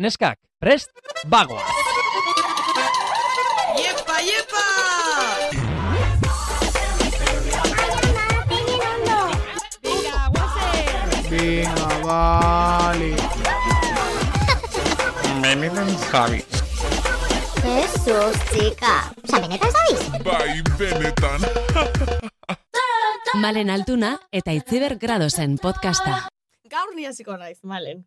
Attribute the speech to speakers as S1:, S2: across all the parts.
S1: Neskak, prest, bagoa!
S2: Iepa, iepa! Venga, guazen!
S3: Venga, vale.
S4: Benetan Javi.
S5: Jesus, txika. Osa, benetan zabiz?
S4: Bai, benetan.
S6: Malen Altuna eta Itziber Gradosen podcasta.
S2: Gaur ni hasiko naiz, malen.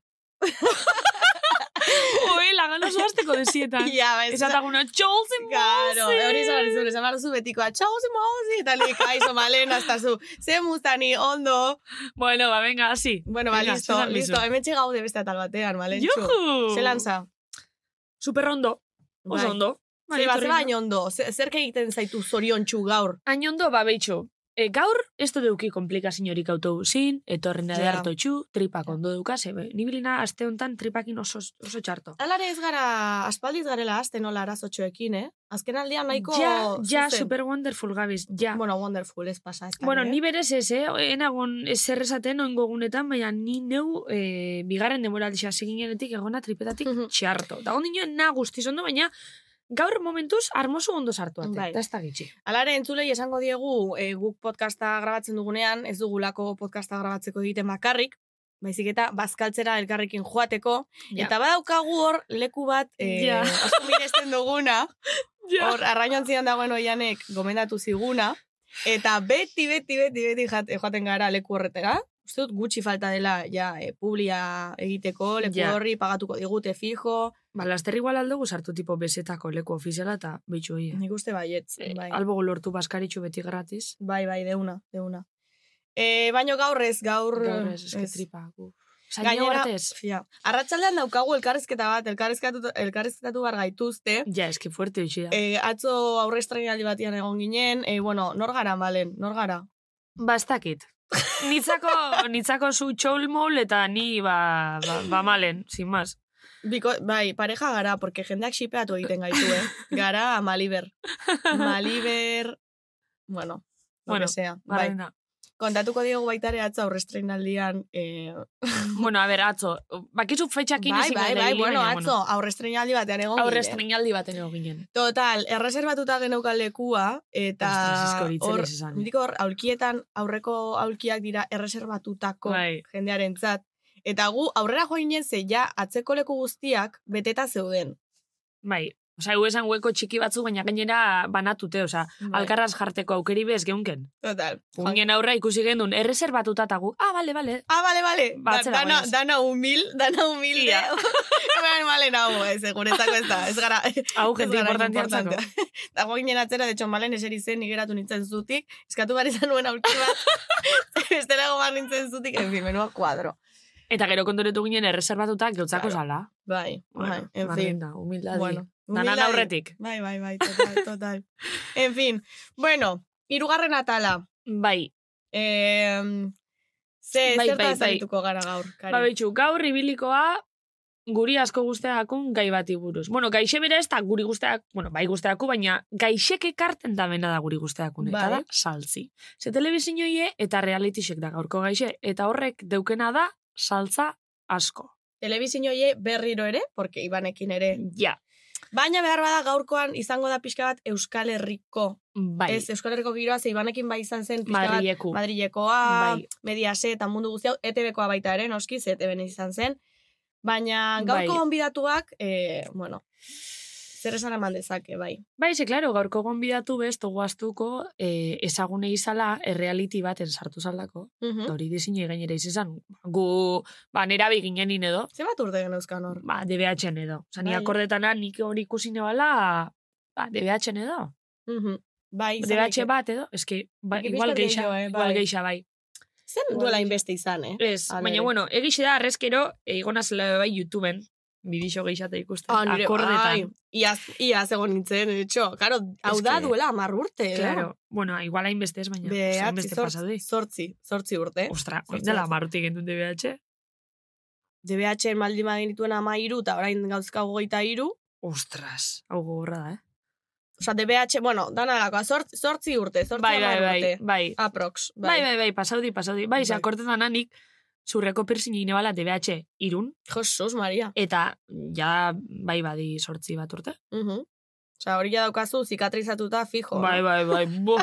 S7: Oe, lagan oso hasteko desietan.
S2: Ja, ba, ez da...
S7: Ezatagun, txolzen
S2: Claro, hori izan behar esan behar zu betikoa, txau ze mauzi, eta lik, aizo malen, hasta zu, ze muztani, ondo.
S7: Bueno, ba, venga, hasi.
S2: Bueno, ba,
S7: Venga,
S2: listo,
S7: Susan Bizu.
S2: listo, hemen gaude beste atal batean, malen, txu.
S7: Juhu!
S2: Ze lanza?
S7: Super ondo. Oso
S2: Bai.
S7: ondo.
S2: Ze, ba,
S7: Maritorrino.
S2: ze baino ondo, ze- zerk egiten zaitu zorion txu gaur.
S7: Hain ondo, ba, behitxo. E, gaur, ez dut euki komplikaziorik autobusin, etorren da
S2: Ja.
S7: yeah. hartotxu, tripak ondo dukaz, ebe. Ni bilina aste honetan tripakin oso, oso txarto.
S2: Alare ez gara, aspaldiz garela azten nola arazotxoekin, eh? Azken aldean nahiko...
S7: Ja, ja,
S2: zuzen.
S7: super wonderful gabiz, ja.
S2: Bueno, wonderful, ez pasa. Ez
S7: Bueno, ni berez ez, eh? Enagon ez zer esaten oingo gunetan, baina ni neu eh, bigarren demora aldixea ginenetik egona tripetatik
S2: Mhm.
S7: txarto. Da ondi nioen na guztiz ondo, baina gaur momentuz armoso ondo sartu ate.
S2: Bai.
S7: Bai. ez da gitxi.
S2: Alare, entzulei esango diegu e, guk podcasta grabatzen dugunean, ez dugulako podcasta grabatzeko egiten bakarrik, baizik eta bazkaltzera elkarrekin joateko,
S7: Ja.
S2: eta badaukagu hor leku bat e,
S7: Ja.
S2: asko miresten duguna, hor arrainontzian dagoen oianek gomendatu ziguna, eta beti, beti, beti, beti jat, joaten gara leku horretera, uste dut gutxi falta dela ja e, publia egiteko, leku
S7: Ja.
S2: horri pagatuko digute fijo,
S7: Ba, laster igual aldugu sartu tipo bezetako leku ofiziala eta bitxu hie.
S2: nik uste baietz.
S7: Eh,
S2: bai.
S7: Albo lortu baskaritxu beti gratis.
S2: Bai, bai, deuna, deuna. E, baino gaur ez, gaur...
S7: Gaur ez, eske
S2: ez.
S7: tripa. gu. Zaino
S2: Gainera,
S7: artez.
S2: ja. Arratxaldean daukagu elkarrezketa bat, elkarrezketatu, elkarrezketatu bar gaituzte.
S7: Ja, eske fuerte bitxi da.
S2: E, atzo aurre estrenaldi batean egon ginen, e, bueno, nor gara, malen, nor gara.
S7: Ba, ez dakit. nitzako, nitzako zu txol mol eta ni ba, ba, ba malen, sin más.
S2: Biko, bai, pareja gara, porque jendeak xipeatu egiten gaitu, eh? Gara Maliber. Maliber... Bueno, lo
S7: Bueno,
S2: que sea. Bai.
S7: Barrena.
S2: Kontatuko diogu baitare atzo aurre estrenaldian... Eh,
S7: bueno, a ber, atzo. Bakizu fetxakin
S2: bai,
S7: ezin
S2: bai,
S7: gaila
S2: bai,
S7: egin,
S2: bueno,
S7: baina,
S2: atzo aurre estrenaldi batean egon
S7: Aurre
S2: ginen.
S7: estrenaldi baten egon ginen.
S2: Total, erreserbatuta geneukan lekua, eta
S7: Ostras, eske hori
S2: hor,
S7: itzelez esan, eh.
S2: diko hor, aulkietan aurreko aulkiak dira erreserbatutako
S7: Bai.
S2: jendearen zat. Eta gu aurrera joan ginen ze ja atzeko leku guztiak beteta zeuden.
S7: Bai. Osa, egu esan hueko txiki batzu, baina gainera banatute, osa,
S2: Bai.
S7: alkarraz jarteko aukeri bez geunken.
S2: Total. Joan-
S7: Gungen aurra ikusi gendun, erreserbatuta eta gu, ah, bale, bale.
S2: Ah, bale, bale. Da,
S7: Batzera
S2: dana,
S7: goaz.
S2: dana humil, dana humilde.
S7: Ia.
S2: Hemen malen hau, ez, eh, guretzako ez da. Ez gara,
S7: Hau,
S2: Ez
S7: jende
S2: gara
S7: importantia
S2: importantea. Dago ginen atzera, de hecho, malen eseri zen, nigeratu nintzen zutik, eskatu behar izan nuen aulki bat, bestela gobar nintzen zutik, en fin, menua kuadro.
S7: Eta gero kontoretu ginen erreserbatuta gautzako
S2: Claro.
S7: zala.
S2: Bai, bai, en fin.
S7: barrena, humildadi.
S2: Bueno,
S7: Danan
S2: humildade.
S7: aurretik.
S2: Bai, bai, bai, total, total. en fin, bueno, irugarren atala.
S7: Bai,
S2: Eh, ze,
S7: Bai,
S2: bai, zertaz
S7: bai, bai.
S2: arituko gara gaur, kari.
S7: Ba, betxu, gaur ibilikoa guri asko guzteakun gai bati buruz. Bueno, gaixe bera ez da guri guzteak, bueno, bai guzteaku, baina gaixek ekarten da bena da guri guzteakun, eta
S2: Bai.
S7: da saltzi. Ze telebizinoie eta realitysek da gaurko gaixe, eta horrek deukena da saltza asko.
S2: Telebizin hoe berriro ere, porque Ibanekin ere.
S7: Ja,
S2: Baina behar bada gaurkoan izango da pixka bat Euskal Herriko.
S7: bai,
S2: Ez, Euskal Herriko giroa, ze Ibanekin bai izan zen pixka bat
S7: Madrileku.
S2: Madrilekoa,
S7: Bai.
S2: Mediase eta mundu guzti hau, E ETBkoa baita ere, noski, ze ETBen izan zen. Baina
S7: Bai.
S2: gaurko gonbidatuak, eh, bueno, zer esan eman dezake, bai.
S7: Bai, ze, klaro, gaurko gonbidatu bez, togu astuko, eh, ezagune izala, errealiti baten sartu zalako.
S2: Mhm.
S7: Eta Hori dizinoi gainera izan, gu, ba, nera biginenin edo,
S2: Ze bat urte geneuzkan hor?
S7: ba, DBH-en edo. Osa, ni
S2: Bai.
S7: akordetana nik hori ikusi nebala, ba, DBH-en edo.
S2: Mhm. Bai, izan
S7: DBH
S2: daiteke.
S7: bat edo, eske, ba,
S2: Nik
S7: igual
S2: pixkat
S7: geixa,
S2: gehiago, eh,
S7: igual
S2: bai.
S7: geixa, bai.
S2: Zen duela inbeste izan, eh?
S7: Ez,
S2: Hala
S7: baina,
S2: ere.
S7: bueno, egixe da, arrezkero, egona zela bai YouTubeen, bidixo geixate ikusten,
S2: Ah, nire, bai.
S7: akordetan.
S2: Iaz, iaz egon nintzen, de hecho. Claro, hau
S7: Ez
S2: da
S7: que-
S2: duela amar urte, edo.
S7: Claro, bueno, igual hainbeste ez, baina,
S2: Behatzi,
S7: osea, hainbeste Oh.
S2: zortzi-
S7: pasadu.
S2: Zortzi, zortzi urte.
S7: Ostra,
S2: eh? zortzi
S7: oindela
S2: bat.
S7: marutik gendun DBH.
S2: DBH maldi madin dituen ama iru, eta orain gauzka goita iru.
S7: Ostras, hau gogorra da, eh?
S2: Osa, DBH, bueno, dana dalakoa, zortzi, zortzi urte, zortzi
S7: Bai, bai,
S2: hamar
S7: bai,
S2: urte.
S7: bai.
S2: Aprox, bai.
S7: Bai, bai, bai, pasaudi, pasaudi. Bai, ze
S2: Bai.
S7: akordetan anik, zurreko piercing egin ebala DBH irun,
S2: Josos, Maria.
S7: eta ja bai badi sortzi bat urte.
S2: Mhm. Osa, hori ja daukazu zikatrizatuta fijo.
S7: Bai,
S2: no?
S7: bai, bai, bo.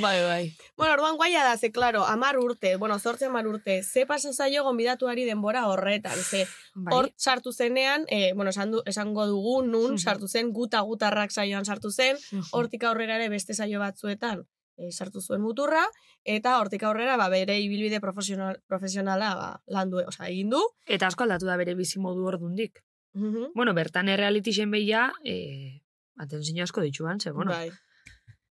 S7: bai, bai.
S2: Bueno, orduan guaia da, ze, klaro, amar urte, bueno, zortze amar urte, ze pasa zaio gonbidatuari denbora horretan, ze
S7: bai.
S2: hor sartu zenean, eh, bueno, esan du, esango dugu, nun
S7: Mhm.
S2: sartu zen, guta-gutarrak saioan sartu zen,
S7: Mhm.
S2: hortik aurrera ere beste saio batzuetan eh, sartu zuen muturra, eta hortik aurrera ba, bere ibilbide profesional, profesionala ba, landu, osea, egin du.
S7: Eta asko aldatu da bere bizimodu ordundik.
S2: Mhm.
S7: Bueno, bertan errealitixen behia, eh, atentzio asko dituan, ze, bueno.
S2: bai.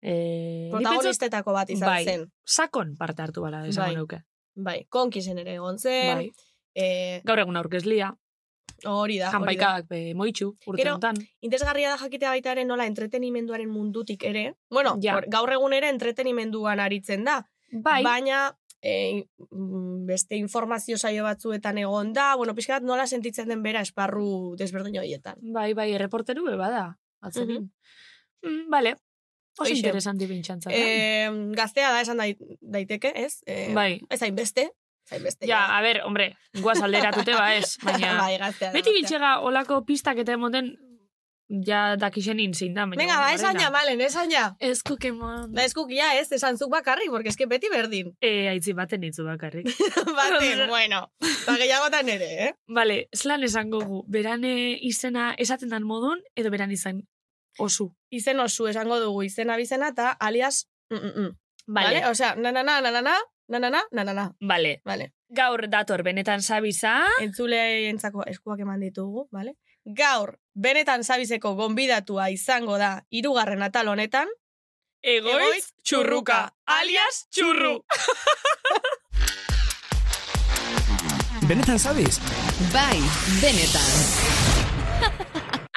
S7: Eh, ni pentsat
S2: Protagonistetako bat izan
S7: bai.
S2: zen.
S7: sakon parte hartu bala, esango
S2: Bai.
S7: neuke.
S2: Bai, konkisen ere egon zen,
S7: Bai.
S2: eh,
S7: Gaur egun aurkezlia,
S2: hori da, hori da.
S7: janpaikak be, moitxu, urte
S2: Gero,
S7: honetan.
S2: Interesgarria da jakitea baita ere nola entretenimenduaren mundutik ere. Bueno,
S7: Ja.
S2: hor- gaur egun ere entretenimenduan aritzen da.
S7: Bai,
S2: Baina e, mm, beste informazio saio batzuetan egon da, bueno, pixka bat nola sentitzen den bera esparru desberdin horietan.
S7: bai, bai, erreporteru be bada, atzenin. mm, bale, oso
S2: Mhm. Hoxe.
S7: interesanti bintxantza.
S2: E, gaztea da esan dai- daiteke, ez? E,
S7: bai,
S2: Ez hainbeste, ez hainbeste.
S7: ja, a ber, hombre, guaz alderatute ba ez, baina...
S2: bai, gaztea da,
S7: Beti
S2: gaztea.
S7: bitxega olako pistak eta emoten ja dakixenin zein da. baina
S2: Venga,
S7: bueno,
S2: ba, esan
S7: barena.
S2: ja, bai. malen, esan ja.
S7: Ez kukemon.
S2: Ba, eskuk ja, ez, esan zuk bakarrik, porque eske beti berdin.
S7: E, aitzi baten itzu bakarrik.
S2: Baten, bueno, ba, gehiagotan ere, eh?
S7: Bale, zelan esango gu, beran eh, izena esaten dan modun, edo beran izan osu.
S2: izen osu esango dugu izena bizena eta alias mm, mm, mm. Vale? Osea, nanana, nanana, nanana, nanana.
S7: Bale.
S2: Vale.
S7: Gaur dator benetan sabiza.
S2: Entzule entzako eskuak eman ditugu, vale? Gaur, benetan zabizeko gonbidatua izango da hirugarren atal honetan. Egoitz txurruka, alias txurru.
S3: Benetan zabiz?
S6: Bai, benetan.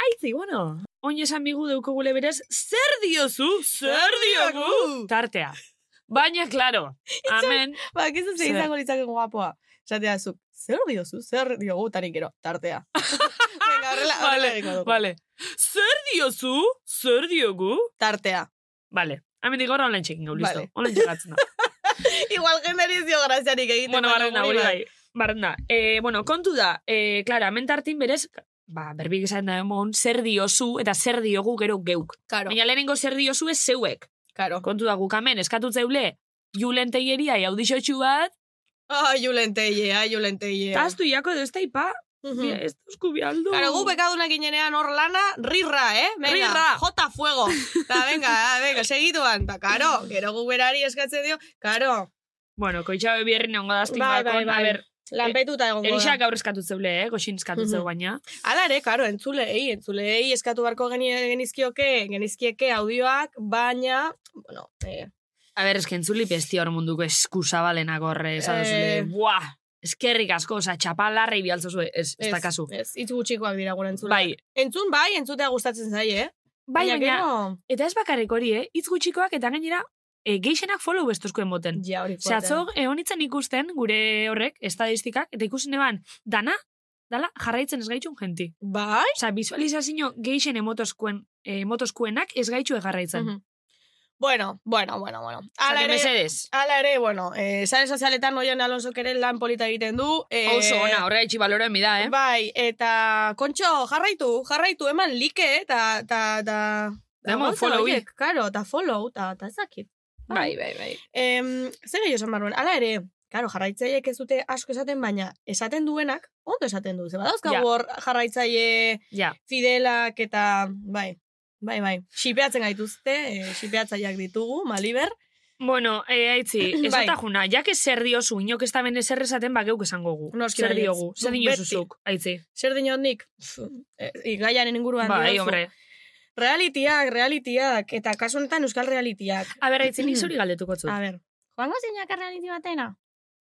S7: Aitzi, bueno. Oin esan bigu deuko gule berez, zer diozu, zer
S2: diogu?
S7: Tartea. Baina, claro, amen.
S2: Ba, gizu ze
S7: Zer.
S2: izango litzaken guapoa. Zatea zuk, zer diozu, zer diogu, tarik gero, tartea. Venga, horrela, horrela
S7: Vale,
S2: egingo dugu.
S7: vale. Zer diozu, zer diogu?
S2: Tartea.
S7: Vale. Hemen digo horra online txekin gau, listo.
S2: Vale.
S7: Online txekatzen da.
S2: Igual jendari ez dio graziarik egiten.
S7: bueno,
S2: baina
S7: barrena,
S2: guri
S7: hori
S2: bai.
S7: bai. Barrena. Eh, bueno, kontu da, eh, Clara, hemen tartin berez, ba, berbik esan da emon, zer diozu eta zer diogu gero geuk.
S2: Karo,
S7: Baina lehenengo zer diozu ez zeuek.
S2: karo.
S7: Kontu da, gukamen, eskatutzeule, julen teieria audixotxu bat,
S2: Ai, julen teie, ai, julen teie.
S7: eta aztu jako dezta ipa,
S2: Mhm.
S7: mira, ez duzku bialdu.
S2: Claro, gu bekaduna ginenean hor lana, rirra, eh? Venga,
S7: Rirra.
S2: jota fuego. Ta, venga, ah, venga, segituan. Ta, karo, gero gu berari eskatzen dio, karo,
S7: Bueno, koitxa bebierri nengo da aztik
S2: Bai, bai, bai.
S7: a ber,
S2: lanpetuta egongo
S7: Egisa
S2: da.
S7: gaur eskatutzeule, eh, goxin eskatutzeu
S2: Mhm.
S7: baina.
S2: Hala ere, karo, entzulei, entzulei eskatu beharko geni, genizkioke, genizkieke audioak, baina, bueno, eh,
S7: A ber, eske entzuli pesti hor munduko eskusa balenak horre, esan duzule,
S2: Eh.
S7: buah, eskerrik asko, oza, txapalarra ibialtzozue, ez, ez,
S2: ez,
S7: da kasu.
S2: ez, hitz gutxikoak dira gure entzule.
S7: Bai,
S2: Entzun bai, entzutea gustatzen zaie, eh?
S7: bai, baina,
S2: gero-
S7: eta ez bakarrik hori, eh, hitz gutxikoak eta gainera, e, geixenak follow bestuzko emoten.
S2: Ja, hori
S7: Ze
S2: fuerte.
S7: atzo, egon itzen ikusten, gure horrek, estadistikak, eta ikusi neban, dana, dala, jarraitzen ez gaitxun jenti.
S2: Bai?
S7: Osa, visualizazio geixen emotozkuen, eh, emotozkuenak ez gaitxue jarraitzen.
S2: Mhm. Bueno, bueno, bueno, bueno.
S7: Osa,
S2: Hala
S7: que
S2: ere-
S7: mesedez.
S2: Hala ere, bueno, eh, sare sozialetan Oian Alonsok ere lan polita egiten du. Eh,
S7: Oso ona, horre etxi balora emi da, eh?
S2: Bai, eta kontxo, jarraitu, jarraitu, eman like, eta... Ta, ta,
S7: Eman follow-i.
S2: Karo, eta follow, eta ta ezakit.
S7: bai, bai, bai.
S2: Em, zer gehiago esan barruen, hala ere, karo, jarraitzaileek ez dute asko esaten, baina esaten duenak, ondo esaten du, ze badauzkagu
S7: Ja.
S2: hor jarraitzaile
S7: Ja,
S2: fidelak eta, bai, bai, bai, xipeatzen gaituzte, eh, xipeatzaileak ditugu, maliber,
S7: Bueno, eh, aitzi, ez
S2: Bai.
S7: bai. juna, jak ez zer diozu, inok ez da ben ezer esaten bageuk esango gu.
S2: Noski
S7: zer
S2: baietz.
S7: diogu, zer
S2: Guk
S7: diozu
S2: beti.
S7: zuk, aitzi.
S2: zer dinot nik, Pf, eh, gaiaren inguruan
S7: Bai,
S2: diozu.
S7: hombre.
S2: Realitiak, realitiak, eta kasu honetan euskal realitiak.
S7: A ber, aitzi, nik zuri galdetuko zut.
S2: A ber, joango zeinak realiti batena?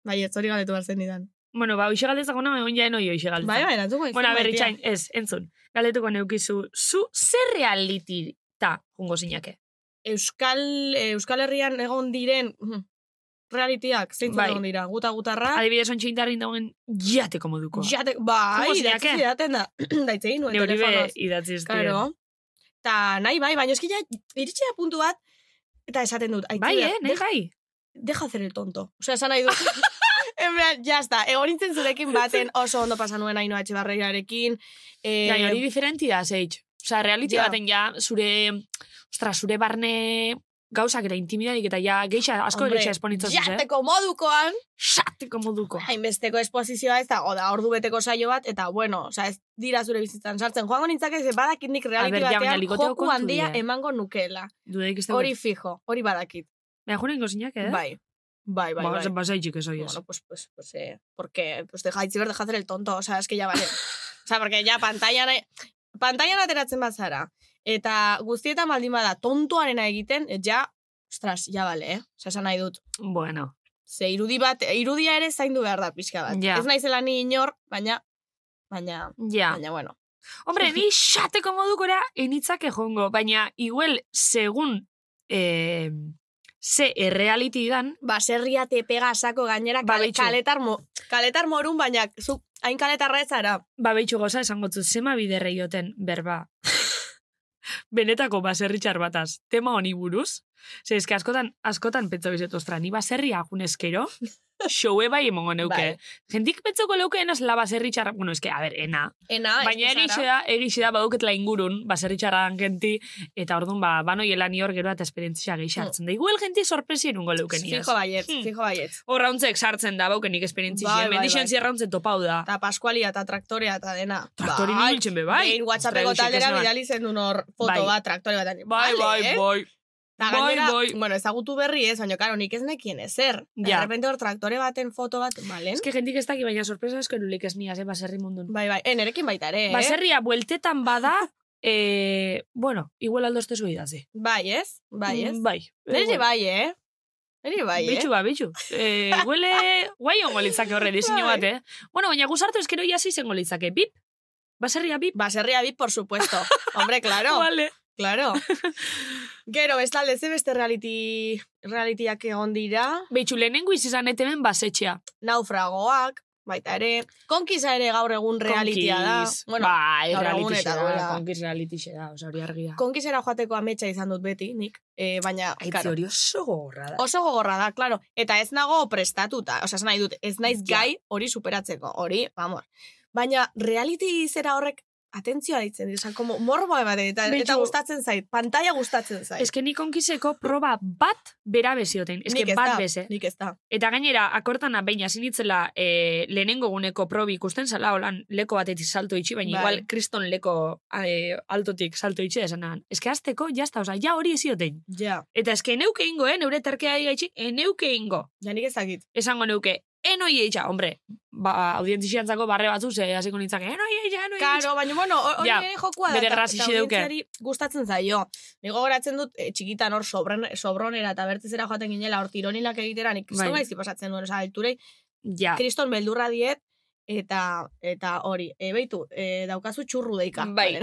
S2: Bai, ez hori galetu behar zen nidan.
S7: Bueno, ba, hoxe galdezakona, egon jaen hoi hoxe galdezak.
S2: Bai, bai, erantzungo izan.
S7: Bueno, a ber,
S2: bai, tia.
S7: itxain, ez, entzun. Galdetuko neukizu, zu zer realitita jungo zinake?
S2: Euskal, eh, euskal herrian egon diren mm, realitiak, zeintzun
S7: Bai.
S2: egon dira, guta gutarra.
S7: Adibidez, ontsi indarrin dauen jateko moduko.
S2: Jate, bai,
S7: Jungo zinake?
S2: idatzi zidaten da. Daitze nuen
S7: Neuri be
S2: telefonoz.
S7: idatzi ez
S2: Karo. Ta nahi bai, baina eski ja iritsi da puntu bat, eta esaten dut.
S7: dien.
S2: Aitziber,
S7: Bai, eh, nahi
S2: deja,
S7: bai.
S2: deja hacer el tonto. Osea, esan nahi dut. En plan, jazta, egon nintzen zurekin baten oso ondo pasan nuen haino atxebarreiarekin. Eh,
S7: Gaina hori diferenti da, zeitz. Osa, reality
S2: Ja.
S7: baten ja, zure, ostra, zure barne gauzak eta intimidadik eta ja geixa, asko
S2: Hombre,
S7: geixa esponitzen zuz, eh?
S2: Jateko modukoan,
S7: Xateko moduko.
S2: hainbesteko esposizioa ez da, oda, ordu beteko saio bat, eta bueno, oza, ez dira zure bizitzan sartzen. Joango nintzake, ze badakit nik
S7: A
S2: reality
S7: ber, ja, baina
S2: batean
S7: ligoteo
S2: joku
S7: kontu
S2: handia
S7: dira.
S2: emango nukela.
S7: Dudeik ez dago.
S2: Hori fijo, hori badakit.
S7: Baina jure ingo zinak, eh?
S2: Bai, bai, bai. bai.
S7: Ba, zaitxik ez oiez.
S2: Bueno, pues, pues, pues, eh, porque, pues, deja, Itziber, deja hacer el tonto, o sea, es que ya vale. o sea, porque ya pantailan, pantailan ateratzen bazara, eta guztietan baldin bada tontoarena egiten, eh, ja, ostras, ja vale, eh? Osa, esan nahi dut.
S7: Bueno.
S2: Ze, irudi bat, irudia ere zaindu behar da pixka bat.
S7: Ja.
S2: Ez naizela ni inor, baina, baina,
S7: Ja.
S2: baina, bueno.
S7: Hombre, ni xateko modukora enitzak ejongo, baina igual, segun eh, ze errealiti dan,
S2: Baserria Ba, te pega sako gainera
S7: Ba,
S2: kal-
S7: bitxu.
S2: kaletar, mo, kaletar morun, baina zu hain kaletarra ez zara.
S7: ba behitxu goza esango zu, zema biderre joten berba. Benetako baserritxar bataz, tema honi buruz. Zer, eske askotan, askotan pentsa bizet, ostra, ni baserria agun eskero, xoue bai emongo neuke.
S2: Bai.
S7: Jendik pentsako leuke enaz la baserritxar, bueno, eske, a ber, ena,
S2: Ena,
S7: Baina
S2: Ah, ez
S7: egixe da, egixe da baduketela ingurun, baserritxarra genti, eta orduan ba, bano hielan ior gero eta esperientzia gehi sartzen da. Igual genti sorpresi erungo leukeniaz.
S2: Mm. Fijo baiet,
S7: Hmm.
S2: fijo baiet.
S7: Horrauntzek sartzen da, baukenik esperientzia.
S2: Bai,
S7: Bai,
S2: bai,
S7: bai,
S2: bai.
S7: topau da.
S2: eta paskualia eta traktorea eta dena.
S7: Traktori nintzen be, Ba, bai.
S2: Behin WhatsAppeko
S7: Ostra,
S2: taldera
S7: eusik ez noan.
S2: bidali eh? zen duen hor foto
S7: Bai.
S2: bat traktore bat.
S7: Bai, bai, bai.
S2: Eta
S7: bai,
S2: gainera,
S7: bai.
S2: bueno, ezagutu berri ez, baina karo, nik ez nekien ezer.
S7: Ja.
S2: Ja. De repente hor traktore baten foto bat, balen?
S7: Ez que jentik ez daki, baina sorpresa asko erulik ez niaz, eh, baserri mundun.
S2: Bai, bai, eh, nerekin baita ere, eh?
S7: Baserria bueltetan bada, eh, bueno, igual aldo este idazi.
S2: Bai, ez? Bai, ez?
S7: eh. Mm, Bai.
S2: Nire bai, eh? Nire bai, eh?
S7: Bitxu ba, bitxu. Eh, huele, guai ongo litzake horre diseinu
S2: Bai.
S7: bat, eh? Bueno, baina gusartu eskero jasi izango litzake. Bip? Baserria bip?
S2: Baserria bi, Ba, por supuesto. Hombre, claro.
S7: Vale.
S2: claro. Gero, bestalde, ze beste reality, realityak egon dira.
S7: Beitxu, lehenengo izan etemen basetxea.
S2: naufragoak, baita ere. Konkisa ere gaur egun realitia da.
S7: Konkiz.
S2: Bueno,
S7: bai,
S2: gaur egun
S7: realitxe
S2: eta
S7: da,
S2: duela.
S7: konkiz realitxe da, oza, hori argia.
S2: konkisera joateko ametsa izan dut beti, nik. E, baina,
S7: Aitzi
S2: claro,
S7: hori oso gogorra da.
S2: oso gogorra da, claro. Eta ez nago prestatuta. Osa, ez nahi dut, ez naiz gai hori superatzeko. Hori, vamos. Baina, reality zera horrek atentzioa ditzen, dut, osa, como morboa ematen, eta,
S7: Betxo-
S2: eta gustatzen zait, pantalla gustatzen zait.
S7: Ez que ni konkizeko proba bat bera bezioten. Ez
S2: Nik
S7: que
S2: ez
S7: bat
S2: da,
S7: beze.
S2: Nik ez da.
S7: Eta gainera, akortana behin azinitzela e, lehenengo guneko probi ikusten zala, holan leko batetik salto itxi, baina
S2: Bai.
S7: igual kriston leko e, altotik salto itxi da esanan. Ez que azteko, jazta, oza, ja hori ezioten.
S2: Ja,
S7: Eta eske neuke ingo, eh, neure terkea digaitxi, neuke ingo.
S2: ja nik ez dakit.
S7: Esango neuke, enoi eitxa, hombre, ba, audientziantzako barre batzu, ze hasiko nintzak, enoi eitxa, enoi eitxa.
S2: Karo, baina, bueno, hor- hori
S7: Ja,
S2: ere jokua da.
S7: bere
S2: eta-
S7: grasixe
S2: eta
S7: deuke.
S2: audientziari gustatzen zaio. Nigo goratzen dut, eh, txikitan hor sobron, sobronera eta bertezera joaten ginela, hor tironilak egitera, nik kriston
S7: Bai. Ah.
S2: gaizki pasatzen nuen, oza, alturei,
S7: Ja,
S2: kriston beldurra diet, eta eta hori, e, beitu, e, daukazu txurru deika.
S7: Bai.
S2: Bale.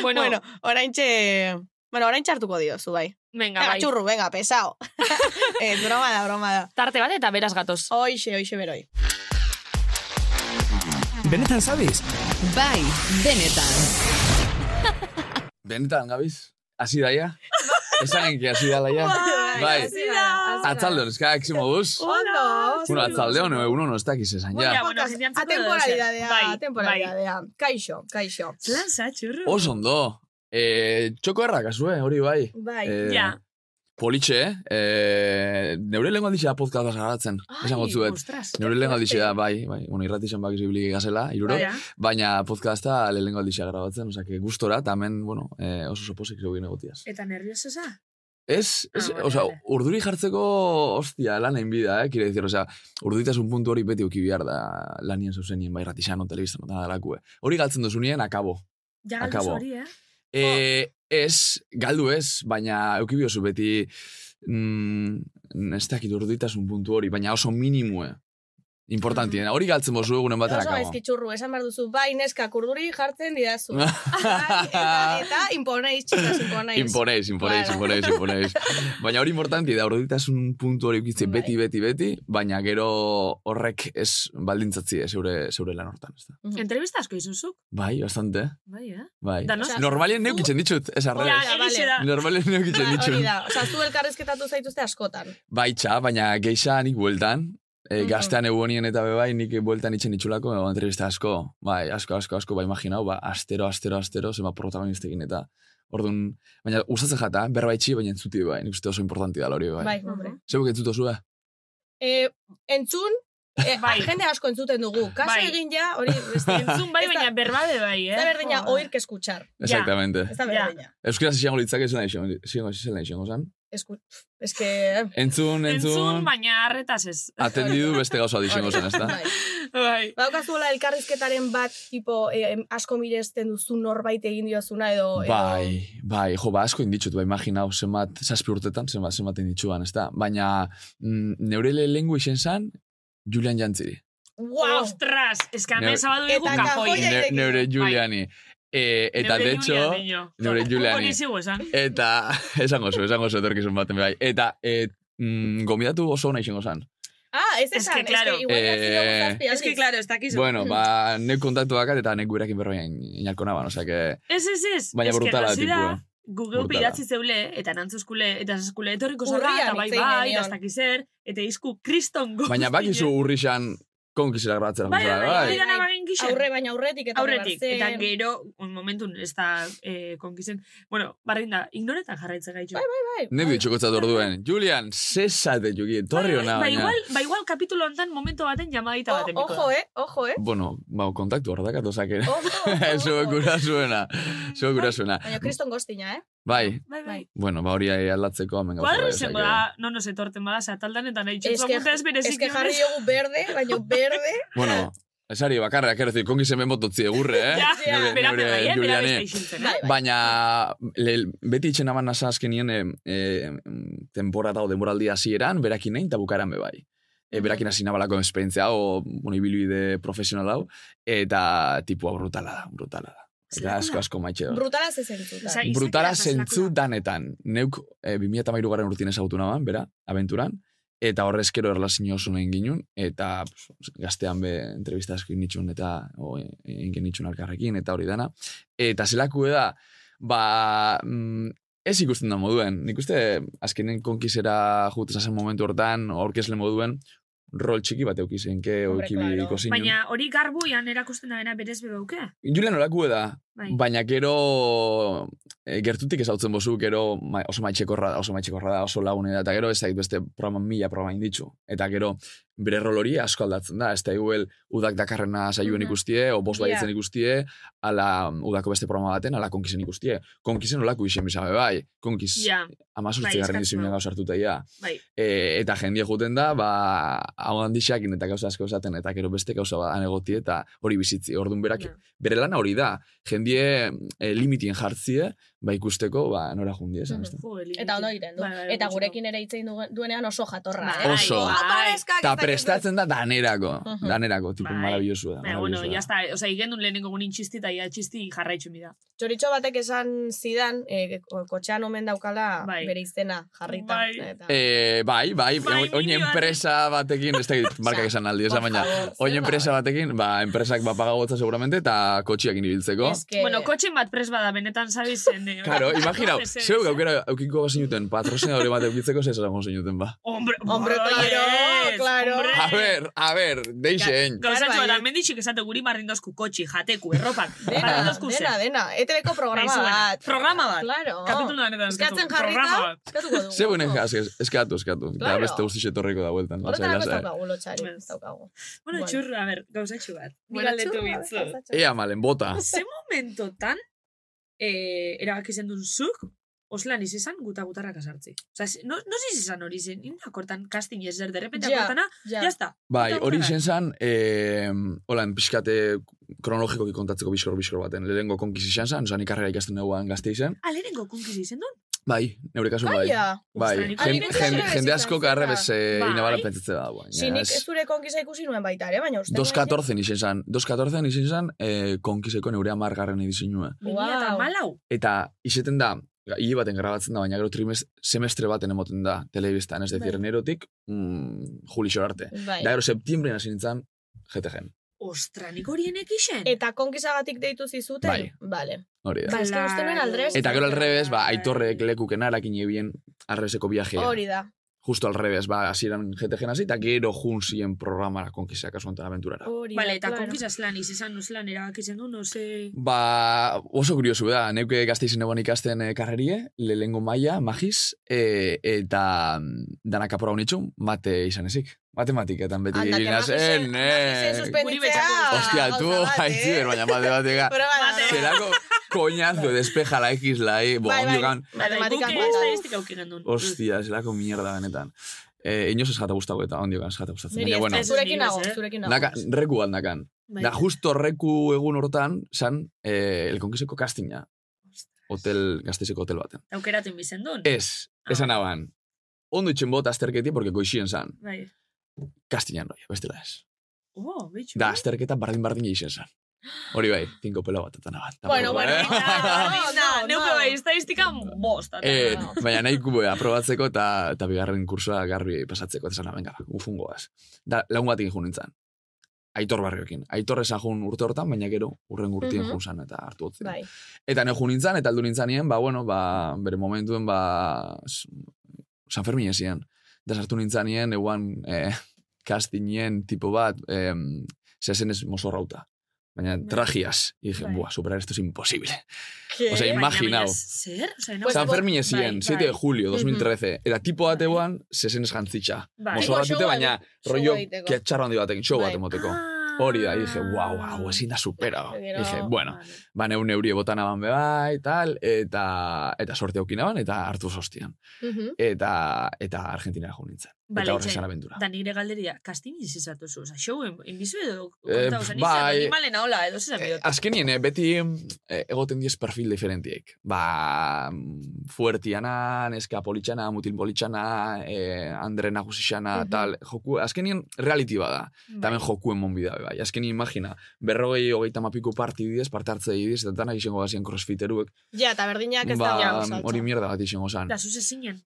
S7: bueno,
S2: bueno, orain txe... Bueno, orain txartuko diozu, bai.
S7: venga,
S2: Venga,
S7: bai.
S2: txurru, venga, pesao. Ez, broma da, broma da.
S7: Tarte bat eta beraz gatoz.
S2: Hoixe, hoixe beroi.
S3: Benetan zabiz?
S6: Bai, benetan.
S8: Benetan, gabiz? Hasi daia? Esan enki, hasi da laia? Bai.
S2: hasi gara, hasi gara.
S8: Atzaldeon, eskak, zimo buz?
S2: Hola.
S8: Bueno, atzaldeon, egun hon, ez dakiz esan, ja.
S7: bueno,
S2: Podcast,
S7: jendean zatu
S2: atemporalidadea,
S7: edo zer. Bai,
S2: atemporalidadea. Kaixo, kaixo.
S7: Lan zatxurru.
S8: Oso ondo. Eh, txoko errak, azue, hori bai.
S2: Bai.
S8: Eh,
S7: Ja.
S8: Politxe, eh, neure lehen aldixe da podcasta garatzen, esango zuet.
S7: Ostras.
S8: Neure lehen aldixe da, bai, bai, bueno, irratixen bak izibili gazela, iruro,
S7: Baina.
S8: baina podcasta lehen aldixe grabatzen, osea, gustora, eta hemen, bueno, eh, oso soposik zegoen egotiaz.
S7: Eta nerviososa?
S8: Ez, ez,
S7: Ah, vale,
S8: oza,
S7: vale.
S8: urduri jartzeko, hostia, lan enbida, eh, quiero decir, oza, urduritasun puntu hori beti uki behar da lanien zuzenien, bai, ratixan, o telebizan, eta dalakue. eh. Hori galtzen duzunien,
S2: Oh.
S8: akabo.
S7: Ja,
S8: galdu Akabo. zori,
S7: eh?
S8: E, ez, galdu ez, baina euki biozu beti, mm, ez dakit urduritasun puntu hori, baina oso minimue. Importantien, eh. hori galtzen bozu egunen
S2: Mm. Oso
S8: batera
S2: gaizki
S8: akabo.
S2: txurru, esan behar duzu, bai neska kurduri jartzen didazu. Bai, eta, eta imponeiz, txikas, imponeiz.
S8: Imponeiz, imponeiz, imponeiz, imponeiz. Baina hori importanti da, urduritasun puntu hori ukitze
S2: Bai.
S8: beti, beti, beti, baina gero horrek ez baldintzatzi eh, zeure, zeure lan hortan, ez da.
S7: Entrevista asko izuzuk?
S8: Bai, bastante,
S7: Bai, eh?
S8: bai.
S7: Da, no?
S8: Normalien neukitzen ditut, ez
S7: Ja,
S8: arrez.
S2: Hori da,
S7: egixe
S2: vale.
S7: da.
S8: Normalien neukitzen
S2: Ba, Hori
S8: ditut.
S2: da, oza, zu elkarrezketatu zaituzte askotan.
S8: Bai, txa, baina geisha nik bueltan, E,
S2: Mhm.
S8: gaztean egonien eta bebai, nik bueltan itxen itxulako, e, entrevista asko, bai, asko, asko, asko, bai, imaginau, ba, astero, astero, astero, zema protagonistekin eta, orduan, baina, gustatzen jata, berba itxi, baina entzuti, bai, nik uste oso importanti da hori, bai. bai.
S2: Bai, hombre.
S8: Zebuk entzuto zue?
S2: Eh, entzun, eh,
S7: Bai.
S2: jende asko entzuten dugu. Kaso
S7: Bai.
S2: egin ja, hori, beste,
S7: Entzun bai,
S2: Ez da-
S7: baina berbabe bai,
S2: Ez
S7: eh?
S2: da berdina
S7: Joder.
S2: oír que escuchar.
S8: Exactamente.
S2: Ez da
S7: Ja.
S2: berdina.
S8: Euskara zisango litzak ez nahi xango, zisango zisango zan.
S2: Esku... Es que...
S7: Entzun,
S8: Entzun,
S7: bai.
S8: entzun,
S7: baina harretaz ez.
S8: atendidu beste gauza dixengo zen, ez da?
S2: Bai.
S7: Bai.
S2: Badaukazula elkarrizketaren bat, tipo, eh, em, asko miresten duzu norbait egin diozuna edo... edo-
S8: Bai, bai, jo, ba, asko inditxut, ba, imaginau, zenbat, zazpi urtetan, zenbat, zenbat inditxuan, ez da? Baina, mm, neure lehengu izen zan, Julian Jantziri.
S2: Wow!
S7: Ostras, ez que hemen
S8: Neu-
S7: zabaldu dugu
S2: Eta
S7: kajoi.
S2: kajoia-
S8: Ne,
S2: Julianekin.
S8: neure Juliani. E, eta, de hecho, neure Juliani.
S7: Hori zigu esan.
S8: eta, esango zu, esango zu etorkizun baten bai. Eta, e, mm, gomidatu oso ona izango zan.
S2: Ah, ez
S7: Es
S2: esan,
S7: que, claro.
S2: es que igual
S8: Eh,
S2: eh,
S7: ez dakizu.
S8: Bueno, ba, nek kontaktu bakat eta nek gurekin berroia inalko naban, osea que...
S7: Ez, ez, ez.
S8: Baina
S7: Ez que
S8: brutala
S7: hasi da,
S8: tipua.
S7: Google
S8: Brutala.
S7: piratzi zeule, eta nantzuskule, eta saskule etorriko zara,
S2: Urrian
S7: eta bai,
S2: hitz egin
S7: bai, eta
S2: genion.
S7: ez dakizer, eta izku kriston gozti.
S8: Baina bakizu urrixan konkizera grabatzera.
S7: Bai, bai, bai, hori
S8: bai.
S7: dana bagin gixen.
S2: Aurre baina aurretik eta
S7: Aurretik, eta gero, un momentun, ez da eh, konkizen. Bueno, barrin da, ignoretan jarraitzen gaitu. Bai,
S8: Nek bitxokotzat orduen. Julian, zesate juki, torri ona.
S7: Ba,
S8: baina-
S7: igual, ba, igual kapitulo ontan momento baten jamadita baten.
S2: O,
S7: biko da.
S2: ojo, eh, ojo, eh.
S8: Bueno, ba, kontaktu hor dakat, osak ere.
S2: Ojo, ojo,
S7: Oh,
S8: Zuek
S2: ojo.
S8: gura zuena. Zuek gura zuena.
S2: Baina kriston goztina, eh?
S8: Bai,
S7: Bai, bai.
S8: bueno, ba hori aldatzeko hemen gauza
S7: Kuadro
S8: bai,
S7: izango
S8: osea que-
S7: da, no nos etorten bada, ze ataldan eta nahi
S2: Es
S7: txetzu
S2: que-
S7: apunta ez
S2: Es
S7: berezik.
S2: que jarri jogu berde, baina berde...
S7: Bai,
S8: Bueno, esari bakarra, quiero decir, kongi semen bototzi egurre, eh?
S7: Ja,
S2: ja,
S8: Neure-
S7: bera,
S8: neure
S7: bera, bera, bera,
S8: Juliane.
S7: eh?
S2: Bai, bai.
S8: Baina, le, beti itxen aman nasa azkenien e, e, temporada o demoraldi hasieran berakin nahi eta bukaran bebai. E, berakin hasi nabalako esperientzia o bueno, ibilbide profesional hau, eta tipua brutala da, brutala da. Eta
S7: Zelako
S8: asko
S7: da.
S8: asko maitxe dut.
S2: Brutala ze zentzuta.
S7: Osea, izakera
S8: Brutala
S7: eta
S8: zentzu
S7: zelakua.
S8: danetan. Neuk e, 2008 garren urtien ezagutu naban, bera, abenturan, eta horrezkero erlazio oso nahin ginun, eta pues, gaztean be entrevista asko egin nitxun, eta o, e, egin nitxun alkarrekin, eta hori dana. Eta zelako da, ba, mm, ez ikusten da moduen. Nik uste, azkenen konkizera jutez zen momentu hortan, aurkezle moduen, rol txiki bat eukizenke,
S2: Hombre, claro.
S8: oikibiko zinun.
S7: Baina hori garbuian erakusten da bena berez bebauke.
S8: Julian olakue da,
S7: Bai.
S8: Baina gero e, gertutik ezautzen bozu, gero ma, oso maitxekorra da, oso maitxekorra da, oso lagune da, eta gero ez dakit beste programa mila programa inditxu. Eta gero bere rol hori asko aldatzen da, ez da iguel udak dakarrena saioen
S7: Mhm.
S8: ikustie, o bost
S2: Ja.
S8: baitzen ikustie, ala um, udako beste programa baten, ala konkizen ikustie. Konkizen olako isen bizabe bai, konkiz yeah.
S7: Ja,
S8: amazortzi
S7: bai,
S8: garren
S7: eskatzen
S8: dizimena
S7: da.
S8: gauzartuta ia.
S7: bai.
S8: E, eta jendie juten da, ba, hau handixakin eta gauza asko esaten, eta gero beste gauza ba, anegoti eta hori bizitzi. Orduan berak,
S7: Ja.
S8: bere lana hori da. Jendie e, limitien jartzie, ba ikusteko, ba, nora jundi esan.
S2: Mhm.
S8: Mm
S7: Jo, elimitik.
S2: Eta ondo egiten du.
S7: Bai, bai,
S2: eta
S7: gutxiko.
S2: gurekin ere hitzein duenean oso jatorra.
S7: Bai,
S2: eh?
S8: Oso.
S7: bai.
S2: Aparezkak,
S8: Eta
S2: ez dakit zer.
S8: prestatzen da danerako,
S2: Mhm.
S8: danerako, tipo
S7: Bai.
S8: maravillosu da.
S7: Baina, bueno,
S8: maravilloso da.
S7: ya está, oza, igendun lehenengo gunin txisti eta ia txisti jarraitxu mida.
S2: Txoritxo batek esan zidan, eh, ko- kotxean omen daukala
S7: Bai.
S2: bere izena jarrita.
S7: Bai.
S2: Eta,
S8: Eh, bai, bai,
S7: Bai,
S8: oin- oin
S7: niri bat-
S8: enpresa batekin, ez dakit, markak
S2: Osea,
S8: esan aldi,
S2: por
S8: esan baina,
S2: favor, zer
S8: oin
S2: da?
S8: enpresa batekin, ba, enpresak ba pagagotza seguramente, eta kotxiakin ibiltzeko.
S2: Es que-
S7: Bueno, kotxen bat pres bada, benetan zabiz zen. eh,
S8: Karo, imaginau,
S7: Ez, ez,
S8: zeu
S7: ez.
S8: gaukera eukiko bazinuten, patrozinadore bat eukitzeko, zer esango zinuten, ba.
S7: Hombre,
S2: Hombre, claro,
S7: yes,
S2: claro.
S7: hombre.
S8: A ber, a ber, deixen.
S7: Gauzatxo,
S2: Claro,
S7: eta
S2: baiet.
S7: mendixik esate guri marrindozku kotxi, jateku, eh, erropak.
S2: Dena,
S7: Marrindozku zer.
S2: dena, dena. ETV-ko programa
S7: Nahi zuena.
S2: bat.
S7: Programa bat.
S2: Claro.
S7: Kapitulu honetan eskatu.
S2: Eskatzen
S7: Programa
S2: jarrita,
S7: bat.
S2: eskatuko dugu.
S8: Zeu benen eskatu, eskatu. Eta
S2: Claro.
S8: beste guzti etorriko da bueltan. ba, lasai,
S2: Horretarako ez
S8: lasai.
S2: daukagu lotxari.
S7: Ez.
S2: Ez daukagu.
S7: Bueno,
S2: Bueno.
S7: txurra, a ber, gauzatxo bat. Nik
S2: Bueno,
S7: galdetu
S2: txurra,
S7: bitzu.
S2: gauzatxo.
S8: Ea malen, bota.
S7: Ze momentotan, eh, erabaki zen duen zuk, oslan izan guta-gutarrak asartzi. Osa, no, no ziz izan hori zen, inda kortan casting ez zer, derrepente
S2: Ja,
S7: yeah. kortana,
S2: Ja.
S7: jazta.
S8: Bai,
S7: Eta
S8: hori
S7: aurrera.
S8: izen zan, eh, holan, pixkate kronologikoki kontatzeko bizkor-bizkor baten. Lehenengo konkiz izan zan, oza, nik karrera ikasten neuan gazte izen.
S7: Ah, lehenengo konkiz izen duen?
S8: Bai, neure kasu bai.
S2: Aia.
S8: Bai,
S7: Ostras, nik-
S8: jen-
S2: Ah, nik uste
S8: jen-
S2: nire
S8: jende
S2: izan
S8: asko
S2: zela.
S8: karre bez eh,
S7: Bai.
S8: inabala pentsatzea da. Bai,
S2: Si nik ez zure konkisa ikusi nuen baita ere, baina uste. nuen-
S8: 2.14 izen zan, 2.14 izen zan, eh, konkizeko neure amargarren edizinua.
S7: Wow. eta
S2: Wow.
S7: malau.
S8: Eta iseten da, hile baten grabatzen da, baina gero trimez, semestre baten emoten da telebistan, ez decir,
S2: Bai.
S8: enerotik mm, juli arte.
S2: Bai.
S8: Da gero septiembren hasi nintzen, GTGen,
S7: Ostra, nik horienek isen.
S2: Eta konkisagatik deitu zizuten?
S8: Bai.
S2: Vale.
S8: hori da.
S2: Bai. Ez que uste nuen aldrez.
S8: ba, Eta gero alrebez, ba, aitorrek lekukena erakin ebien alrebezeko viajea.
S2: Hori da.
S8: justo al revés, ba, hasieran GTG hasi, eta gero jun ziren programara konkizia kasu honetan abenturara.
S2: Hori
S7: Bale, eta
S2: claro.
S7: konfizaz lan, izan nuzlan erabakitzen du, no se...
S8: Ba, oso kuriosu da, neuke gazteizen egon ikasten eh, karrerie, lehengo maila, magiz, e, eta mm, danak apora honitxun, mate izan ezik. Matematiketan beti
S2: Anda, que
S8: egin
S2: magizen-
S8: zen,
S2: magizen
S8: eh.
S2: suspenditzea.
S8: Ostia, tu,
S2: gauza bat,
S8: haitzi,
S2: eh?
S8: baina matemateka.
S2: Prueba da.
S8: Zerako koñazo despeja la X, la Y, bo,
S2: Bai, bai.
S8: ondio gan,
S2: Matematikak
S7: Guk
S2: bata.
S7: estadistika aukigen duen.
S8: Ostia, zelako mierda benetan. Eh, inoz ez jata guztago eta ondio gan, ez jata gustatzen.
S7: Niri
S8: Baina,
S7: ez
S8: bueno,
S7: ez-
S2: Zurekin nago,
S7: Eh?
S2: zurekin nago.
S8: naka, reku bat nakan.
S7: Bai.
S8: Da, justo reku egun hortan, san, eh, elkonkizeko castinga. Hotel, gazteizeko hotel baten.
S2: Ah.
S7: Aukeratu inbizen duen.
S8: Ez, esan aban. Ondo itxen bot azterketi, porque goixien san.
S7: Bai.
S8: Castiñan noia, bestela ez.
S7: Oh, bitxu.
S8: Da, azterketa bardin-bardin egin san. Hori bai, tinko pelo bat eta nabat.
S2: Bueno, bueno,
S8: eh?
S2: eta-
S7: Ah,
S2: No, no,
S7: Neuke
S2: no.
S7: bai, estadistika bost. eta-
S8: Eh, baina nahi kube aprobatzeko eta, eta bigarren kursoa garbi pasatzeko, eta zena, venga, ufungoaz. Da, lagun batekin jun nintzen. Aitor barriokin. Aitor esan jun urte hortan, baina gero urren urtien
S2: Mhm.
S8: jun zan eta hartu otzi.
S2: Bai.
S8: Eta ne jun nintzen, eta aldu nintzanien, ba, bueno, ba, bere momentuen, ba, s- San Fermin esien. Da sartu nintzanien, eguan, eh, castingien tipo bat, eh, zezen ez mozorrauta. Baina tragias. Y dije,
S7: Bai.
S8: buah, superar esto es imposible.
S2: ¿Qué?
S8: O sea,
S7: Baina,
S8: imaginau.
S7: baina, Zer? Osa,
S2: Pues,
S8: San Fermin
S7: bai,
S8: esien,
S7: bai.
S8: 7 de julio, 2013. Eta tipo bat
S7: Bai.
S8: eguan, zezen ez jantzitxa.
S7: Bai.
S8: Mozo bat
S2: Tipo
S8: dute,
S2: showa
S8: baina
S2: showa
S8: rollo
S2: egiteko.
S8: ketxarro handi batekin, show bat
S2: Bai.
S8: emoteko.
S7: Ah.
S8: Hori da, dije, wow, wow, ezin da supera.
S2: Gero-
S8: Dije, bueno, ba, neu neuri botan aban beba, y tal, eta, eta sorte aukin aban, eta hartu sostian.
S2: Mhm.
S8: Eta, eta Argentinara jo nintzen.
S7: Bale,
S8: eta horre
S7: itxaron.
S8: zen abentura.
S7: Da nire galderia, kastin izizatu zu, oza, show en- inbizu edo
S8: Eh,
S7: kontau, oza,
S8: bai.
S7: animalen ahola, edo zizan
S8: Eh,
S7: bidot.
S8: azkenien, eh, beti eh, egoten diez perfil diferentiek. Ba, mm, fuertiana, neska politxana, mutil politxana, eh, andre nagusixana,
S2: Mhm.
S8: tal. Joku, azkenien reality bada. Tamen jokuen monbida, be bai. Azkenien, imagina, berrogei hogeita mapiko partididez, parte hartze didiz, eta tanak izango gazien crossfiteruek.
S2: Ja, eta berdinak ez da
S8: Ba,
S2: saltza.
S8: hori mierda bat izango zan.
S7: Da, zuz ezinen,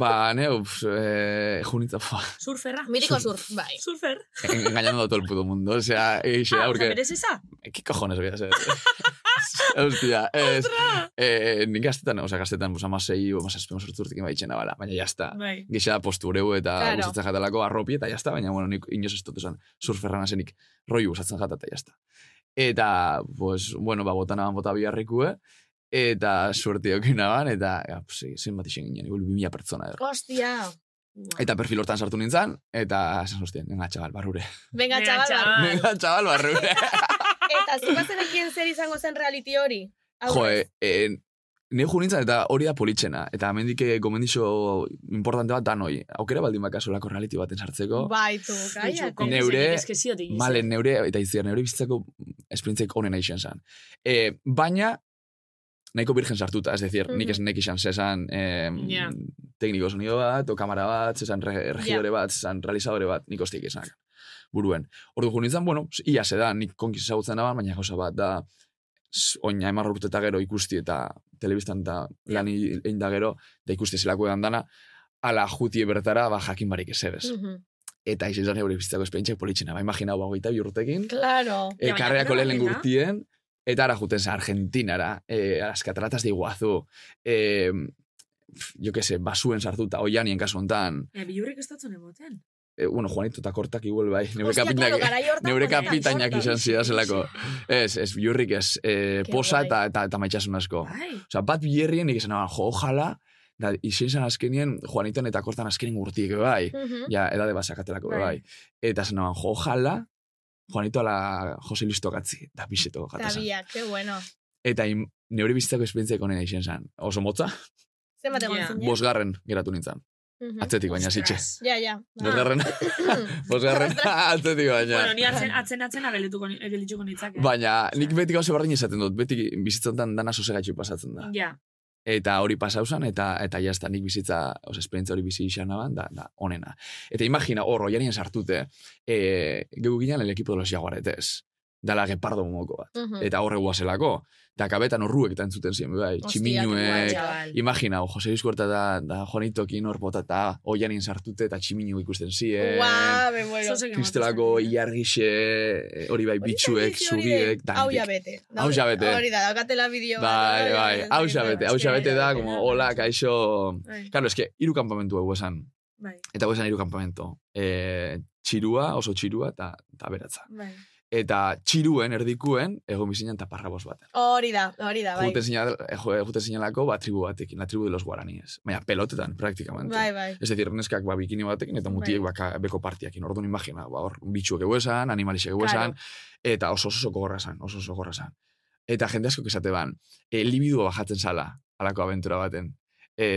S8: ba, ne, ups, eh, junitza, fa,
S7: surferra.
S2: Mitiko surf, bai.
S7: Surfer.
S8: engañando a todo el puto mundo. O sea, eixe, da,
S7: Ah, oza,
S8: porque...
S7: berez eza?
S8: ¿Qué cojones voy a hacer? Hostia, ez. Eh, nik gaztetan, oza, gaztetan, oza, masei, oza, espemos urturtik baitzen abala, baina jazta.
S7: Bai.
S8: Gixa da postureu eta
S2: Claro.
S8: claro. usatzen jatalako arropi eta jazta, baina, bueno, nik inoz ez totu zen, surferran azenik, roi usatzen jata eta jazta. Eta, pues, bueno, ba, botan aban bota biharrikue, eta suerte okin aban, eta, ja, pues, zenbat isen ginen, igual 2000 pertsona edo.
S2: Hostia.
S8: Eta perfil hortan sartu nintzen, eta, esan hostien, nenga txabal, barrure.
S2: Venga, chaval.
S7: Venga,
S2: ba.
S7: chaval.
S2: barru.
S8: Nenga txabal, barrure.
S2: Eta zukazenekien zer izango zen reality hori? Aurrez.
S8: Jo, e, e, ne jo nintzen eta hori da politxena. Eta hemendik eh, gomendixo importante bat danoi. Aukera baldin bakasolako reality baten sartzeko.
S2: Bai, tu,
S7: Bitxu,
S2: kaiak.
S8: Neure-
S7: konfizenik eskeziotik izan.
S8: Male, neure, eta iziar, neure bizitzako esperientziak onena izan zen. E, baina, nahiko virgen sartuta, es decir, nik ez nek izan zezan eh,
S7: Ja.
S8: tekniko sonido bat, o kamera bat, zezan re, regidore bat, zezan realizadore bat, nik ostik izan. Buruen. Ordu jo nintzen, bueno, ia da, nik konkiz ezagutzen da, baina gauza bat da, s- oina emar urte eta gero ikusti eta telebistan eta lan egin da gero, eta ikusti zelako edan dana, ala juti bertara, ba, jakin barik ez ebes.
S2: Mhm.
S8: Eta izan zen eure bizitzako esperientziak politxena, ba, imaginau, ba, goita bi urtekin,
S2: Claro.
S8: eh,
S7: Ja, baina
S8: karreako
S7: gero
S8: lehen
S7: baina.
S8: gurtien, eta ara juten zen Argentinara, eh, a las cataratas de Iguazú, eh, pf, jo que se, basuen sartuta, oianien kasu hontan,
S7: Eh, bilurrik ez dutzen emoten.
S8: eh, bueno, Juanito eta kortak igual bai, neure
S2: Hostia,
S8: kapitainak-
S2: claro, garai hortan.
S8: neure
S2: joder,
S8: kapitainak
S2: sorta.
S8: izan zidazelako. Ez, ez, biurrik ez, eh,
S2: Qué
S8: posa
S2: guai.
S8: eta, eta, eta maitxasun asko.
S7: Bai.
S8: Osa, bat biherrien nik esan, "Ah, jo, ojala, da, izin zen azkenien, Juaniton eta kortan azkenien gurtik, bai.
S2: Mhm.
S8: ja, edade bat sakatelako,
S7: Bai.
S8: bai. Eta zen naban, jo, ojalá, Juanito ala Jose Listo gatzi, da biseto
S2: Eta
S8: gatazan.
S2: biak, que bueno.
S8: Eta im, neure bizitzako esperientziak onena izen zen. Oso motza,
S2: Zenbat egon
S7: Ja.
S2: zinen?
S8: bosgarren geratu nintzen.
S2: Mhm.
S8: Atzetik baina zitxe.
S7: Mm, Ostras. Ba.
S2: Ja, ja.
S8: Bosgarren, bosgarren, atzetik baina.
S7: Bueno, ni atzen, atzen, atzen agelituko, ni- agelituko nitzak. eh?
S8: Baina, nik beti gauze berdin esaten dut, beti bizitzantan dana sosegatxu pasatzen da.
S7: Ja,
S8: Eta hori pasauzan, eta eta jazta, nik bizitza, oza, esperientzia hori bizi izan naban, da, da, onena. Eta imagina, hor, oianien sartute, e, geu ginen el equipo de los jaguaretes, dala gepardo momoko bat.
S2: Mm.
S8: eta horre guazelako. Eta kabetan horruek eta entzuten ziren, bai,
S2: guai,
S8: tximinuek.
S2: ja.
S7: chaval.
S8: Imagina, Jose Luiskuerta da, da Juanitokin hor botata, oianin sartute eta tximinu ikusten ziren.
S2: Guau, me muero.
S7: Zozek emoten
S8: Kristelako
S7: zen, eh?
S8: iargixe, eh, hori bai,
S2: Hori
S8: bitxuek,
S2: da, hori da,
S8: zubiek,
S2: Hau ja
S8: danetik.
S2: bete.
S8: Hau ja bete.
S2: Hori da, daukatela bideo. bat,
S8: Bai,
S2: hori da,
S8: bai,
S2: hori da,
S8: hau
S2: hori da.
S8: xabete, hau
S7: Eske,
S8: xabete da,
S7: hori da,
S8: como,
S7: hori da.
S8: hola, kaixo...
S7: Bai.
S8: Claro, eske, hiru kanpamentu hau esan.
S7: Bai,
S8: Eta hau esan hiru kanpamento. E, txirua, oso txirua, eta, eta beratza.
S7: bai.
S8: Eta txiruen, erdikuen, egon bizinan taparraboz bat.
S2: Hori da, hori da, bai.
S8: Juten zinal, eh, jo- eh, juten zinalako, ba, tribu batekin, la tribu de los guaraníes. Baina, pelotetan, praktikamente.
S2: Bai, bai.
S8: Es decir, neskak ba, bikini batekin eta mutiek ba, ka- beko partiakin. Orduan imagina, ba, hor, bitxuek egu esan, animalisek egu esan, eta oso oso gogorra esan, oso oso gogorra esan. Eta jende asko esate ban, e, libidua bajatzen zala, alako aventura baten. E,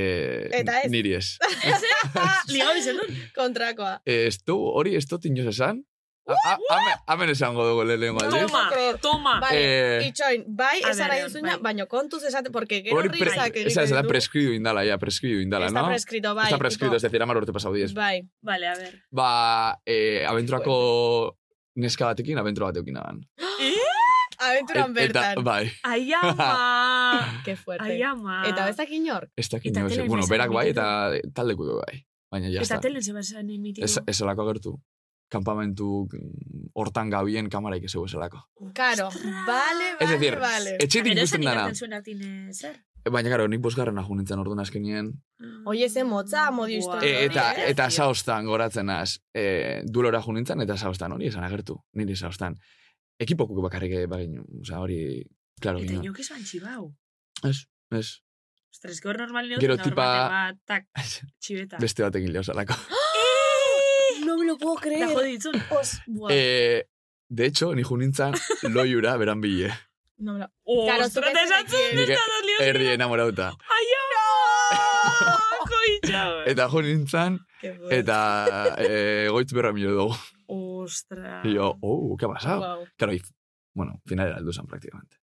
S2: Eta ez.
S8: Niri ez.
S2: Ah,
S7: Liga bizen dut?
S2: Kontrakoa.
S8: E, ez du, hori ez dut inoz esan, A- a- Hemen amen esango dugu lehenengo aldiz.
S7: Toma,
S2: creer.
S7: toma.
S2: Vale,
S8: Eh,
S2: itxoin, bai,
S7: A
S2: esara
S7: ver,
S2: duzuna,
S7: bai.
S2: baino kontuz esate, porque gero
S8: Hori pre,
S2: risak egiten
S8: esa, esa da
S2: ditu.
S8: preskridu indala, ja, preskridu indala,
S2: Está
S8: no?
S2: prescrito, bai.
S8: Está
S2: tipo,
S8: prescrito, es decir, amar urte pasau diez.
S2: Bai,
S7: Vale, a ver.
S8: Ba, eh, abenturako neska batekin, abentura batekin naban.
S2: aventuran
S8: eta, ba-
S2: bertan.
S8: bai,
S7: Ai ama!
S2: Qué fuerte.
S7: Ai ama!
S2: Eta bezak inor.
S8: ez dakit
S7: Eta
S8: nio, ze-
S7: telen
S8: bueno,
S7: bezala
S8: berak bai,
S7: emititu.
S8: eta taldeko du bai. Baina, ja,
S7: Eta
S8: está.
S7: telen zebazen emitidu.
S8: Ez, ez alako gertu. Kampamentu mm, hortan gabien kamaraik ez esalako.
S2: Karo, vale,
S8: Es
S2: vale,
S8: decir, eh,
S2: vale.
S8: etxetik
S7: Gero esan
S8: ikusten dana.
S7: ikaten zuen artin zer.
S8: Baina, karo, nik bosgarren ahu nintzen orduan askenien.
S2: Oie, ze motza, amodio
S7: Guau.
S2: historia hori,
S8: E, eta,
S2: eh?
S8: eta saostan goratzen az. E, duelora ahu nintzen, eta saostan hori esan agertu. Niri saostan. Ekipokuk bakarrik eh, baginu. Osa, hori, klaro,
S7: Eta
S8: ginen.
S7: inok izan txibau.
S8: Ez, ez.
S7: Ostres, gaur normal neut,
S8: Gero
S7: eta hor
S8: tipa-
S7: baten bat, tak, txibeta.
S8: Beste batekin lehosalako.
S2: No me lo puedo
S7: Eta
S2: creer.
S7: jode ditzun, os, buah.
S8: Eh, de hecho, ni junintzan loiura beran bile.
S2: No me lo... Claro, zuk
S7: Ostras,
S2: ez
S7: eta esatzen
S8: Nik
S7: dut, eta dos lios.
S8: erdi enamorauta.
S7: Ai, ama! Koitxau.
S8: Eta junintzan, eta eh, goitz berra milo dugu.
S7: Ostras.
S8: Y yo, oh, ¿qué ha pasado?
S2: Wow.
S8: Claro, y, bueno, final era alduzan prácticamente.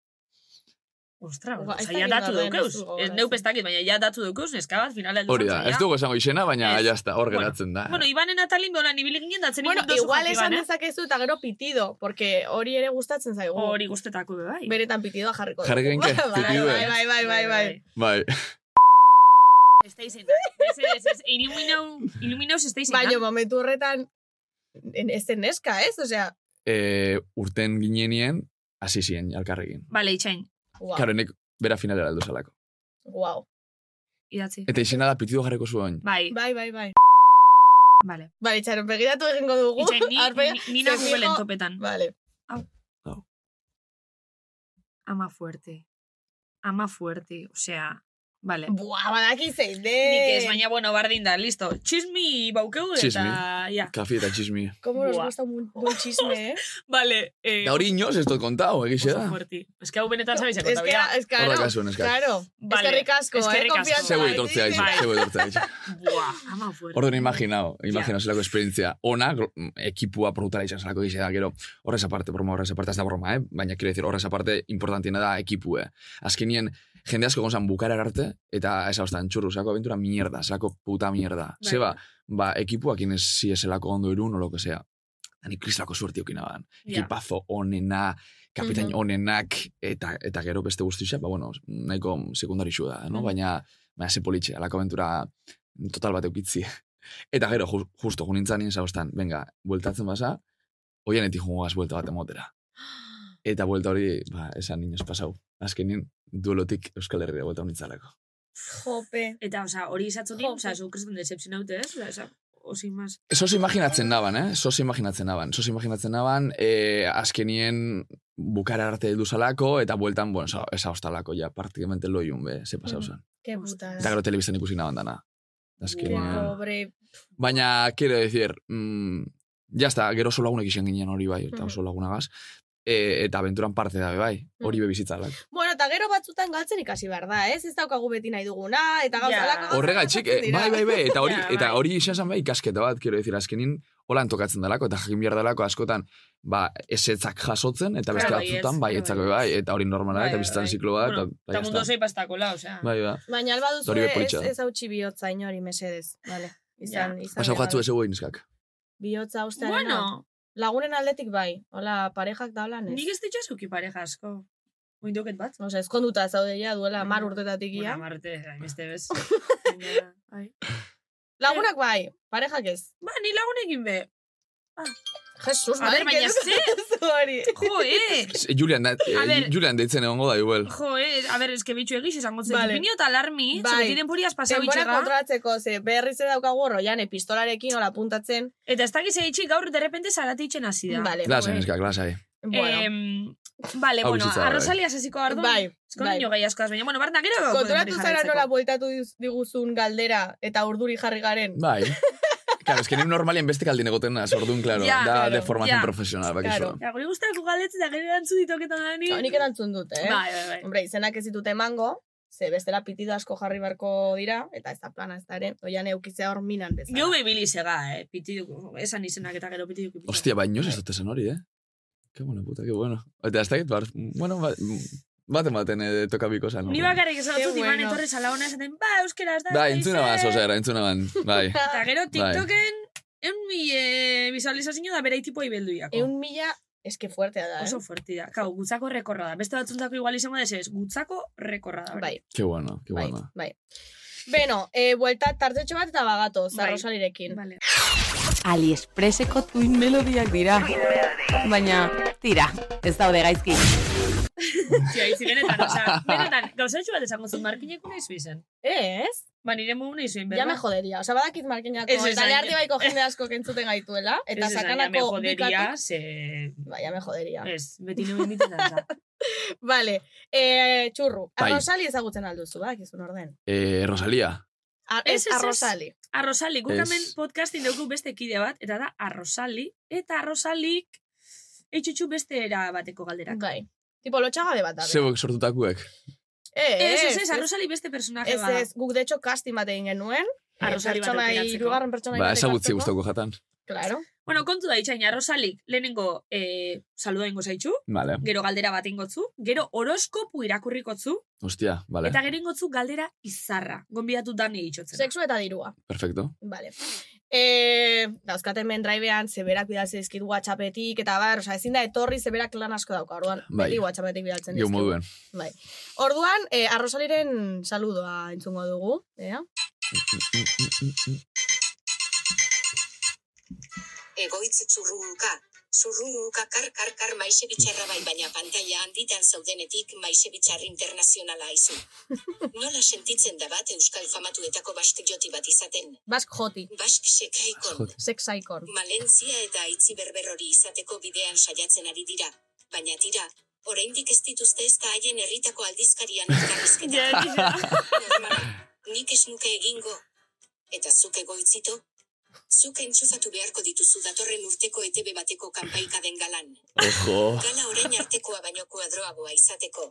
S7: Ostra,
S2: Ua, ez
S7: oza,
S2: dakit
S7: ja datu
S2: gauden
S7: daukeuz.
S2: ez dugu
S7: Ez
S2: gogoratzen.
S7: neup ez dakit, baina ja datu daukeuz, neska bat, finala heldu
S8: Hori da,
S7: zan,
S8: ez
S7: ja.
S8: dugu esango izena, baina
S7: Ez.
S8: jazta, hor
S7: Bueno,
S8: geratzen da.
S7: Bueno, Ibanen atalin beholan ibili ginen datzen
S2: Bueno,
S7: ikut oso
S2: igual
S7: jaki
S2: esan
S7: ban, eh?
S2: dezakezu eta gero pitido, porque hori ere gustatzen zaigu.
S7: Hori guztetako be bai.
S2: Beretan pitidoa jarriko. dugu.
S8: Jarri genke,
S2: Bai,
S8: pitido,
S2: Bai,
S8: eh?
S2: bai, bai, bai, bai.
S8: bai,
S7: Estáis en Ez, ez, iluminau, iluminaus estáis en
S2: Baina momentu horretan, en- ez den neska, ez? Osea,
S8: eh, urten ginenien, hasi ziren alkarrekin.
S7: Vale, itxain,
S2: wow,
S8: Claro, nek bera final era alduzalako.
S2: wow.
S7: idatzi.
S8: Eta izena da pitido jarriko zuen.
S7: Bai,
S2: Bai, bai, bai.
S7: vale.
S2: Bai, itxaron, begiratu egingo dugu.
S7: Itxain, ni,
S2: Arpe-
S7: ni, ni na
S2: ze
S7: Googleen
S2: fijo-
S7: topetan.
S2: Vale.
S7: Ama fuerte. Ama fuerte, osea, vale.
S2: Buah, badaki zein den.
S7: Nik ez, baina, bueno, bardin da, listo. Txismi baukeu eta...
S8: Txismi.
S7: Ja.
S8: Kafi eta txismi.
S2: Como nos
S7: Buah.
S2: gusta un buen chisme, eh?
S7: Vale. Eh,
S8: Eta hori inoz ez dut kontau, egixe
S7: oso
S8: da.
S7: fuerte. Es que hau benetan sabizeko,
S2: Es que, es que,
S8: Horra
S2: claro,
S8: kasu, neskak.
S2: claro.
S7: Vale.
S2: Eskerrik asko, eh,
S7: Eskerrik asko.
S2: konfiantza.
S8: Zeu etortzea
S2: Sí, sí.
S8: izan,
S7: Bai.
S8: zeu etortzea izan.
S7: Buah, ama fuerte.
S8: Orduan imaginao, imaginao zelako esperientzia. Ona, gro- mm, ekipua produktara izan zelako gizea da, gero, horrez aparte, broma, horrez aparte, ez da broma, eh? Baina, quiero decir, horrez aparte, importantiena da ekipue. Azkenien, jende asko gonzan bukara arte, eta ez haustan, txurru, zelako aventura mierda, zelako puta mierda.
S7: Bai.
S8: Zeba, ba, ekipuak inez si zelako ondo irun, o lo que sea. Dani kristalako suerte eukin aban.
S7: Ja.
S8: Ekipazo onena, kapitain
S2: Mhm.
S8: onenak, eta, eta gero beste guztia, ba, bueno, nahiko sekundarixu da, no?
S7: Mhm.
S8: Baina, baina ze politxe, alako aventura total bat eukitzi. Eta gero, ju, justo, junintzan nien zauztan, venga, bueltatzen basa, oianetik jungogaz buelta bat emotera. Eta buelta hori, ba, esan ninoz pasau. Azkenin, duelotik Euskal Herria buelta honitzalako.
S2: Jope.
S7: Eta, oza, hori izatzotik,
S2: Jo.
S7: oza, zu kriston decepzionaute, ez? Oza, osin maz.
S8: Sos imaginatzen naban, eh? Sos imaginatzen naban. Sos imaginatzen naban, eh, azkenien bukara arte heldu zalako, eta bueltan, bueno, esa, esa hostalako, ja, praktikamente loiun, be, ze pasau zen.
S2: Qué
S7: Ostras.
S8: Eta
S2: putada.
S8: gero telebiztan ikusi naban dana.
S2: Qué
S8: Azkenien.
S7: Guau.
S2: pobre.
S8: Baina, quiero decir, mm, ya está, gero oso lagunek izan ginen hori bai, eta oso lagunagaz. E, eta aventuran parte dabe bai,
S7: Mm.
S8: hori be bizitzalak.
S2: Bueno, eta gero batzutan galtzen ikasi behar da, ez? Ez daukagu beti nahi duguna, eta gauza
S7: Ja.
S2: yeah. lako.
S8: Horregatik, eh, bai, bai, bai, eta hori,
S7: Ja, bai.
S8: eta hori izan zen bai ikasketa bat, quiero decir, azkenin holan tokatzen delako, eta jakin behar delako askotan, ba, esetzak jasotzen, eta beste
S7: Claro, baietz,
S8: batzutan, bai, etzako
S7: bai,
S8: bai, eta hori normala,
S7: Bai,
S8: eta
S7: bai,
S8: bizitzan
S7: bai.
S8: ziklo bat,
S7: Bueno,
S8: eta
S7: Eta
S8: bai,
S7: mundu
S8: jazta.
S7: zei pastakola, oza.
S8: Bai, bai.
S2: Baina alba duzu
S8: Hori be
S2: ez,
S8: politxa.
S2: ez hautsi bihotza inori mesedez. Vale. Izan, izan.
S8: Pasau
S2: behar
S8: jatzu
S2: da.
S8: ez egoin neskak.
S2: Bihotza ustearen.
S7: Bueno,
S2: Lagunen aldetik bai. Hola, parejak da holan ez.
S7: nik ez ditxo zuki pareja asko. Oindoket bat.
S2: Ose, ezkonduta zaude ja duela mar
S7: Bueno,
S2: urtetatik
S7: Bueno,
S2: ia.
S7: amarte, hainbeste bez. Baina, ai.
S2: Lagunak bai, parejak ez.
S7: Ba, ni lagunekin be.
S9: Jesus,
S2: A
S9: madre,
S2: ber,
S9: baina
S2: geruzko
S9: ze...
S2: duzu hori.
S9: Jo, eh!
S8: Z- Julian, da, eh,
S7: A ber.
S8: Julian deitzen egongo da, igual.
S7: Jo, eh, a ber, eske bitxu egiz izango zen.
S2: Vale.
S7: Vale. Pinio eta alarmi,
S2: Bai.
S7: bai. zebetin denporiaz pasau
S2: Denbora
S7: itxega.
S2: kontratzeko, ze berriz ere daukagu horro, jane, pistolarekin hola puntatzen.
S7: Eta ez dakiz egitxik gaur derrepente zarate itxen hasi da.
S2: Vale,
S8: Klasa,
S2: bueno.
S8: neska, klasa, eh.
S2: Bueno,
S7: Em, vale,
S8: Hau
S7: bueno,
S8: bizitza da, bai.
S7: arrozalia zaziko ardu. Bai,
S2: bai,
S7: Ezkon
S2: bai.
S7: nio gai askoaz, baina, bueno, barna gero gaur
S2: Konturatu
S7: podemos
S2: zara
S7: jarraitzeko.
S2: nola bueltatu diz- diguzun galdera eta urduri jarri garen.
S8: Bai. Claro, es que nik normalien beste kaldin egoten naz, orduan, claro,
S7: Ja,
S8: da
S2: claro,
S8: de formación
S7: ja.
S8: profesional, bakizu.
S2: Claro.
S7: Ja, gure guztako galetz eta gero erantzu ditoketan da ni.
S2: Ba, Nik erantzun dut, eh?
S7: Bai, bai, bai.
S2: Hombre, izenak ez ditut emango, ze bestela pitido asko jarri barko dira, eta ez da plana ez da ere, oian eukitzea hor minan bezala.
S7: Geu bebili zega, eh, pitiduk, esan izenak eta gero pitiduk. pitiduk.
S8: Hostia, ba, inoz ez dut esan hori, eh? Qué buena puta, qué bueno. Eta ez dakit, bar, bueno, ba, baten baten eh, tokabiko zan.
S7: Ni bakarrik esan
S2: Qué
S7: dut, Iban
S2: bueno.
S7: etorri zala hona esaten, ba, euskeraz da.
S8: Da,
S7: ez
S8: entzuna
S7: da
S8: ban,
S7: izen."
S8: zozera, entzuna ban, bai.
S7: Eta gero TikToken, eun mile visualizazio da bere itipoi belduiako.
S2: Eun mila, eske fuertea da, eh?
S7: Oso fuerti da. Kau, gutzako rekorra da. Beste batzuntako igual izango desez, gutzako rekorra da. hori.
S2: Bai,
S8: Qué bueno, qué
S2: bai,
S8: bueno.
S2: bai. Beno, e, buelta tartetxo bat eta bagato,
S7: Bai.
S2: zarrosalirekin.
S7: Vale.
S10: Aliexpreseko tuin melodiak dira. Baina, tira, ez daude gaizki.
S2: Bai,
S7: Tio, itzi benetan, oza, benetan, gauzatxo bat esango zuen, markinek una izu izen.
S2: Ez,
S7: Ba, nire mugu nahi zuen,
S2: ja
S7: berba.
S2: me joderia. Osa, badakit markinako,
S7: Ez, ez,
S2: eta
S7: ez.
S2: leharti baiko jende asko kentzuten gaituela, eta
S7: Ez, ez, ja me Eh.
S2: sakanako
S7: joderia, ze...
S2: Ba, ja me joderia.
S7: Ez, beti nuen miten da, oza.
S2: Vale, e, txurru,
S8: Bai.
S2: arrosali ezagutzen alduzu, badakizun orden.
S8: Eh, Rosalía.
S2: Ar,
S7: Ez,
S2: ez,
S7: ez, ez.
S2: arrosali.
S7: Arrosali, guk
S8: Ez.
S7: hemen podcastin dauku beste kide bat, eta da Arrosali, eta Arrosalik eitxutxu beste era bateko galderak.
S2: Bai. Tipo, lotxagabe bat da. bera.
S8: Zeuek sortutakuek.
S7: Ez, ez, ez, Arrosali beste personaje
S2: Ez,
S7: bada.
S2: ez, guk de hecho casting bat egin genuen. Eh,
S7: Arrosali bat
S2: pertsona,
S7: aukeratzeko.
S2: hirugarren pertsona
S8: Ba,
S2: bat
S8: ezagutzi
S2: ekartzeko.
S8: guztoko jatan.
S2: Claro.
S7: Bueno, kontu da itxaina, Arrosalik lehenengo eh, saluda ingo zaitxu,
S8: Vale,
S7: gero galdera bat ingotzu, gero horoskopu irakurrikotzu,
S8: hostia, vale,
S7: eta gero ingotzu galdera izarra. Gonbidatu dani itxotzen.
S2: Sexu eta dirua.
S8: perfecto.
S2: Vale. E, dauzkaten men drivean, zeberak bidaltzen dizkit whatsappetik, eta bar, oza, ezin da etorri zeberak lan asko dauka, orduan,
S8: Bai.
S2: beti whatsappetik bidaltzen
S8: Geu moduen.
S2: Orduan, e, arrosaliren saludoa entzungo dugu. Ea?
S11: Egoitz txurrunka, txurrunka kar kar kar maixe bitxarra bai baina pantalla handitan zaudenetik maixe bitxar internazionala aizu. Nola sentitzen da bat euskal famatuetako bastiloti bat izaten,
S2: Bask joti,
S11: bask sekaikon,
S2: sexaikon.
S11: malentzia eta aitzi berber hori izateko bidean saiatzen ari dira, baina tira, oraindik ez dituzte ez da haien herritako aldizkarian elkarrizketa. Normala, nik ez nuke egingo. Eta zuk egoitzito? Zuk entxufatu beharko dituzu datorren urteko ETB bateko kanpaika den galan.
S8: Ojo.
S11: Gala orain artekoa baino kuadroagoa izateko.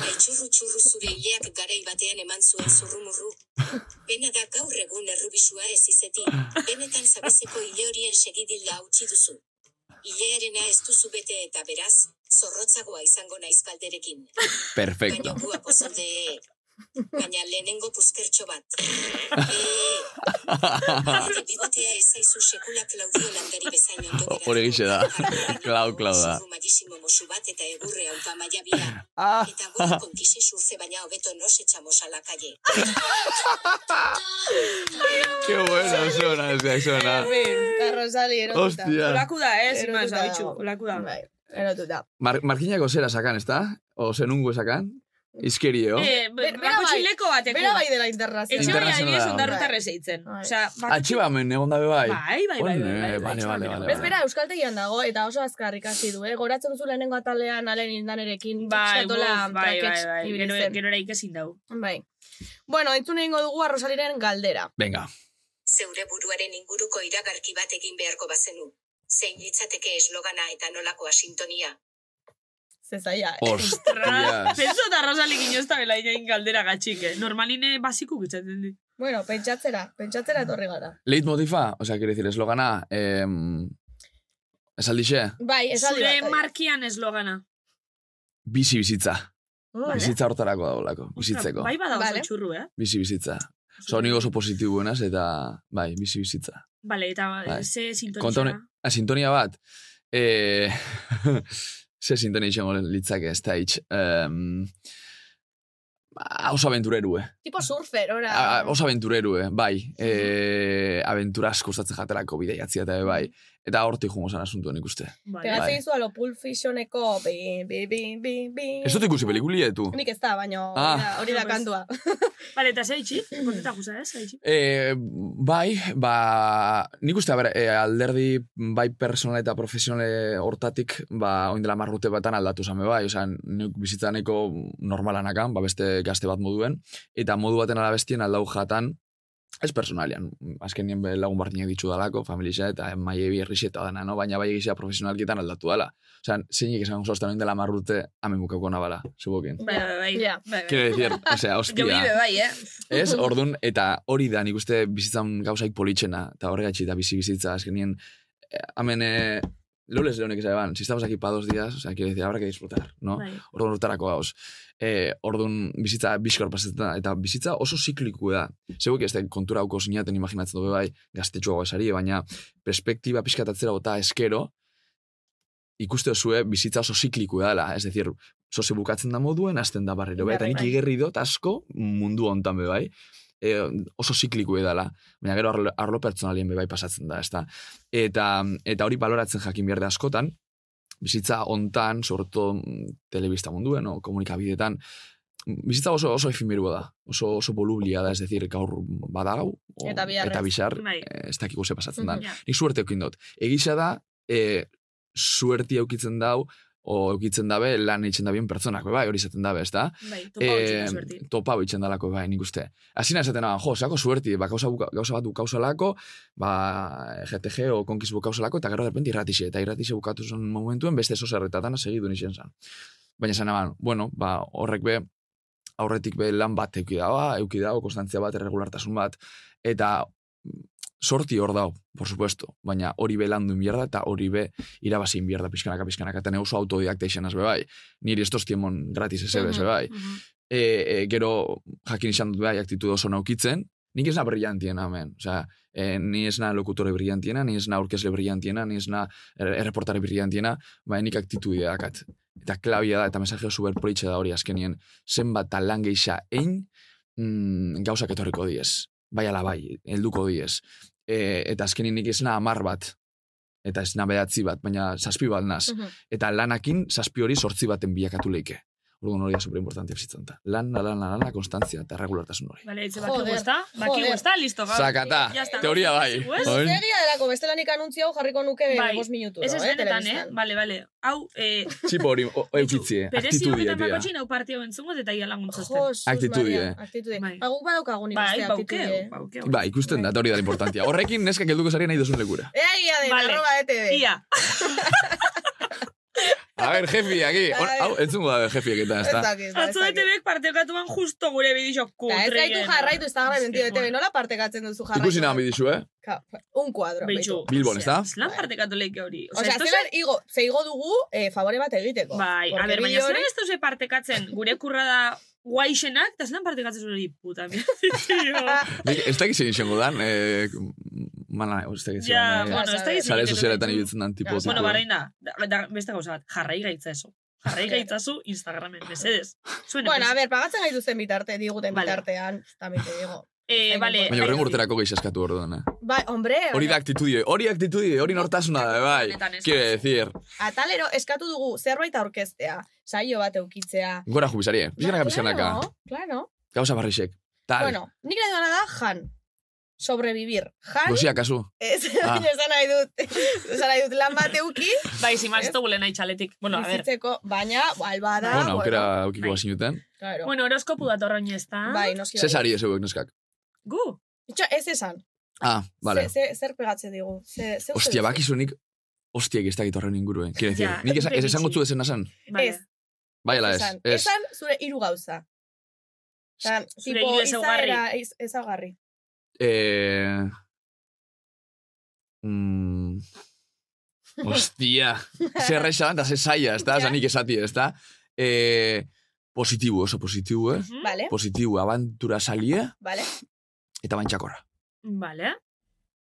S11: Aitzurru txurru zure hileak garai batean eman zuen zurrumurru. Bena da gaur egun errubisua ez izeti, benetan zabezeko hile horien segidilda hautsi duzu. Hilearena ez duzu bete eta beraz, zorrotzagoa izango naiz galderekin. Baina
S8: Perfecto.
S11: guapo zaude. Baina lehenengo puzkertxo bat. Eee, nire bibotea ez zaizu sekula Claudio Landari bezain ondo
S8: O- hori egixe da. Clau, Clau da.
S11: Zurru magisimo mosu bat eta egurre aupa maia bila.
S8: Ah,
S11: Eta gora konkixe surfe baina hobeto nos echamos a la calle.
S8: qué bueno suena, ese suena.
S2: Arrosali erotuta.
S8: Hostia.
S7: Olaku da, eh,
S2: Erotuta
S7: zima esan bitxu,
S2: dago.
S7: olaku da.
S2: Bai, erotuta.
S8: Mar markinako zera sakan, ez da? O zenungo sakan? Izkerio.
S7: Eh,
S2: Be- bera
S7: bako
S2: bai.
S7: txileko bateko.
S2: Bera bai dela
S7: Etxe
S2: internazional.
S7: bai ari ez
S8: Internazionala.
S7: ondarrutarrez eitzen.
S2: Bai.
S7: Osea, bako
S8: Atxibamen egon dabe
S7: txi-
S8: bai.
S7: Bai, bai, bai,
S8: Onde,
S7: bai, bai.
S8: vale, vale, vale,
S2: Ez
S8: vale.
S2: bera, euskaltegian dago, eta oso azkar ikasi du, eh? Goratzen zu lehenengo atalean alen ba, indanerekin,
S7: Bai, buf,
S2: xatola
S7: bai, bai,
S2: trakets
S7: bai,
S2: ibili
S7: gero,
S2: zen.
S7: gero eraik ezin dau.
S2: Bai. Bueno, entzun egingo dugu arrosaliren galdera.
S8: Venga.
S11: Zeure buruaren inguruko iragarki bat egin beharko bazenu. Zein litzateke eslogana eta nolakoa sintonia.
S2: Zezaia.
S8: Hostias.
S7: Penso eta Rosalik inozta belainain galdera gatxik, eh? Normaline basiku gitzaten di.
S2: Bueno, pentsatzera, pentsatzera etorri gara.
S8: Leitmotiva, o sea, quiero decir, eslogana, eh, esaldixe,
S2: Bai, esaldi
S7: Zure
S2: bat.
S7: markian eslogana.
S8: bizi bizitza.
S2: Vale.
S8: Bizitza hortarako daulako, bizitzeko.
S7: Bai bada oso
S2: Vale.
S7: txurru, eh?
S8: Bizi bizitza. Oso nik oso positibuenaz eta, bai, bizi bizitza.
S7: Vale, eta
S8: Bai.
S7: ze sintonizara.
S8: Konta honen, a, Ah, sintonia bat, eh, ze sintonia itxengo litzake, ez da itx. Em, ba, oso aventurerue.
S2: Tipo surfer, ora.
S8: A- Ah, oso aventurerue, bai. E, aventura asko ostatze jaterako bideiatzia eta be bai. Eta hortik jungo zan asuntu nik uste.
S7: Bai.
S2: Pegatzen izu alo Pulp Fictioneko bi, bi, bi, bi, bi.
S8: Ez dut ikusi eh, pelikuli etu.
S2: Nik ez da, baina
S8: Ah.
S2: hori da- hori da kantua.
S7: Bale, eta zeitxi, konteta guza ez, zeitxi.
S8: E, bai, ba, nik uste, a ber, e, alderdi bai personal eta profesional eh, hortatik, ba, oindela marrute batan aldatu zame bai, oza, nik bizitzaneko normalanakan, ba, beste gazte bat moduen, eta modu baten alabestien aldau jatan, ez personalian, azken nien lagun barriak ditxu dalako, familia eta maiebi herrixe eta dana, no? baina bai egizia profesionalkietan aldatu dala. Osa, zeinik esan zozten oindela marrute amemukako nabala, zubokin.
S9: Bai, bai, bai.
S2: Ja.
S9: Bai, bai.
S8: Quiero decir, o sea,
S9: Jo
S8: hostia.
S9: bibe bai, eh?
S8: Ez, orduan, eta hori da nik uste bizitzan gauzaik politxena, eta horregatxi eta bizi bizitza, azkenien, eh, hemen, eh, loles leonek esan eban, si estamos aquí para dos días, o sea, quiero decir, habrá que disfrutar, no?
S7: Bai.
S8: Orduan urtarako gauz. Eh, orduan bizitza bizkor pasetan, eta bizitza oso zikliku da. Zegoek ez da kontura hauko zinaten imaginatzen dugu bai gaztetxua esari, baina perspektiba pixkatatzera bota eskero, ikuste zue bizitza oso zikliku dela, ez decir, sozi bukatzen da moduen, azten da barriro, bai, eta
S2: Bai,
S8: nik
S2: bai.
S8: igerri dut asko mundu hontan be bai, e, oso zikliku edala, baina gero arlo, arlo pertsonalien be bai pasatzen da, ezta. Eta, eta hori baloratzen jakin behar da askotan, bizitza hontan, sorto telebista munduen, no, komunikabidetan, bizitza oso oso efimerua da, oso oso volublia da, ez decir, gaur badagau, o-
S2: Eta bihar
S8: eta
S2: ez.
S8: bizar,
S7: Bai.
S8: eh, ez dakiko ze pasatzen da.
S2: Mhm.
S8: Nik suerte eukin dut. Egisa da, e, suerti eukitzen dau, o eukitzen dabe, lan eitzen dabien pertsonak, be bai, hori izaten dabe, ez da?
S7: Bai, topa hotxik,
S8: Em,
S7: suerti.
S8: topa bitxen dalako, bai, nik uste. Azina esaten naban, jo, zeako suerti, ba, gauza, buka- gauza bat bukausalako, ba, GTG o konkiz bukausalako, eta gero derpente irratixe, eta irratixe bukatu zuen momentuen, beste zo zerretatan segidu nixen zan. Baina esan naban, bueno, ba, horrek be, aurretik be lan bat euki dagoa, euki dago, konstantzia bat, erregulartasun bat, eta mm, sorti hor dau, por supuesto, baina hori be landu inbierda eta hori be irabazi inbierda pixkanaka, pizkanaka, eta ne oso autodidakta izan azbe bai, niri estos tiemon gratis eze be, ze bai, e, e, gero jakin izan dut bai aktitude oso naukitzen, nik ez na brillantiena hemen. Osea, e, ni ez na lokutore brillantiena, ni ez na aurkezle brillantiena, ni ez na er- erreportare brillantiena, baina nik aktitude dakat. Eta klabia da, eta mesaje superpolitxe da hori azkenien, zenbat talan geisa egin, mm, gauzak etorriko diez. Bai ala bai, helduko diez. E, eta azkenien nik ez na amar bat, eta ez na behatzi bat, baina zazpi bat naz.
S2: Mhm.
S8: Eta lanakin zazpi hori sortzi baten bilakatu leike. Orduan hori da superimportantia bizitzan da. Lan, lan, lan, lan, konstantzia eta regulartasun hori.
S7: Bale, etxe,
S2: Joder,
S7: bakigu ezta? Bakigu
S2: joder.
S7: ezta, listo, gaur.
S8: Sakata,
S7: Ya está.
S8: teoria bai.
S7: Zigu ez?
S8: Oin?
S2: Egia delako, bestelanik anuntzia hau jarriko nuke
S7: Bai.
S2: bai. bost minutu.
S7: Ez ez benetan, eh? Bale, bale. Hau, eh,
S8: Txipo hori o- eukitzie,
S7: perezi
S8: aktitudie,
S7: horretan
S8: tia.
S7: bakotxin hau partio entzungo eta ia laguntzazten.
S2: Jos,
S8: Aktitudie.
S2: Aktitude.
S7: Bai.
S2: Bai. Aguk badaukagun
S7: Bai,
S2: ikuste
S7: baukeo,
S2: aktitude.
S7: baukeo.
S8: Ba, ikusten da, eta hori da importantia. Horrekin neska gelduko zari nahi duzun lekura.
S2: Ea egia den,
S7: Vale.
S2: arroba ETV.
S7: Ia,
S8: A ber, jefi, aquí. Hor-
S2: Ai.
S8: Hau, entzungo da jefiek eta,
S2: Ez
S8: ez da.
S2: dakit, ba, ez
S7: atzo
S2: dakit.
S7: ETV-ek partekatuan justo gure bidixo
S2: Ta,
S7: kutre.
S2: Ez gaitu
S7: eh.
S2: jarraitu Instagram entio ETV. Nola partekatzen duzu jarraitu?
S8: Ikusi nahan bidizu, eh?
S2: Ka- Un kuadro.
S7: Beitxu.
S2: beitu.
S8: Bilbon, ez da?
S7: Zelan partekatu lehik hori.
S2: Osea,
S7: esto
S2: zelan igo, ze igo dugu eh, favore bat egiteko.
S7: Bai, a
S2: Porque
S7: ber, baina
S2: bideo
S7: zelan
S2: hori-
S7: ez duze partekatzen gure kurra da guaixenak, eta zelan partekatzen zuen hori puta. mi- Tio.
S8: Nik Ez dakit zein izango dan, eh, mana, ez dakit zein.
S7: ja,
S8: eh,
S7: bueno, ez da izan.
S8: Sare
S7: egiten
S8: sozialetan
S7: dut.
S8: ibiltzen dan, tipo,
S2: Ja,
S8: tipo.
S7: Bueno, baraina, da, da, beste gauza bat, jarrai gaitzazu. Jarrai gaitzazu Instagramen, mesedez. Zuen
S2: Bueno, a ber, pagatzen gaituzten bitarte, diguten
S7: Vale.
S2: bitartean, tamit te digo.
S7: Eh, vale.
S8: Baina horren
S7: jai-
S8: urterako gehi eskatu orduan, eh?
S2: Bai, hombre,
S8: Hori da aktitudie, hori aktitudie, hori nortasuna da, bai.
S7: Honetan ez.
S8: Quiero decir,
S2: atalero eskatu dugu zerbait aurkeztea, saio bat eukitzea.
S8: gora jubizari, eh? Bizkanaka,
S2: Ba,
S8: bizkanaka.
S2: Claro, claro.
S8: Gauza barrisek. Tal,
S2: Bueno, nik nahi duena da jan. Sobrevivir. Jan,
S8: gozia kasu.
S2: ez
S8: Ah.
S2: baina esan nahi dut, esan nahi dut lan bat euki,
S7: Bai, zimaz ez dugu nahi txaletik. Bueno, a ber.
S2: bizitzeko, baina, balbada,
S8: Bueno, aukera aukiko
S7: bai.
S8: bazinuten.
S2: claro.
S7: Bueno, horoskopu datorren ez da.
S2: bai, noski. bai.
S8: Zesari ez euek neskak.
S7: Gu.
S2: Itxo, ez esan.
S8: Ah, vale.
S2: Ze- ze- zer pegatzen digu? Ze, ze uste
S8: Ostia,
S2: duzu?
S8: bakizunik, hostiek ez dakit horren inguruen. Quiero decir,
S7: Ja,
S8: nik ez, ez
S7: beti.
S8: esango zu esen esan.
S7: Vale.
S2: Ez.
S8: Bai, ala ez.
S2: Esan,
S8: Ez.
S2: esan zure hiru gauza. Esan,
S7: Zure
S2: tipo,
S7: hiru ezaugarri.
S2: izaera, iz- ezaugarri.
S8: Eh... Mm... Ostia. Zer esan, eta ze zaila, ez da?
S2: Ja.
S8: Esan nik esati, ez da? Eh... Positibo, oso positibo, eh?
S7: Mhm.
S2: Vale,
S8: Positibo, avantura salia,
S2: vale.
S8: eta bantxakorra.
S7: Vale.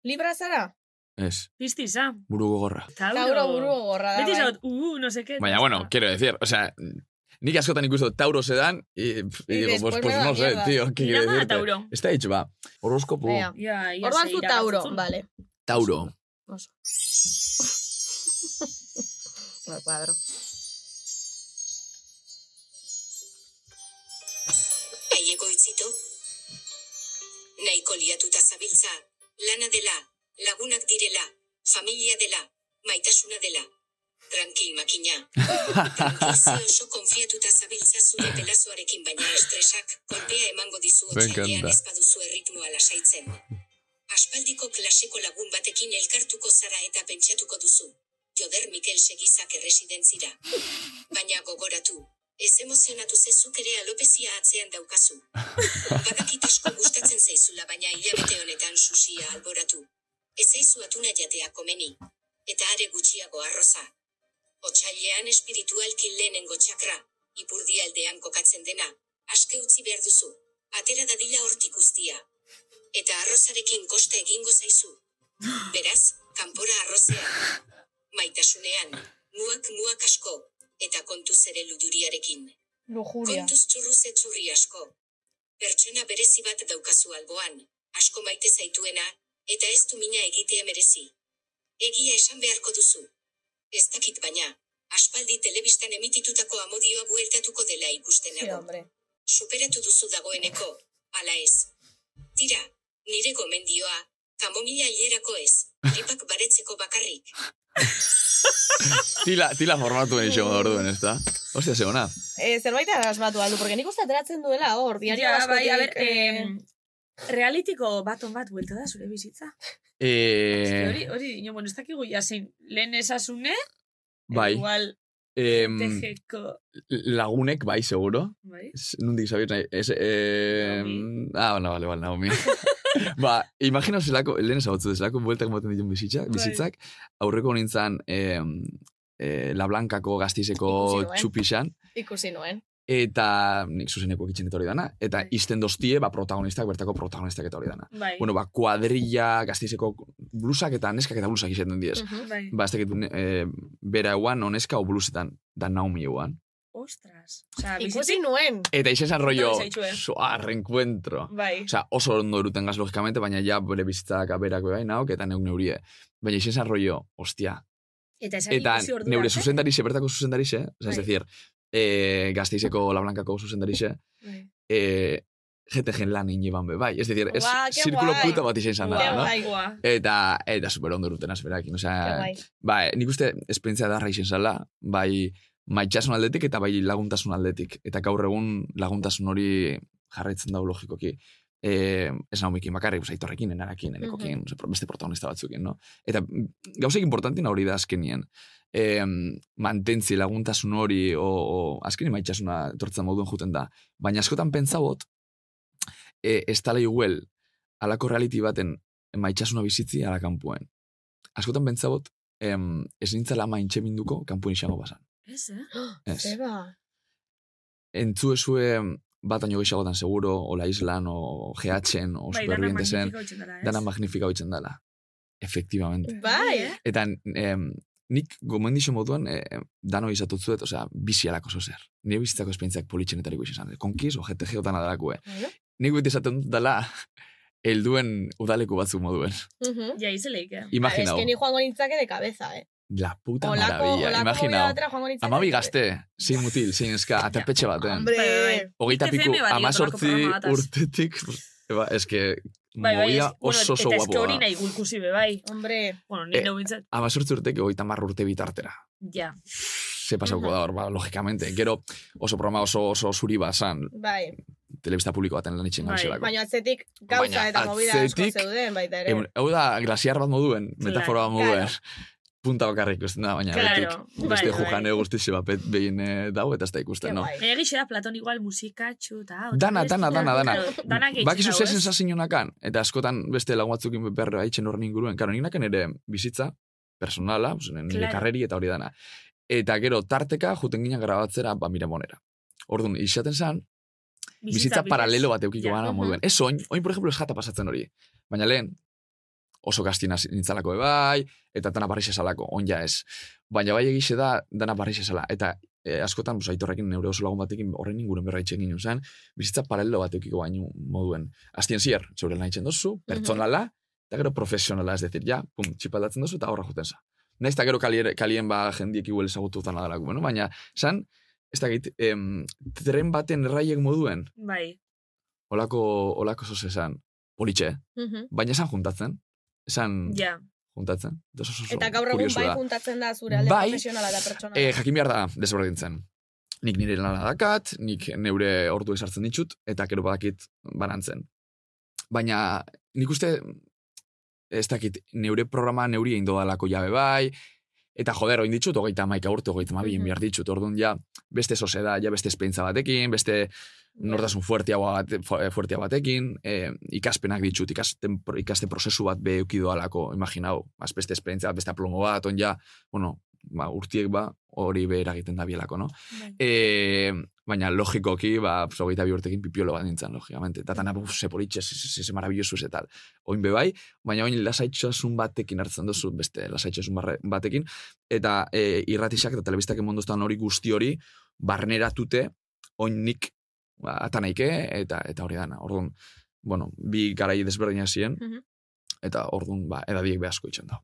S2: Libra zara?
S8: Ez,
S7: Piztiza.
S8: buru gogorra.
S7: Tauro.
S2: Tauro buru gorra da.
S7: Beti
S2: bai.
S7: zaut, uh, no sé qué.
S8: Baina, bueno, quiero decir, o sea, Nik askotan ikusten dut Tauro sedan, y, pf, y
S2: Y
S8: digo, pues,
S2: después
S8: pues
S2: me da
S8: no sé,
S2: mierda.
S8: tío, ¿qué quiere
S7: Llama a
S8: decirte?
S7: Tauro.
S8: Está hecho, va. Horóscopo,
S2: Venga.
S7: Ja, ia
S2: Orduan
S7: ze
S2: zu
S7: irabazten
S2: Tauro, bai.
S7: zuen.
S2: bale.
S8: Tauro.
S2: Oso. Al cuadro.
S11: Aiego itzitu? Nahiko liatuta zabiltza, lana dela, lagunak direla, familia dela, maitasuna dela. Tranquil makina. Tranquil ze oso konfiatuta zabiltza zure pelazoarekin baina estresak kolpea emango dizu
S8: Me
S11: otsailean
S8: encanta.
S11: ez baduzu erritmoa lasaitzen. Aspaldiko klaseko lagun batekin elkartuko zara eta pentsatuko duzu. Joder Mikel segizak erresidentzira. Baina gogoratu, ez emozionatu zezuk ere alopezia atzean daukazu. Badakit asko gustatzen zaizula baina hilabete honetan susia alboratu. Ez zaizu atuna jatea komeni. Eta are gutxiago arroza. Otsailean espiritualki lehenengo txakra, ipurdi aldean kokatzen dena, aske utzi behar duzu, atera dadila hortik guztia. Eta arrozarekin kosta egingo zaizu. Beraz, kanpora arrozea. Maitasunean, muak muak asko, eta kontuz ere luduriarekin.
S2: Lujuria.
S11: Kontuz txurruz etxurri asko. Pertsona berezi bat daukazu alboan, asko maite zaituena, eta ez du mina egitea merezi. Egia esan beharko duzu. Ez dakit baina, aspaldi telebistan emititutako amodioa bueltatuko dela ikusten
S2: Sí,
S11: nago.
S2: hombre.
S11: Superatu duzu dagoeneko, ala ez. Tira, nire gomendioa, kamomila hilerako ez, gripak baretzeko bakarrik.
S8: Tila, tila formatu ben itxego da orduen, ez da? Hostia, ze ona.
S2: Eh, zerbait arrasmatu aldu, porque nik uste ateratzen duela hor, diario
S7: Ja,
S2: askotik,
S7: bai, a ber,
S2: eh,
S7: em, Realitiko baton bat buelta da zure bizitza. Eske
S8: Eh,
S7: Hori, hori, ino, bueno, ez dakigu jasein, lehen esasune,
S8: bai. Mm.
S7: igual,
S8: Em,
S7: tejeko,
S8: lagunek, bai, seguro.
S7: bai?
S8: Ez- Nundik zabiz nahi. Ez, eh,
S7: Naomi.
S8: ah, bueno, vale, vale, Naomi. ba, imagina zelako, lehen ezagutzu, zelako bueltak moten ditun bizitzak,
S7: Bai.
S8: bizitzak aurreko nintzen eh, eh, La Blancako
S2: Ikusi
S8: gaztizeko
S2: nuen.
S8: txupixan,
S2: ikusi nuen.
S8: eta nik zuzeneko kitxen eta hori dana, eta
S7: Bai.
S8: izten dostie, ba, protagonistak, bertako protagonistak eta hori dana.
S7: Bai,
S8: Bueno, ba, kuadrilla, gaztizeko blusak eta neskak eta blusak izaten diez.
S2: Mhm.
S7: bai.
S8: Ba, ez dakit, ne- eh, bera eguan, oneska o blusetan, da Naomi eguan.
S7: Ostras. Osa,
S2: Ikusi
S7: bizitik,
S2: nuen.
S8: Eta izan zen rollo,
S7: Etorri zaitue.
S8: soa, reencuentro.
S7: bai.
S8: Osa, oso ondo eruten gaz, logikamente, baina ja bere bizitzak aberak bai naok, eta neuk neurie. Baina izan zen rollo, ostia.
S7: Eta esan
S8: Eta
S7: ikusi eh? ordura,
S8: neure zuzendarixe, bertako zuzendarixe, osa,
S7: Bai.
S8: ez decir, eh, gazteizeko La Blancako zuzendarixe,
S7: Bai.
S8: eh, jete gen lan iniban be, bai. Ez decir, ez
S2: Guau, qué
S8: zirkulo
S2: guai.
S8: puta bat izan zen da,
S2: Guau.
S8: no?
S2: Bai.
S8: Eta, eta super ondo eruten az berakin,
S2: Ke
S8: osa,
S2: guai.
S8: bai, nik uste esperientzia darra izan zela, bai maitxasun aldetik eta bai laguntasun aldetik. Eta gaur egun laguntasun hori jarraitzen dau logikoki. E, ez naumikin bakarrik, oza, itorrekin, enarekin, enekokin,
S2: Mhm.
S8: oza, pro- beste protagonista batzukin, no? Eta mm, gauzek importantin hori da azkenien. E, mantentzi laguntasun hori, o, o azkenien maitxasuna tortzen moduen juten da. Baina askotan pentsabot, e, ez tala iguel, alako reality baten maitxasuna bizitzi ala kanpuen. Askotan pentsabot, em, ez nintzala maintxe minduko kanpuen izango bazan.
S7: Ez, eh?
S8: Ez.
S2: Zeba.
S8: Entzu ezue bat aino gehiagotan seguro, o la islan, o GHen, o
S7: Bai, dana
S8: supervivientesen,
S7: magnifika hutsen dela, ez?
S8: dana magnifika hoitzen dela. Efectivamente.
S2: Bai, eh?
S8: Eta em, nik gomendixo moduan eh, dano izatutzuet, osea, bizi alako zozer. Nire bizitzako esperientziak politxenetariko izan zen. Konkiz, o GTG otan adalakue. eh. Nik beti esaten dut dela, helduen udaleku batzu moduen.
S2: Mhm.
S7: Ja, izeleik, eh?
S8: Imagina,
S2: Es que ni joango nintzake de cabeza, eh?
S8: la puta
S2: Olako,
S8: maravilla.
S2: olako
S8: Imagina,
S2: bea batera joango nintzake.
S8: Amabi gazte, zein mutil, zein eska, aterpetxe baten.
S2: Hombre.
S7: Bai, bai.
S8: Hogeita
S7: FM
S8: piku,
S7: bati otorako
S8: amazortzi
S7: programa bataz.
S8: urtetik, ba, eske,
S7: Bai, bai,
S8: movida
S7: ez- bueno,
S8: oso oso
S7: Eta eske
S8: guapo
S7: hori
S8: da.
S7: nahi gulkusi be, bai.
S2: Hombre,
S7: Bueno, nire
S8: Eh.
S7: hau bintzat,
S8: Amazortzi urtek hogeita hamar urte bitartera.
S7: ja.
S8: Ze pasauko da hor, ba, logikamente. Gero oso programa oso, oso zuri bazan,
S2: bai.
S8: telebista publiko baten lan itxen
S7: Bai,
S8: gauzelako.
S2: Baina atzetik gauza
S8: Baina
S2: eta movida asko
S8: atzetik-
S2: zeuden baita ere.
S8: Egun, Hau da, glasiar bat moduen, metafora bat moduen.
S2: Claro.
S8: Punta bakarrik ikusten da, baina
S7: Claro,
S8: betik.
S7: bai,
S8: Beste
S7: bai.
S8: jujane guzti zebapet behin eh, dau eta ez da
S2: Ke bai.
S8: ikusten, no?
S2: guai.
S7: Baina egixe da Platon igual musikatxu, eta... hau,
S8: Dana,
S7: eta
S8: dana,
S7: beste,
S8: dana, dana.
S7: claro, Dana gehiago.
S8: Bakizu ze sensazio nakan, eta askotan beste lagun batzukin berra itxen horren inguruen. Karo, nik nakan ere bizitza, personala, pues, nire
S7: Claro.
S8: karreri eta hori dana. Eta gero, tarteka, juten ginen grabatzera, ba, miramonera. Orduan, izaten zan, bizitza, paralelo bat eukiko
S7: Ja,
S8: gana
S2: mhm.
S8: moduen. Ez oin, oin, por ejemplo, ez jata pasatzen hori. Baina lehen, oso gaztina bai nintzalako ebai, eta dana barriz esalako, oin ja ez. Baina bai egixe da, dana barriz esala. Eta e, askotan, pues, aitorrekin neure oso lagun batekin horren inguruen berra itxen ginen zen, bizitza paralelo bat eukiko baino moduen. Aztien zier, zeure lan itxen duzu, pertsonala, eta gero profesionala, ez decir, ja, pum, txipaldatzen duzu eta horra juten za. Naiz eta gero kalier, kalien ba jendiek igual ezagutu zan adalako, bueno, baina, san, ez dakit, em, tren baten erraiek moduen,
S7: Bai.
S8: olako, olako zoz esan, politxe, baina esan juntatzen, esan
S7: Ja.
S8: juntatzen. Eta, oso, oso, oso
S2: Eta gaur egun
S8: kuriosoa
S2: bai
S8: da.
S2: juntatzen da zure alde
S8: Bai,
S2: profesionala da pertsona.
S8: E, jakin behar da, desberdintzen. Nik nire lana dakat, nik neure ordu esartzen ditut, eta kero badakit banantzen. Baina, nik uste, ez dakit, neure programa neuri egin dodalako jabe bai, eta joder, oin ditut, hogeita maika urte, hogeita ma bien
S2: Mhm.
S8: behar ditut, orduan ja, beste soseda, ja beste esperientza batekin, beste nortasun fuertia, bat, fu- fuertia batekin, eh, ikaspenak ditut, ikasten, ikasten prozesu bat be euki doalako, imaginau, az beste esperientzia bat, beste aplomo bat, on ja, bueno, ba, urtiek ba, hori be eragiten da bielako, no? Eh, baina logikoki, ba, pues, hogeita bi urtekin pipiolo bat nintzen, logikamente. Eta tana, buf, ze politxe, ze, ze, ze maravilloso ez tal. Oin be bai, baina oin lasaitxasun batekin hartzen duzu, beste lasaitxasun barre- batekin, eta e, irratisak eta telebistak emondoztan hori guzti hori, barneratute, oin nik ba, atanaike, eta, eta hori dana. Orduan, bueno, bi garai desberdina ziren,
S2: Mhm.
S8: eta orduan, ba, edadiek behasko itxen da.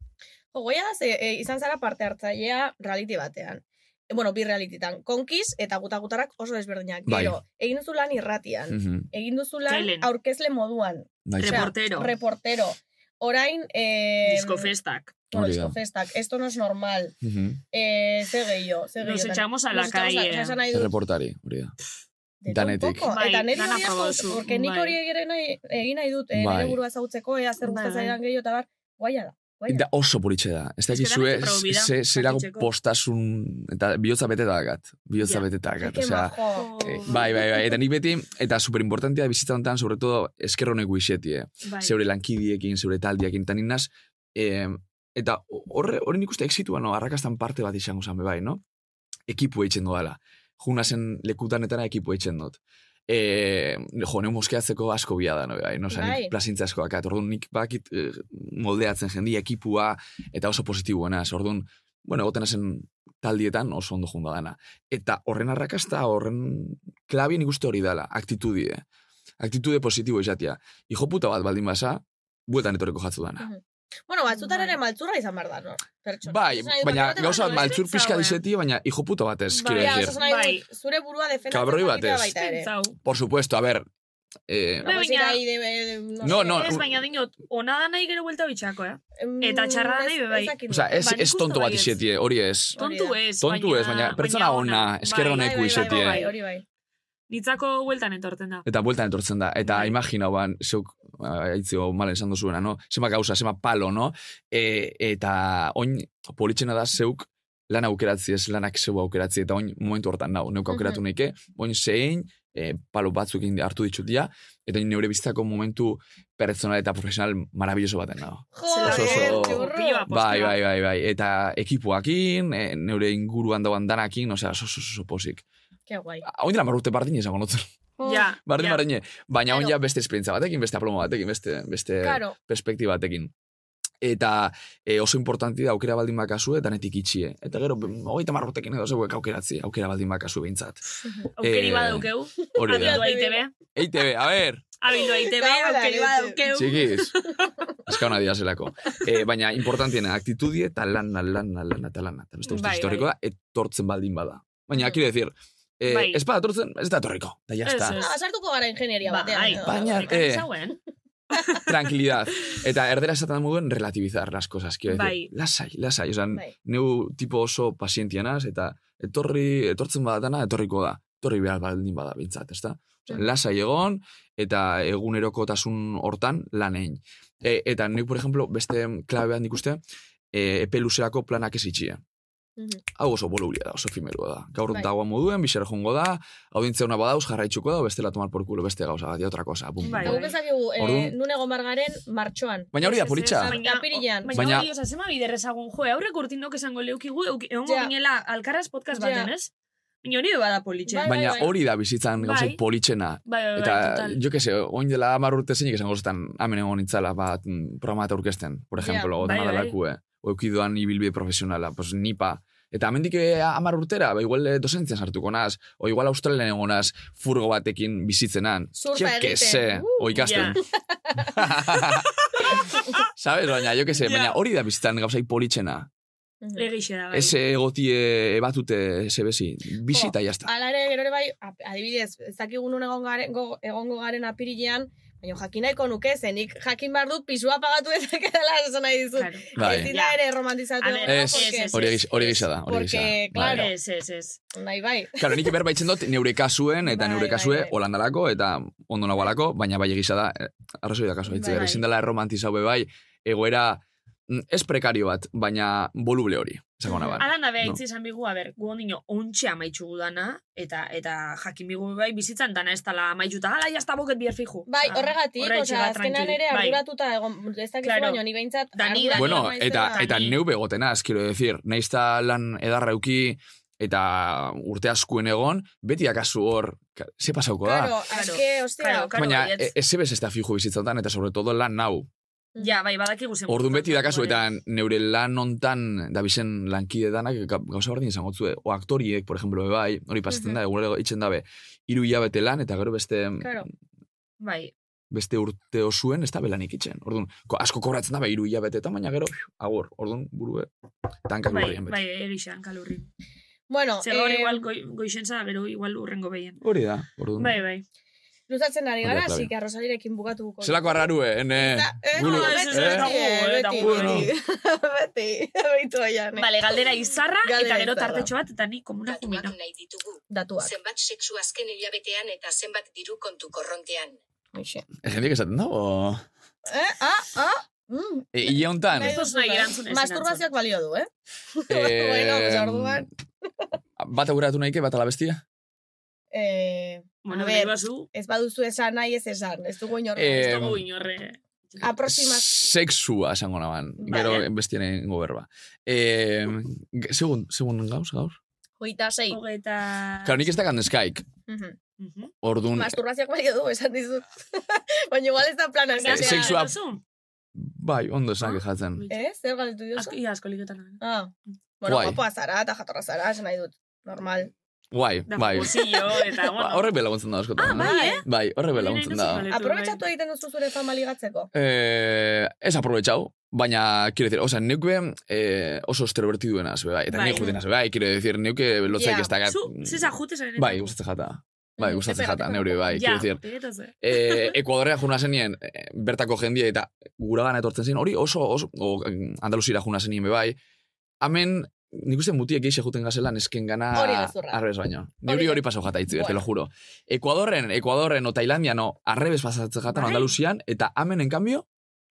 S2: Ogoia, ze, e, izan zara parte hartzailea reality batean. E, bueno, bi realitytan. Konkiz eta gutagutarrak oso desberdinak.
S8: Bai.
S2: Gero, egin duzu lan irratian.
S8: Mhm,
S2: Egin duzu lan
S7: Telen.
S2: aurkezle moduan.
S8: bai,
S2: Osea,
S7: Reportero.
S2: reportero. Orain, eh,
S7: Discofestak.
S2: bueno,
S8: Hori da.
S2: diskofestak. Esto no es normal.
S8: mhm.
S2: Eh, ze gehiago, ze
S7: Nos
S2: gehiagotan.
S7: echamos a la
S2: Nos echamos
S7: calle.
S2: o sea, esan nahi dut,
S8: Erreportari, hori da.
S2: de todo un
S8: danetik.
S2: poco.
S7: Bai,
S2: Eta niri
S7: dana
S2: hori asko-
S7: probazu,
S2: porque nik
S7: bai.
S2: hori ere nahi- egin nahi dut, eh, nire
S8: Bai.
S2: burua zautzeko, ea zer gustatzen
S7: Bai, bai.
S2: zaidan gehiago, eta bar, guaia da. guaia
S8: Da oso politxe da. Ez
S7: Ez que
S8: dakizue,
S7: danak probida,
S8: ze- zelago
S7: jakitzeko.
S8: postasun, eta bihotza bete dakat. Bihotza
S7: Ja.
S8: bete dakat,
S2: Ke
S8: osea,
S2: majo.
S8: eh, bai, bai, bai, eta nik beti, eta superimportantia da bizitza honetan, sobre todo, eskerronek guixeti, eh?
S7: Bai.
S8: zeure lankidiekin, zeure taldiakin, eta nik naz, eh, eta horre, horren ikuste exitua, no, arrakastan parte bat izango zan, be bai, no? Ekipu eitzen dudala. Juna zen lekutanetara ekipu eitzen dut. E, jo, neu moskeatzeko asko bia da, no, be bai, no, Osa,
S2: Bai.
S8: nik plazintza asko dakat. Orduan, nik bakit eh, moldeatzen jendi, ekipua, eta oso positiboena, orduan, bueno, egoten zen taldietan oso ondo junda dana. Eta horren arrakasta, horren klabien ikuste hori dala, aktitudie. Aktitude positibo izatia. Hijo puta bat baldin basa, bueltan etorreko jatzu dana.
S2: Bueno, batzutan ere
S7: Bai.
S2: maltzurra izan behar da, no? Pertsona.
S8: Bai,
S2: Esan nahi dut,
S8: baina
S2: bat ematen
S8: gauza
S2: du, ez?
S8: maltzur pixka
S7: Zauen.
S8: dizeti, baina hijo puta batez,
S7: Bai,
S8: quiero
S2: Ja,
S8: decir.
S2: esan nahi dut,
S7: Bai.
S2: zure burua defendatzen
S8: Cabroi
S2: jakitea
S8: batez.
S2: baita ere.
S7: Pentsau.
S8: Por supuesto, a ver,
S7: Bai,
S8: eh,
S2: Ba, pues,
S7: baina-
S2: ira, ide- de-
S8: No,
S2: sé.
S8: no,
S7: Ez,
S8: un-
S7: baina dinot, ona da nahi gero buelta bitxako, eh?
S2: Em,
S7: eta txarra da
S2: ez-
S7: nahi be bai.
S2: ez dakit.
S8: o sea, ez,
S7: Ba, nik
S8: ez
S7: uste
S8: tonto bat
S7: baietz.
S8: izatie, hori ez.
S7: Tontu ez,
S8: Tontu ez, baina pertsona ona, esker
S2: Bai,
S8: honek
S2: bai, bai,
S8: guizetie.
S2: bai, hori bai.
S7: Nitzako bueltan etorten da.
S8: Eta bueltan etortzen da. Eta
S7: Bai.
S8: imagina, ban, zeuk, ba, aitzio, malen esan duzuena, no? Zema gauza, zema palo, no? E, eta oin, politxena da zeuk, lan aukeratzi ez, lanak zeu aukeratzi, eta oin momentu hortan nau, neuk aukeratu neike, oin zein, e, palo batzuk indi- hartu ditut dira, eta oin neure bizitzako momentu pertsonal eta profesional maravilloso baten nao.
S2: Joder,
S8: oso-
S2: txurru.
S7: Piloa.
S8: Bai,
S7: Postura.
S8: bai, bai, bai. Eta ekipuakin, e, neure inguruan dauan danakin, osea, oso, oso, oso posik.
S2: Ke guai.
S8: Oin dira marrurte bardin izango notzen.
S7: Ja,
S8: Bardin,
S7: ja.
S8: bardin, baina
S2: Claro.
S8: on ja beste esperientza batekin, beste aplomo batekin, beste, beste
S2: Claro,
S8: perspektiba batekin. Eta e, oso importanti da aukera baldin bakazu eh, eta netik itxie. Eta gero, be- hogeita marrotekin edo zeuek aukeratzi, aukera baldin bakazu behintzat.
S7: Aukeri
S8: Eh,
S7: badaukeu,
S8: Hori
S7: abildu
S8: da.
S7: aitebe,
S8: EITB, a ber,
S7: abildu aitebe,
S2: Kabola,
S7: aukeri
S2: leche.
S7: badaukeu.
S8: txikiz. Eskauna dia zelako. E, baina, importantiena, aktitudie eta lana, lana, lana, eta lana. Eta beste guzti
S7: Bai, Mm.
S8: historikoa, etortzen baldin bada. Baina, quiero decir, e,
S7: Bai.
S8: ez bada etortzen, ez da etorriko. Da, ya
S7: Ez,
S8: está.
S7: ez.
S2: Ah, sartuko gara ingenieria
S7: Bai,
S2: batean. edo.
S8: Baina,
S7: Horrekan
S8: eh,
S7: zauen.
S8: tranquilidad. Eta erdera esaten moduen relativizar las cosas, quiero
S7: Bai.
S8: decir. Lasai, lasai, osan,
S2: Bai.
S8: neu tipo oso pazientianaz, eta etorri, etortzen badatana, etorriko da. Etorri behar baldin bada, bintzat, ezta? Osea,
S7: Bai.
S8: lasai egon, eta egunerokotasun hortan lan egin. E, eta nik, por ejemplo, beste klabe bat nik uste, e, epe luzerako planak ez itxia. eh,
S2: Mhm.
S8: Hau oso bolulia da, oso fimerua da. Gaur
S2: Bai.
S8: dagoa moduen, bisera jongo da, audientzia una badauz, jarraitzuko da, o bestela tomar por culo, beste gauza bat, ja, otra cosa. Bum,
S7: Bai,
S2: Eta
S8: bum.
S2: guk ezakigu, eh,
S8: Orduan-
S2: nun egon behar garen martxoan.
S8: Baina hori
S7: Ez,
S8: da,
S7: ez,
S8: politxa.
S7: ez, baina-
S2: Apirilean.
S7: Baina
S8: Baina-
S7: hori, osea, zema biderrezagun, jo, aurrek urtinok esango leukigu, euk- egongo
S2: Ja.
S7: ginela alkaraz podcast
S2: Ja.
S7: baten, ez? Baina hori bada politxe.
S2: Bai,
S7: Bai,
S2: bai,
S8: Baina
S2: bai.
S8: hori da bizitzan gauzai
S7: Bai.
S8: politxena.
S7: bai, bai,
S8: Eta,
S7: total.
S8: jo que se, oin dela amar urte zeinik esango zetan hemen egon itzala, bat, mm, programa eta orkesten, por
S2: Ja,
S8: ejemplo, yeah,
S7: bai,
S8: dana
S7: bai.
S8: dalakue. Oeukidoan ibilbide profesionala, pues nipa, Eta hemendik eh, hamar urtera, ba, igual eh, dozentzian sartuko naz, o igual australian egonaz, furgo batekin bizitzenan.
S2: Surfa
S8: Jo que
S2: egiten.
S8: sé,
S7: Uh,
S8: o ikasten. Sabes, baina, jo que se,
S7: Ja.
S8: baina hori da bizitzan gauzai politxena.
S7: Egixe da, bai.
S8: Ez eh, egotie ebatute zebezi. Bizita, jazta.
S2: Hala ere, gero ere bai, ap- adibidez, ez dakigun nun egon garen, go, egongo garen apirilean, baina jakinaiko nuke zenik jakin behar dut pisua pagatu dezakedala esan nahi dizut.
S9: Claro.
S8: Bai.
S2: Ezin da ere romantizatu.
S9: A ver,
S2: egongo,
S8: Ez,
S2: porque-
S9: ez,
S8: Hori gisa- hori gisa da, hori
S2: Porque,
S8: gisa da. Bai.
S2: claro.
S9: Ez, ez, ez.
S2: Nahi bai.
S8: Claro, nik berba itzen dut neure kasuen, eta
S2: Bai,
S8: neure
S2: bai,
S8: kasue
S2: bai.
S8: holandalako, eta ondo nagoalako, baina bai egisa da, eh, arrazoi da kasu,
S9: Bai,
S8: itzi, bai.
S9: bai.
S8: ezin dela erromantizau be bai, egoera, mm, ez prekario bat, baina voluble hori, esako nabar.
S9: Alan da beha
S8: No.
S9: itzi izan bigu, a ber, gu ondino ontxe amaitxugu dana, eta eta jakin bigu bai bizitzan dana ez dala amaitxuta, ala jazta boket bier fiju.
S2: Bai,
S9: Ah,
S2: horregatik,
S9: horretxe
S2: osea,
S9: da,
S2: azkenan
S9: tranquili.
S2: ere
S9: Bai.
S2: arduratuta egon, ez dakizu
S9: Claro.
S2: baino, ni behintzat
S9: Da, ni-
S2: arduratu
S8: Bueno,
S2: naizela.
S8: eta, eta
S9: ni.
S8: neu begotenaz, quiero decir, naizta lan edarra euki, eta urte askuen egon, beti akasu hor, ka- ze pasauko da.
S2: Claro,
S9: Claro.
S2: eske, ostia,
S9: Claro, claro,
S8: baina,
S9: baietz.
S8: e- ez zebez ez da fijo bizitzatan, eta sobre todo lan nau.
S2: Mm.
S9: Ja, bai, badakigu zen.
S8: Orduan beti da kasu, eta
S9: Hori.
S8: neure lan hontan da bizen lankide danak ga- gauza berdin izango zue. O aktoriek, por ejemplo, be bai, hori pasatzen da, egunero itxen dabe, hiru hilabete lan, eta gero beste,
S2: Claro.
S9: Bai,
S8: beste urte osuen, ez da belanik itxen. Orduan, ko- asko kobratzen da, be, hiru hilabete, eta baina gero, piu, agur, orduan, burue, tanka
S9: bai,
S8: lurrean
S9: bai,
S8: beti.
S9: egixan kalurri.
S2: bueno,
S9: Zer gaur
S2: em,
S9: igual goi, goixen za, gero igual urrengo behien.
S8: Hori da, orduan.
S9: Bai, bai.
S2: luzatzen ari
S8: Hori da,
S2: gara,
S8: Flavia.
S2: así que Rosalirekin bukatuko.
S8: Zelako arrarue, ene...
S2: Eta- eh,
S8: bulu-
S2: no,
S9: ez, ez, ez,
S8: eh?
S9: dago, eh,
S2: beti,
S9: dago,
S2: beti, beti, beti, beti,
S9: Bale, galdera izarra,
S2: Galdera
S9: eta gero
S2: izarra.
S9: tartetxo bat, eta ni komuna
S11: Datuak
S9: jumina.
S11: nahi ditugu.
S2: datuak.
S11: Zenbat sexu azken hilabetean eta zenbat diru kontu korrontean.
S2: Hoxe.
S8: Jendeak esaten da, o...
S2: Eh, ah, ah, mm, eh.
S8: E, Ile hontan,
S2: nahi
S9: dut
S2: duzuna.
S9: nahi erantzun ez
S2: Masturbazioak balio du, eh? Bueno, pues,
S8: eh,
S2: orduan.
S8: bat aurratu nahike, bat alabestia?
S2: Eh,
S9: Bueno,
S2: A
S9: nahi
S2: ber.
S9: bazu,
S2: ez baduzu esan nahi ez esan, ez dugu inor.
S8: Eh,
S9: ez dugu inorre.
S2: Aproximaz.
S8: Sexua esango naban, gero
S9: Vale.
S8: bestien egingo berba. Eh, g- segun, segun gauz, gaur?
S9: Ah,
S2: Hogeita sei.
S7: Oh.
S9: Hogeita...
S8: Claro, nik ez dakan deskaik,
S2: Mhm.
S9: Mhm.
S8: ordun
S2: Masturbazioak balio du, esan dizut. Baina igual ez da plana.
S9: Gaztea
S2: esatea.
S8: sexua-
S9: duzu?
S8: bai, ondo
S9: Ah.
S8: esan kejatzen.
S2: Eh, zer galdetu diozu?
S9: Asko, ia, asko liketan.
S2: Ah, bueno,
S8: Guai.
S2: guapoa zara eta jatorra zara, esan nahi dut. Normal.
S8: Guai,
S9: Da,
S8: bai.
S9: jokozillo, eta,
S8: Ba,
S9: bueno.
S8: Horrek bela guntzen da, askotan.
S9: Ah, bai, eh?
S8: Bai, horrek bela
S9: Nire
S8: guntzen
S9: iruditzen
S8: da.
S9: zait.
S2: Aprobetxatu egiten duzu zure fama ligatzeko.
S8: Eh, ez aprobetxau, baina, quiero decir, oza, neuke eh, oso esterbertiduenaz, be bai, eta
S9: Bai.
S8: bai. juten az, bai, quiero decir, neuke lotzaik
S2: Ja,
S8: ez dakat.
S9: Zu, zesa jute zaren.
S8: Bai, gustatzen jata. Bai, gustatzen jata,
S2: Pegatzen.
S8: neure, bai,
S9: Ja,
S8: quiero decir,
S9: pegatzen ze.
S8: eh, Ekuadorrea juna zenien, eh, bertako jendia eta guragana etortzen zen, hori oso, oso o, mm, Andalusira juna zenien bebai. Hemen, nik uste mutiek eixe juten gazela nesken gana
S2: Hori gezurra.
S8: arrebes baino. Neuri
S2: Hori-
S8: hori pasau jata itzi,
S2: Bueno.
S8: te lo juro. Ekuadorren, Ekuadorren o Tailandian o arrebes pasatzen jatan
S9: Bai.
S8: Andalusian, eta hemen, en cambio,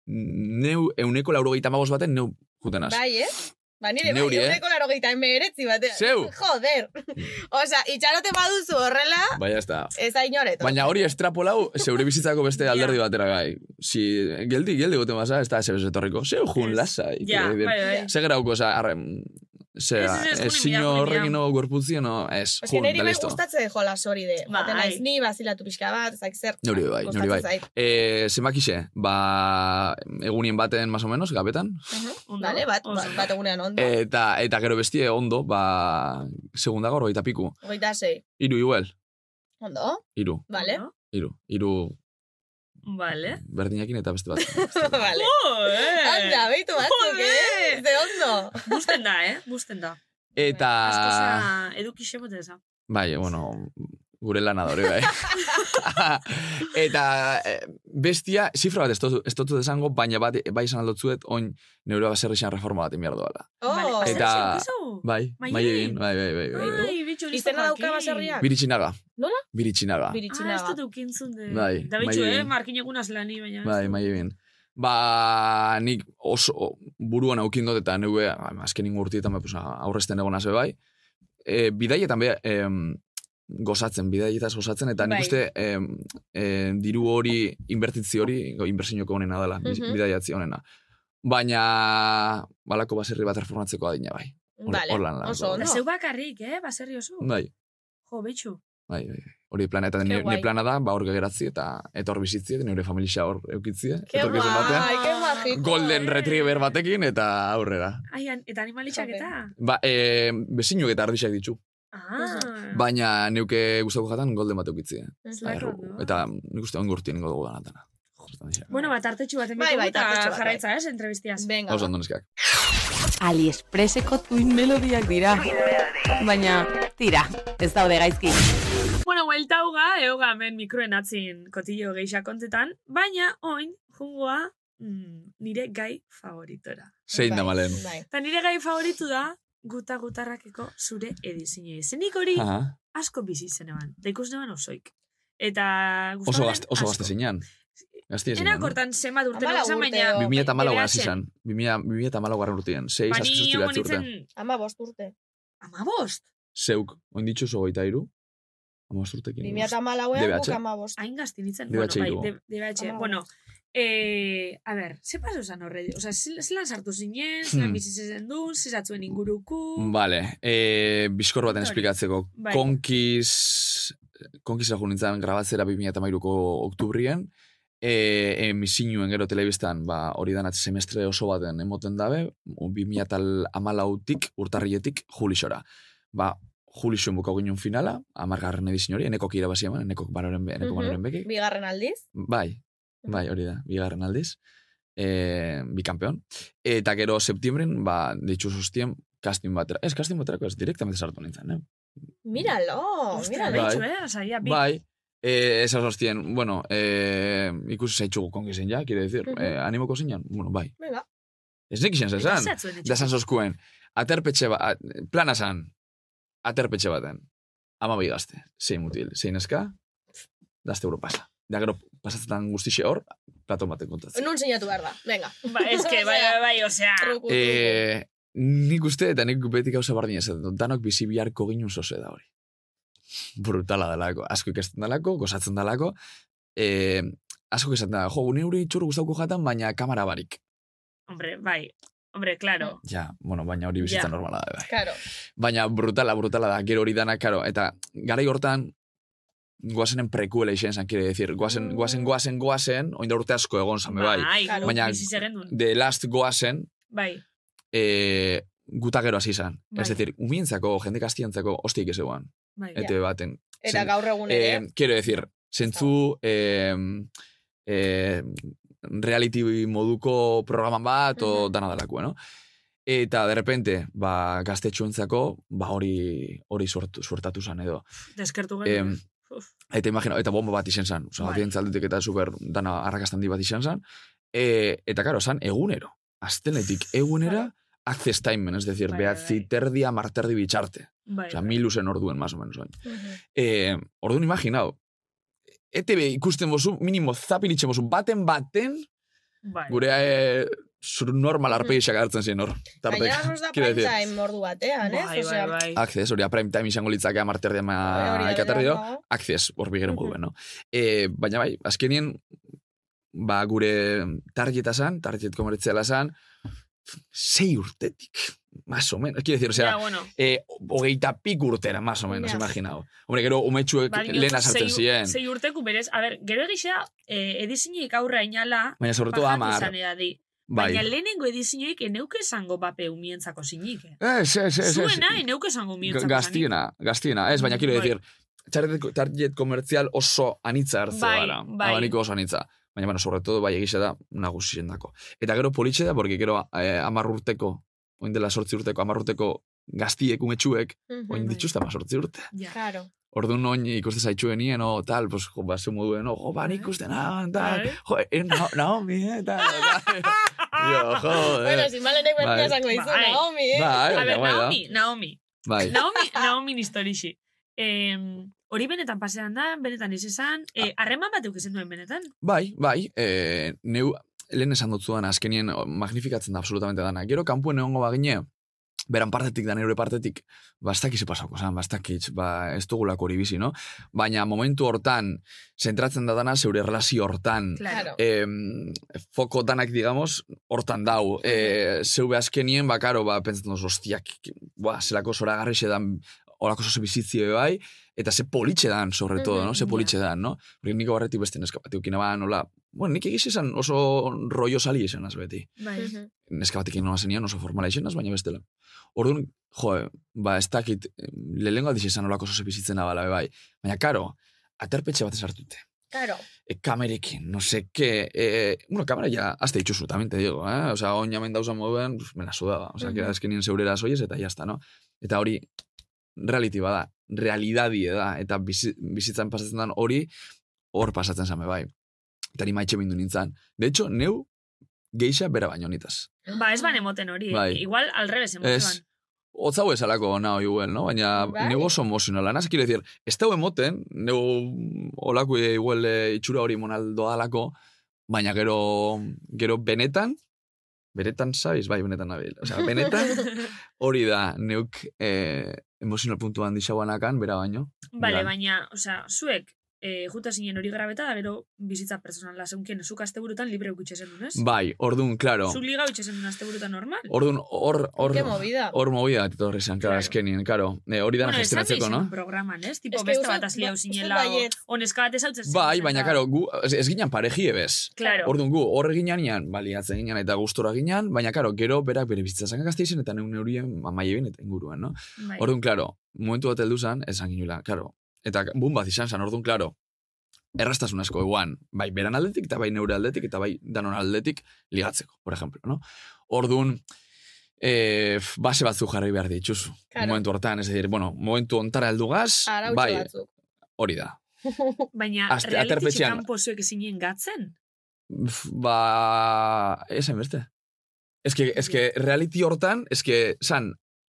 S8: neu euneko lauro magoz baten neu juten az.
S2: Bai, eh? Ba, nire,
S8: Neuri,
S2: bai,
S8: eh?
S2: euneko laro gehieta emeretzi batean.
S8: Zeu! Mm.
S2: Joder. Osea, itxarote baduzu horrela,
S8: Bai, ez da.
S2: ez da inoreto.
S8: Baina hori estrapolau, zeure bizitzako beste
S9: Ja.
S8: alderdi batera bai. Si, geldi, geldi goten basa, ez da ez etorriko. Zeu jun
S9: Ez.
S8: lasa.
S9: Ja, bai, bai.
S8: Ze gerauko, oza, arre, ze,
S9: Ez, ez, ez,
S8: ez
S9: juni
S8: zino
S9: mira, juni
S8: horrekin
S9: mira.
S8: no, gorputzio, no, ez,
S2: Eske
S8: jun,
S2: niri
S8: da
S2: bai
S8: listo.
S2: gustatzen jolas hori de.
S9: Bai.
S2: Joten naiz ni, bazilatu pixka bat, ezak zer.
S8: Neuri bai, neuri
S2: Gustatzen
S8: bai.
S2: zait.
S8: E, zemakixe, ba, egunien baten, más o menos, gabetan,
S9: Ondo.
S2: Bale, bat,
S9: Oso.
S2: bat, bat egunean
S9: Ba.
S2: ondo.
S8: eta, eta gero bestie ondo, ba, segunda gaur, baita piku.
S2: Hogeita sei.
S8: Iru igual,
S2: Ondo,
S8: iru,
S2: bale.
S9: Ondo.
S8: iru, iru
S9: Vale.
S8: berdinakin eta beste bat.
S2: Bale.
S9: Oh, eh.
S2: Anda, beitu batzuk, eh?
S9: Joder.
S2: Ze ondo.
S9: Gusten da, eh? Gusten da.
S8: Eta...
S9: Asko za eduki xebote eza.
S8: Bai, bueno, gure lana da hori, bai. eta eh, bestia, zifra bat ez totu- ez totu desango, baina bat, bai izan aldotzuet, oin neure baserrixan reforma bat inbiardo dala.
S2: Oh,
S8: Eta-
S9: Bai, Bai,
S8: Bai, bai
S9: bai.
S8: egin, bai, bai, bai. bai, bai.
S9: bitxo,
S2: Izena dauka baserriak?
S8: Biritxinaga.
S2: Nola?
S8: Biritxinaga.
S9: Ah, ez
S2: Biritxinaga.
S9: dut eukintzun de.
S8: Bai,
S9: Da bitxo,
S8: bai.
S9: eh? Markin egun azlani, baina. ez
S8: Bai,
S9: dut.
S8: mai egin. Ba, nik oso buruan aukin dut eta neue, azken ingo urtietan, ba, pues, aurrezten egon haze bai. E, bidaietan be, em, gozatzen, bidaietaz gozatzen, eta nik
S9: Bai.
S8: uste em, em, diru hori, invertitzi hori, go- inbertsioko honena dela, bi-
S2: Mhm.
S8: bidaiatzi honena. Baina, balako baserri bat reformatzeko adina bai. Hor-
S2: Vale,
S8: hor lan lan
S2: oso
S9: Da
S2: ondo.
S9: zeu bakarrik, eh? Baserri oso.
S8: Bai,
S9: Jo, bitxo.
S8: Bai, bai. Hori plana, eta nire,
S2: guai.
S8: nire plana da, ba hor gegeratzi eta eta hor bizitzi, eta nire familia hor eukitzie.
S2: Ke
S8: etorkizun batean.
S2: guai, ke majito.
S8: Golden Retriever batekin eta aurrera.
S7: Aian, eta animalitxak eta?
S8: Ba, e, bezinuek eta ardixak ditu.
S2: Mm.
S7: Ah,
S2: Bai.
S8: Baina neuke gustatuko jatan golden bat eukitzie.
S7: Ez
S8: Eta,
S7: lako,
S8: erru- eta nik uste ongo urtien dugu da natana.
S7: Bueno, bat artetxu bat
S2: Bai,
S7: emeko
S2: bai,
S7: eta
S2: tartetxo bat, bai.
S7: jarraitza, ez, entrevistiaz.
S2: Venga.
S8: Hau zandon eskak.
S10: AliExpresseko tuin melodiak dira. Baina, tira, ez daude gaizki.
S7: Bueno, huelta huga, euga hemen mikroen atzin kotillo geisha kontetan, baina oin, jungoa, mm, nire gai favoritora.
S8: Zein da malen.
S2: Bai.
S7: Eta nire gai favoritu da, guta gutarrakeko zure edizine. Zenik hori
S8: Aha.
S7: asko bizi zen eban, da ikus neban osoik. Eta gustatu
S8: Oso
S7: nuen
S8: gazte, oso
S7: asko.
S8: gazte zinean. Gazte
S7: Ena
S8: zinean.
S7: kortan zenbat urte
S2: Hamalau
S7: nagozen,
S2: urte
S7: baina...
S2: edo.
S8: 2008 hasi
S7: Bederatzean.
S8: izan. 2008 garren urtien.
S2: Ba,
S8: 6,
S7: Bani
S8: 7, 8
S7: joan
S8: urte.
S7: nintzen,
S2: Ama bost urte.
S7: ama bost,
S8: Zeuk, onditxu zo goita iru. Amos urtekin.
S2: 2008an
S8: DBH.
S2: guk ama bost.
S7: hain gazti nintzen, bueno,
S8: DBH
S7: bai,
S8: igo.
S7: de- DBH,
S2: Ama
S7: bueno, Eh, a ber, ze paso zan horre? Osa, zelan sartu zinen, zelan
S8: Hmm. Bai,
S7: bizi zen duen, zezatzuen inguruku...
S8: Vale, e, bizkor baten
S7: Hori.
S8: esplikatzeko.
S7: Bai.
S8: Konkiz, konkizera jo nintzen grabatzera 2008ko oktubrien, e, e, misinuen gero telebistan, ba, hori danat semestre oso baten emoten dabe, 2008tik, urtarrietik, julixora. Ba, julixoen bukau ginen finala, amargarren edizin hori, enekok irabazi eman, enekok banoren, be- eneko
S2: Mhm.
S8: banoren beki.
S2: Bigarren aldiz.
S8: Bai, bai, hori da, bigarren aldiz, e, bikampeon. Eta gero septiembren, ba, deitxu sostien, casting batera. Ez, casting baterako ez, direktamente sartu nintzen, eh?
S2: Míralo,
S7: Ostra,
S2: míralo.
S8: bai.
S7: behitxu, eh? Osa, ia, bi.
S8: Bai, e, ez sostien, bueno, e, ikusi zaitxugu konkizen ja, kire decir,
S2: Mhm.
S8: e, animoko zinan, bueno, bai.
S2: Venga.
S8: Ez nik izan
S7: Eta
S8: zezan,
S7: zezatzuen etxeko.
S8: da zan soskuen, aterpetxe ba, a, plana zan, aterpetxe baten, ama bai gazte, zein mutil, zein eska, dazte euro pasa. Da gero, pasatzen guztixe hor, plato baten kontatzen.
S2: Nun sinatu behar da. Venga.
S7: Ba, ez que, bai, bai, bai, osea...
S8: Eh,
S2: Truku, truku.
S8: E, nik uste, eta nik beti gauza bardin esaten dut, danok bizi biharko ginen zoze da hori. Brutala dalako, asko ikasten dalako, gozatzen dalako, e, asko esaten da, jo, neuri itxuru guztauko jatan, baina kamara barik.
S7: Hombre, bai. Hombre, claro.
S8: Ja, bueno, baina hori bizitza
S7: Ja.
S8: normala da, bai.
S2: Claro.
S8: Baina brutala, brutala da, gero hori dana, karo, eta garai hortan, goazenen prekuela izen zan, kire decir, goazen, goazen, goazen, goazen, oinda urte asko egon zame, bai.
S2: Claro.
S7: baina...
S8: Baina-
S7: Bizi zerrendun.
S8: The last goazen,
S7: Bai.
S8: e, guta gero hasi izan.
S7: Bai.
S8: Ez decir, umientzako, jende kastiantzako, ostik ez eguan.
S7: Bai.
S8: ETV baten.
S2: Eta
S8: Zen-
S2: gaur egun ere.
S8: Eh, quiero decir, zentzu eh, eh, reality moduko programan bat, o
S2: Mhm.
S8: dana dalako, no? Eta de repente, ba, gaztetxuentzako, ba, hori hori sortu, sortatu zan edo.
S7: Deskertu
S8: Eh,
S7: genuen. Uf.
S8: eta imagina, eta bomba bat izen zan. Osa,
S7: Bai.
S8: batien zaldutik eta super dana arrakastandi bat izen zan. E, eta karo, zan egunero. Aztenetik egunera, access time, es decir,
S7: Bai, bai,
S8: behatzi
S7: bai.
S8: terdi, amarterdi bitxarte.
S7: Bai.
S8: Osa,
S7: bai.
S8: mil usen orduen, más o menos, oin.
S2: Mhm.
S8: Eh, orduan imaginau, ETV ikusten bozu, minimo zapilitzen bozu, baten baten,
S7: Bai. Hmm.
S8: gure eh, zur normal arpegixak agertzen ziren hor.
S2: Baina
S8: Tartek,
S2: nos da
S8: quiero
S2: prime
S8: decir.
S2: time ordu batean, ez?
S7: Bai, bai,
S2: Osea,
S7: bai.
S8: Access, hori, prime time izango litzake amarterdi ama
S2: hori da,
S8: ikaterdi
S2: bera, no?
S8: Access, hor bigero
S2: Mhm.
S8: moduen, no? Eh, baina bai, azkenien, ba, gure tarjeta zan, tarjet komertziala zan, sei urtetik, más o menos. Quiero decir, o sea,
S7: ja, bueno.
S8: eh, hogeita pik urtera, más o menos,
S2: Ja.
S8: imaginau. Hombre, gero umetxuek
S7: Badiot,
S8: lehen azartzen
S7: sei-
S8: ziren.
S7: Sei urteku berez. A ber, gero egizea, eh, edizinek aurra inala,
S8: Baina sobre todo
S7: bajatu
S8: amar.
S7: izan edadi.
S8: Bai.
S7: Baina lehenengo edizioik eneuke esango bape umientzako zinik. eh.
S8: Ez, ez, ez, ez.
S7: Zuena eneuke esango
S8: Ga-
S7: umientzako
S8: Gaztiena, gaztiena. Ez, baina kiro
S7: Bai.
S8: decir, target, target komertzial oso anitza hartze
S7: Bai,
S8: gara.
S7: bai.
S8: Abaniko oso anitza. Baina, bueno, sobre todo, bai, egisa da nagusien dako. Eta gero politxe da, porque gero eh, amar urteko, oin dela sortzi urteko, amar urteko gaztiek umetxuek,
S2: Mhm.
S8: oin
S7: bai.
S8: dituzta ma sortzi urte.
S7: Ja.
S2: Claro.
S8: Orduan oin ikuste zaitxuenien, o tal, pues, jo, ba, zeu moduen, o, jo, ba, nik usten, ah, tal,
S7: Bai.
S8: jo, eh, Na- Naomi, eh, tal, tal. Jo, jo,
S2: Bueno,
S8: eh.
S2: si malenek bertia
S8: Bai.
S2: esango dizu,
S7: Bai.
S2: Naomi, eh?
S8: Bai,
S7: A
S8: baina,
S7: ber,
S8: bai, da.
S7: Naomi, Naomi.
S8: Bai.
S7: Naomi, Naomi nistorixi. Eh, hori benetan pasean da, benetan ez esan,
S8: Ah.
S7: eh, harreman bat eukizen duen benetan.
S8: Bai, bai, e, neu lehen esan dut zudan, azkenien o, magnifikatzen da absolutamente dana. Gero kanpuen egongo bagine, beran partetik da neure partetik, ba, bastak izi pasako zan, bastak ba, ez dugulako hori bizi, no? Baina momentu hortan, zentratzen da dana, zeure relazio hortan,
S2: Claro.
S8: em, foko danak, digamos, hortan dau. Eh, E, zeu azkenien, ba, karo, ba, pentsatzen duz, hostiak, ba, zelako zoragarri edan olako oso bizitzio bai, eta ze politxe dan, sobre todo, no? Ze politxe dan, no? Porque niko barretik beste neska bat eukina ban, hola, bueno, nik egiz esan oso rollo sali esan az beti.
S9: Bai.
S8: Neska batekin nola zenian oso formala esan az, baina bestela. Orduan, jo, ba, ez dakit, lehenko aldiz esan olako oso bizitzen abala, bai. Baina, karo, aterpetxe bat esartute.
S9: Claro.
S8: E, kamerekin, no sé qué. E, bueno, kamera ya hasta itxuzu, también te digo, eh? O sea, oin jamen dauzan moduen, pues, me la sudaba. O sea, que
S9: Ujú.
S8: es que nien zeurera soies, eta jazta, no? Eta hori, reality bada, realidadie da, eta bizi, bizitzan pasatzen den hori, hor pasatzen zame bai. Eta ni maitxe bindu nintzen. De hecho, neu geixa bera baino nitaz.
S7: Bai.
S9: Ba, ez ban emoten hori. eh?
S8: Bai.
S9: Igual, al revés emoten.
S8: Ez, Otza hau esalako nahi igual, no? Baina
S9: Bai.
S8: nego oso emozionala. Naz, quiero decir, ez dago emoten, nego olako igual eh, itxura hori monaldo alako, baina gero, gero benetan, benetan sabiz, bai, benetan nabil. O sea, benetan hori da, neuk eh, emozional puntu handi xauanakan, bera baino.
S9: Bale,
S8: Beran.
S9: baina, osea, zuek, eh, juta zinen hori grabeta, da gero bizitza personala zeunkien, zuk aste burutan libre ukitxe zen dunez?
S8: Bai, ordun, claro.
S9: Zu liga ukitxe zen dun aste burutan normal?
S8: Ordun, hor, hor,
S9: Ke movida.
S8: hor movida, etorri zen, claro, azkenien, claro. Eh, hori dana
S9: esan
S8: gestionatzeko,
S9: nizun
S8: no?
S9: programan, ez? Tipo,
S2: Ez que
S9: beste
S2: uste-
S9: bat azli hau
S2: ba- uste
S9: zinela, o-
S2: baietz.
S9: o neska bat ezautzen zen.
S8: Bai, baina, karo, gu, ez, ez ginen pareji ebez.
S9: Claro.
S8: Orduan gu, hor ginean, ian, baliatzen ginean eta gustora ginean, baina, karo, gero berak bere bizitzazan gazteizen eta neun neurien amaiebin eta inguruan, no?
S9: Bai.
S8: Orduan, klaro, momentu bat heldu zan, esan ginula, klaro. Eta bun bat izan zan, orduan, klaro, errastasun asko eguan, bai beran aldetik, eta bai neure aldetik, eta bai danon aldetik ligatzeko, por ejemplo, no? Orduan, e, base batzu jarri behar dituzu.
S9: Claro.
S8: Momentu hortan, ez decir, bueno, momentu ontara heldu gaz,
S9: Arautxo
S8: bai,
S9: batzuk.
S8: hori da.
S9: Baina,
S8: Aste-
S9: realititxe
S8: aterpetxean.
S9: kanpo zuek ezinen gatzen?
S8: Pf, Ba, esan beste. Ez que, ez que reality hortan, ez que, san,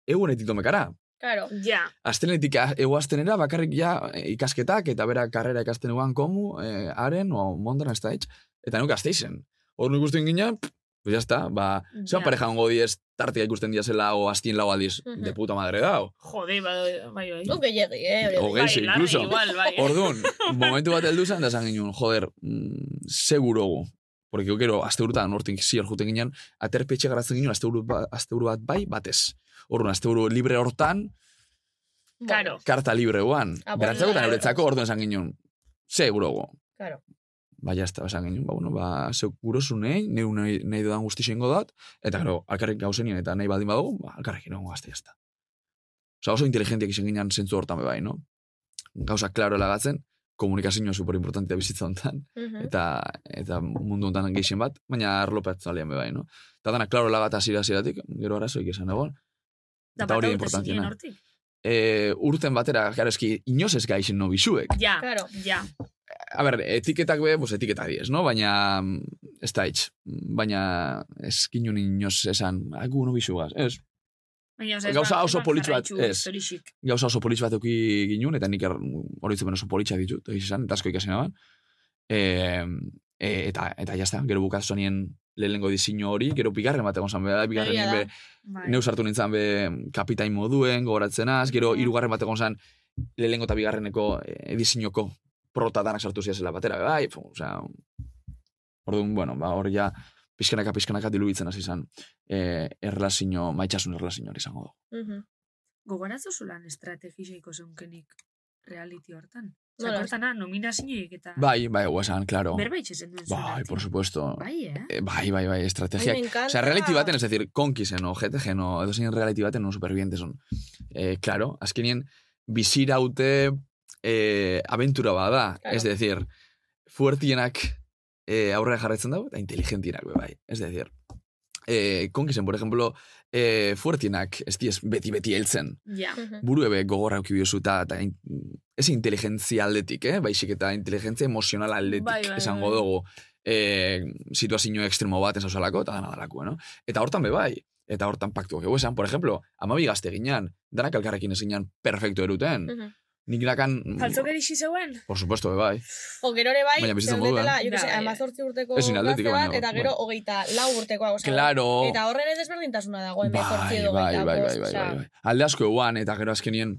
S8: egunetik domekara.
S9: Claro. Ja.
S8: Aztenetik, a- egu aztenera, ah, bakarrik ja eh, ikasketak, eta bera karrera ikasten eguan komu, eh, haren, o mondan ez da hitz, eta nuk azteizen. Hor nuk ikusten ginen, pff, pues ya está, ba,
S9: Ja.
S8: zean pareja hongo diez, tartika ikusten diazela, o aztien lau aldiz,
S9: Mhm.
S8: de puta madre dao.
S9: Jode, bai, bai, bai.
S2: Zuk gehiagi, eh? hori.
S8: Hogei,
S9: Bai, larri,
S8: incluso.
S9: igual, bai.
S8: Orduan, momentu bat heldu zen, da esan ginen, joder, mm, segurogu. Porque yo quiero, azte urutan, hortik zior juten ginen, aterpetxe garatzen ginen, azte, buru, ba, azte buru bat bai, batez. Orduan, azte buru libre hortan,
S9: Karo.
S8: karta libre guan.
S9: Ah, bueno,
S8: Berantzako eta
S9: claro.
S8: neuretzako, orduan esan ginen, segurogu.
S9: Karo.
S8: Ba, jazta, esan ginen, ba, bueno, ba, segurosu nahi, nahi, nahi, nahi dudan guzti xengo dat, eta gero, alkarrik gauzenien, eta nahi baldin badugu, ba, alkarrik inoango gazte, jazta. Osa, oso inteligentiak izan ginen zentzu hortan be bai, no? Gauza, klaro elagatzen, komunikazioa superimportantea bizitza honetan,
S2: Mm.
S9: Mhm.
S8: eta, eta mundu honetan geixen bat, baina arlo pertsonalean be bai, no? Eta dana, klaro lagat hasiera hasieratik, gero arazoik esan egon,
S9: Da,
S8: eta hori
S9: pata urte zinen
S8: importantiena.
S9: hortik.
S8: E, urten batera, gara, eski, inoz ez gaixen no bizuek.
S9: Ja, ja.
S8: A ber, etiketak be, pues, etiketak diez, no? Baina, mm, ez da itx. Baina, ez ginen inoz esan, hagu no bizugaz. Ez,
S9: Baina, osea, ez
S8: Gauza
S9: ban-
S8: oso
S9: ban
S8: politxu bat,
S9: jarraitzu
S8: ez.
S9: historixik.
S8: gauza oso politx bat euki ginen, eta nik er- horitzupen oso politxak ditut, egiz esan, eta asko ikasen eban. E, e, eta, eta jazta, gero bukatu zanien lehenengo diseinu hori, gero bigarren bat egon zan, behar, bigarren
S9: Egia
S8: nien
S9: da.
S8: be,
S9: Bai.
S8: neu sartu nintzen be kapitain moduen, gogoratzenaz,
S9: Bai.
S8: gero hirugarren bat egon zan, lehenengo eta bigarreneko e, diseinoko prota danak sartu ziazela batera, be bai, fu, osea, orduan, bueno, ba, hor ja, pixkanaka, pixkanaka diluitzen hasi izan, e, erlazino, maitxasun erlazino hori izango dugu.
S9: Gogorazu zulan estrategiseiko zeunkenik reality hortan?
S2: Nola?
S9: Zer hortana nominazioik eta...
S8: Bai, bai, guasan, klaro.
S9: Berbaitz ezen duen
S8: Bai, por supuesto.
S9: Bai, eh?
S8: Eh, Bai, bai, bai, estrategiak.
S9: Ai, me encanta.
S8: o sea, reality baten, es decir, konkisen, o GTG, no, edo zein reality baten, no supervivientes son. Eh, claro, azkenien, biziraute eh, aventura bada.
S12: Claro.
S8: Es decir, fuertienak eh, aurrera jarraitzen dago, eta inteligentienak, be bai. Es decir, eh, konkisen, por ejemplo, eh, fuertienak, ez diez, beti-beti heltzen
S9: Ja.
S8: buru ebe gogorra euki biozu eta eta in, ez inteligentzia aldetik, eh? baizik eta inteligentzia emozional aldetik
S9: Bai, bai,
S8: esango
S9: bai.
S8: dugu eh, situazio ekstremo bat esauzalako eta dana dalako, no? Eta hortan be bai, eta hortan paktuak egu esan, por ejemplo, amabi gazte ginean, danak alkarrekin ez ginean perfecto eruten,
S9: Mm.
S8: nik lakan,
S9: Faltzok erixi zeuen?
S8: por supuesto, be bai.
S2: O gero ere bai,
S8: Baina bizitzen
S2: zeudetela,
S8: moduan.
S2: jo que
S9: Da,
S2: sé,
S9: bai.
S2: 18 urteko
S8: Ezin aldetik,
S2: gazte bat,
S8: baina,
S2: eta gero
S8: bueno.
S2: hogeita lau urtekoa. osea,
S8: Claro.
S2: Eta horre ere desberdintasuna dago,
S8: Bai,
S2: 18 edo
S8: bai,
S2: hogeita
S8: bai, bai,
S2: bost,
S8: bai,
S2: osea.
S8: bai, bai. Alde asko eguan, eta gero azkenien,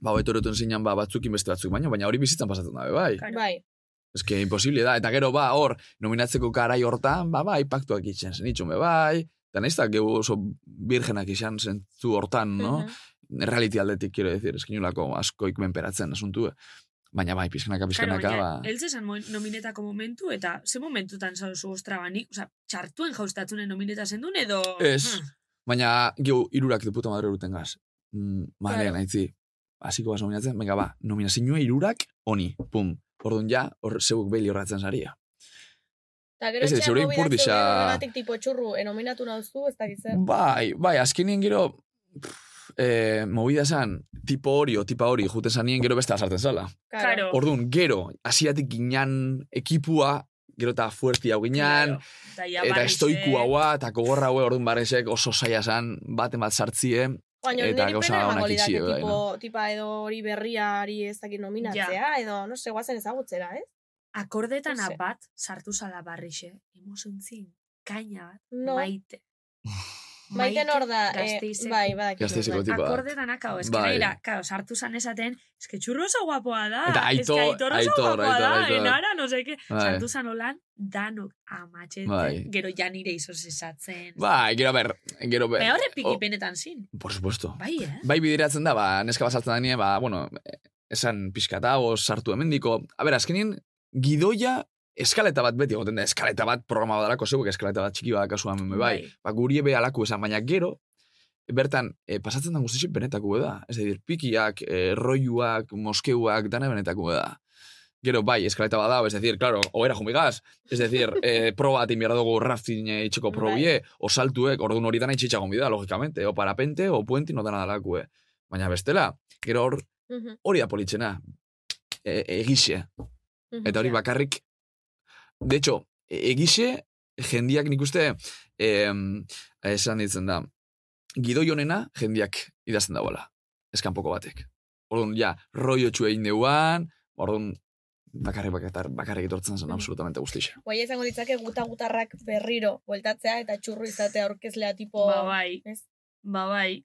S8: ba, betorotun zinan, ba, batzukin beste batzuk, baina, baina hori bizitzan pasatzen da, be bai.
S2: Bai.
S8: Ez que imposible da, eta gero ba, hor, nominatzeko garai hortan, ba, bai, paktuak itxen zen itxume, bai, eta nahiz da, gehu oso birgenak izan zentzu hortan, no? reality aldetik, quiero decir, eskinulako askoik menperatzen asuntu, baina bai, pizkanaka, pizkanaka,
S7: Claro,
S8: ba,
S7: baina, eltze zan moin- nominetako momentu, eta ze momentutan zauzu ostra banik, oza, txartuen jauztatzunen nomineta zendun, edo... Hmm,
S8: Ez. Baina, gehu, irurak de puta madre urten gaz. Mm, Malen,
S7: Claro.
S8: haitzi. Hasiko gaz nominatzen, venga, ba, nominazinua irurak, honi, pum. Orduan ja, hor, zeuk beli horratzen zaria.
S2: Eta gero
S8: Ez, ez,
S2: etxean
S8: eurei
S2: mobilatzen
S8: purdixa-
S2: duen horregatik tipo txurru, enominatu nauzu, ez dakit zer.
S8: Bai, bai, azkenien gero, pff, eh, movida esan, tipo hori o tipa hori, juten zanien gero beste azarten zala.
S7: Claro.
S8: Orduan, gero, hasiatik ginean ekipua, gero eta fuerti hau ginean,
S7: Eta, ja,
S8: eta
S7: barrixe.
S8: estoiku haua, eta kogorra haue, orduan barrezek oso saia zan, baten bat sartzie,
S2: Baina
S8: eta
S2: niri
S8: gauza
S2: pena
S8: onak
S2: emango lidake,
S8: itxie, bai,
S2: tipo,
S8: no?
S2: tipa edo hori berriari ez dakit nominatzea, edo, no se, guazen ezagutzera, ez?
S7: Akordetan
S2: No sé.
S7: abat, sartu zala barrixe, emozuntzin, kaina bat,
S2: No.
S7: maite.
S2: Maite nor da, eh,
S7: Gasteizeko.
S2: bai, badakit.
S8: Gasteizeko tipa.
S7: Akordetan akao, ez que
S8: Ba. Bai.
S7: naira, kao, sartu zan esaten, ez que txurro oso guapoa da,
S8: Eta
S7: ez que
S8: Aitor-
S7: aitor oso
S8: Aitor,
S7: guapoa
S8: Aitor,
S7: da,
S8: Aitor.
S7: enara, no seke,
S8: Bai.
S7: sartu zan holan, danok amatxete,
S8: Bai.
S7: gero ja nire izoz esatzen.
S8: Bai, gero ber, gero ber.
S7: Baina horre
S8: o-
S7: pikipenetan zin.
S8: Por supuesto.
S7: Bai, eh?
S8: Bai bideratzen da, ba, neska basaltzen da ba, bueno, eh, esan pixkata, o sartu emendiko. A ber, azkenien, gidoia eskaleta bat beti egoten da, eskaleta bat programa badarako zegoek, eskaleta bat txiki bat kasuan, bai. bai.
S7: Bai.
S8: Ba, guri ebe alako esan, baina gero, bertan, eh, pasatzen da guztizik benetako da. Ez da, pikiak, eh, roiuak, moskeuak, dana benetako da. Gero, bai, eskaleta bat dago, es decir, claro, oera jumigaz, es decir, eh, proba bat inbiara dugu rafting eh, itxeko probie, o saltuek, orduan hori dana itxitxa gombida, logikamente, o parapente, o puenti, no dana dalakue. Baina bestela, gero hor,
S2: Mhm,
S8: hori da politxena, e, egixe,
S2: mhm.
S8: eta hori ba- bakarrik, de hecho, e- egixe, jendiak nik uste, em, esan ditzen da, gidoi honena jendiak idazten dagoela, eskanpoko batek. Orduan, ja, roio txue egin deuan, orduan, bakarrik bakarrik, bakarrik etortzen zen, absolutamente guztixa.
S2: Guaia izango ditzake guta-gutarrak berriro, bueltatzea eta txurru izatea aurkezlea tipo...
S7: Ba, bai.
S2: Ez?
S7: Ba, bai.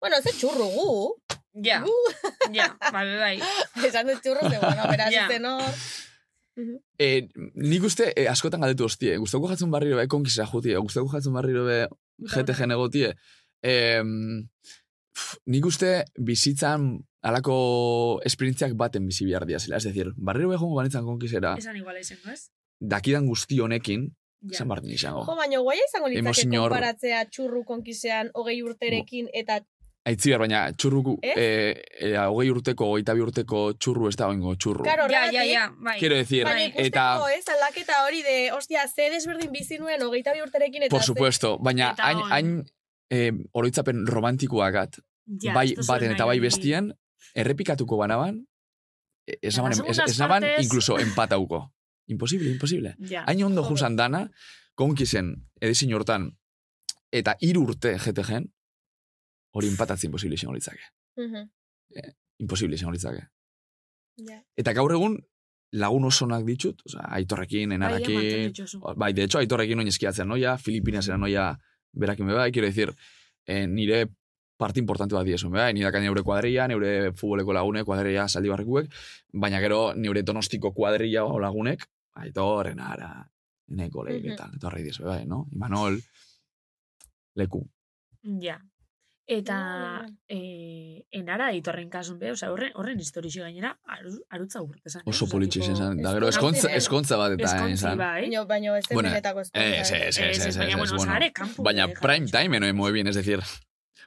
S2: Bueno, ez da txurru gu.
S7: Ja,
S2: Gu.
S7: ja, bai, bai, bai.
S8: Ah.
S2: Esan dut txurru, ze, bueno, beraz
S7: Ja.
S2: yeah. zen hor. Mhm.
S8: E, nik uste, e, askotan galdetu hostie, guztoko jatzen barriro be, konkisa jutie, guztoko jatzen barriro be, GTG negotie. Em, pf, nik uste bizitzan alako esperientziak baten bizi behar diazela. Ez decir, barriro behongo banitzan konkisera,
S7: Esan iguala izango, ez?
S8: dakidan guzti honekin,
S7: Ja.
S8: zan barri
S2: Jo,
S8: izango.
S2: baina guaia izango litzake
S8: Oh. Emozio hor.
S2: konparatzea txurru konkisean hogei urterekin eta
S8: Aitzi behar, baina txurruku,
S2: Ez?
S8: e, e, hogei urteko, hogeita bi urteko txurru ez da oingo txurru.
S2: Claro,
S7: Ja, ja,
S2: horregatik,
S7: ja, bai.
S8: Quiero decir,
S2: Baina eh, ikusteko,
S8: eta...
S2: ez, aldaketa hori de, ostia, ze desberdin bizi nuen, hogeita bi urterekin eta...
S8: Por supuesto, baina
S7: Eta
S8: hain,
S7: on.
S8: hain eh, oroitzapen romantikoagat
S7: Ja,
S8: bai
S7: ez duzu
S8: baten eta
S7: nahi
S8: bai
S7: hori.
S8: bestien, errepikatuko banaban, e- ez
S7: Eta
S8: naban, ez,
S7: segundas
S8: ez naban
S7: partes- Ah,
S8: inkluso empatauko. Imposible, imposible.
S7: Ja.
S8: Hain ondo juzan dana, konkizen, edizin hortan, eta hiru urte GTGen, hori empatatzen imposible izango litzake.
S2: Mhm,
S8: Imposible izango litzake.
S2: ja.
S8: Eta gaur egun, lagun osonak ditut, osea, aitorrekin,
S7: Bai, ematen
S8: enarakin,
S7: dituzu.
S8: Bai, de hecho, aitorrekin oin eskiatzen noia, Filipinasera noia berakin beba, quiero decir, eh, nire parte importante bat diezu, bai, beba, nire kaina eure kuadrilla, nire futboleko lagune, kuadrilla saldibarrikuek, baina gero nire donostiko kuadrilla o lagunek, aitor, enara, eneko lehi,
S2: Mhm.
S8: eta etorri diezu, beba, no? Imanol, leku.
S7: Ja. Eta
S2: Ah.
S7: eh, enara ditorren kasun be, osea, horren, horren historixi gainera, aru, arutza urte zan. eh?
S8: Oso politxe izan zen, da gero
S2: eskontzi
S8: eskontza,
S2: bai.
S8: eskontza bat eta eh,
S7: Eskontzi
S8: izan.
S7: bai.
S2: Baina, baina ez den
S8: Bueno,
S2: benetako
S8: Eh, Ez,
S2: ezkontza.
S8: ez, ez,
S7: Ez,
S8: ez,
S7: ez,
S8: ez,
S7: baina,
S8: ez,
S7: bueno,
S8: bueno.
S7: are kanpo,
S8: Baina
S7: eh,
S8: prime
S7: jarratxo.
S8: time enoen muy bien, es decir,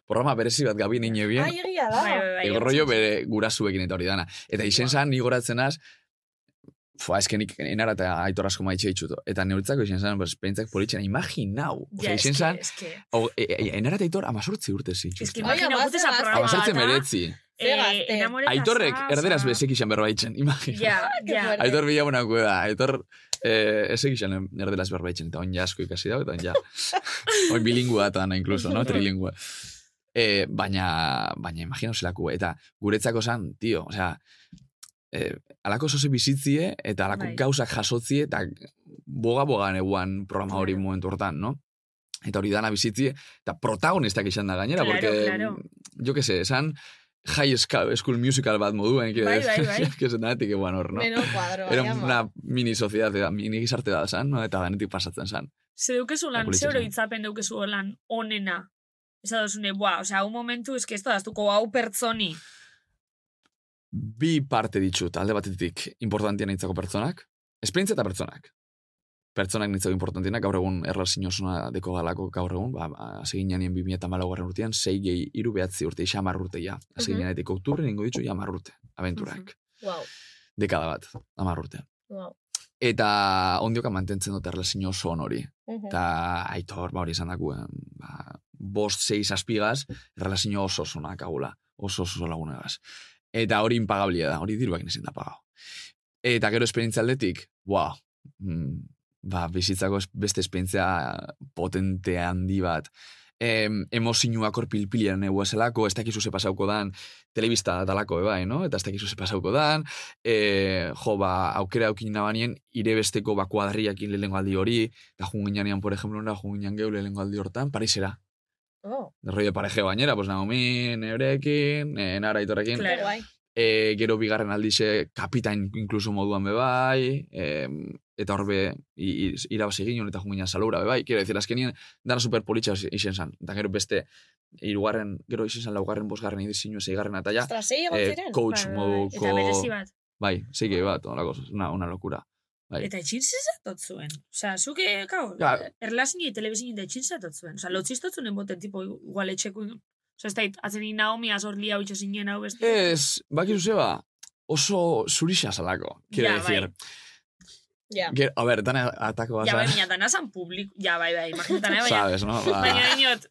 S8: programa berezi bat gabi niñe bien,
S2: Ai, egia da.
S7: Bai, bai, bai.
S8: Ego rollo bere gurasuekin eta hori dana. Eta izen
S7: Ua.
S8: zan, ni goratzen az, Fua, eskenik enara eta aitor asko maitxe itxuto. Eta neuretzako izen zan, pues, pentzak politxena, imaginau.
S7: Ja,
S8: Osa,
S7: eske,
S8: izen zan,
S7: eske. bai,
S8: o, e, e, enara eta aitor amazortzi urte
S7: Eske,
S8: zitxustu.
S2: Ai,
S7: imagina,
S2: amazte,
S7: gutez a
S2: amazte.
S7: programa
S8: Amazortzi
S7: bata,
S8: meretzi.
S7: eh,
S2: Ze gazte. Ah,
S7: enamoreta
S8: Aitorrek
S7: zaz,
S8: erderaz
S7: zaz.
S8: bezek izan berbaitzen, imagina.
S7: bai, Ja, ja.
S2: fuerte.
S8: Aitor bila buenak da, aitor eh, ezek izan erderaz berbaitzen, eta oin ja asko ikasi dago, eta oin ja. oin bilingua eta na, inkluso, no? Trilingua. Eh, baina, baina imagina zelako, eta guretzako zan, tio, osea, eh, alako zoze bizitzie, eta alako
S7: Bai.
S8: gauzak jasotzie, eta boga-bogan eguan programa hori
S7: Claro.
S8: momentu hortan, no? Eta hori dana bizitzie, eta protagonistak izan da gainera,
S7: Claro,
S8: porque,
S7: claro.
S8: jo que se, esan, High Sca- School Musical bat moduen, quiero
S7: Bai, bai,
S8: decir,
S7: bai.
S8: que zenatik eguan hor, no?
S2: Menos kuadro,
S8: Era
S2: bai, ama.
S8: una mini sociedad, era mini gizarte da zan, no? eta danetik pasatzen zan.
S7: Ze deukezu lan,
S8: Politxe
S7: ze
S8: zen.
S7: oro itzapen deukezu lan onena. Esa dozune, bua, osea, un momentu, eske ez daztuko hau pertsoni.
S8: bi parte ditut, alde batetik importantien nintzako pertsonak, esperientzia eta pertsonak. Pertsonak nintzako importantienak, gaur egun erlazin osuna deko galako gaur egun, ba, hasi ginen nien 2008 garren urtean, 6 gehi, iru behatzi urte, isa hamar urte ja. Hasi
S2: Mhm.
S8: ginen etiko okturren ingo ditu, ja hamar urte, abenturak.
S2: Wow,
S8: Dekada bat, hamar urte.
S2: wow.
S8: Eta ondioka mantentzen dut erlazin oso on hori.
S2: Mhm.
S8: Eta aitor, ba hori esan daku, em, ba, bost, seiz, aspigaz, erlazio oso zonak agula, oso oso lagunagaz. Eta hori impagablia da, hori diruak nesen da pagau. Eta gero esperientzia aldetik, wow, mm, ba, bizitzako es- beste esperientzia potente handi bat. Em, emozinuak hor pilpilian egu eselako, ez dakizu ze pasauko dan, telebista dalako ebai, no? Eta ez dakizu ze pasauko dan, e, jo, ba, aukera aukin nabanien, ire besteko ba, kuadriakin lehenko aldi hori, eta junginan por ejemplo, nora junginan geu lehenko aldi hortan, Parisera.
S2: Oh.
S8: Rollo pareje bainera, pues Naomi, Neurekin, e, Nara Aitorrekin.
S2: Claro. Guai.
S8: E, gero bigarren aldize kapitain inkluso moduan bebai, e, eta horbe irabaz egin eta junginan salura bebai. bai. Quiero decir, azkenien dana superpolitxa izen zan. Eta gero beste, irugarren, gero izen zan laugarren, bosgarren, idizinu, zeigarren, eta ja,
S2: Ostras, sei egon
S8: eh,
S2: ziren? Bai,
S8: coach
S2: bai, bai.
S8: moduko...
S7: Eta berezi bat.
S8: Bai, zeike bat, onako, una, una locura. Bai.
S7: Eta etxin zezatot zuen. Osea, zuke, kau, ja.
S8: Ja.
S7: erlazini eta telebizini eta etxin zezatot zuen. Osea, lotziztotzen enboten, tipo, igual etxeko... Osea, ez dait, atzeni Naomi azorli hau itxasinen hau beste.
S8: Ez, bakizu zeba, oso zurixa salako, quiero
S7: Ja,
S8: decir.
S7: bai. Ja.
S8: Ger- a ber, dana atako
S7: Ja,
S8: basa.
S7: bai, baina dana zan publik... Ja, bai, bai, imaginetan, eh, baina...
S8: Sabes, no? Ba.
S7: Baina dinot,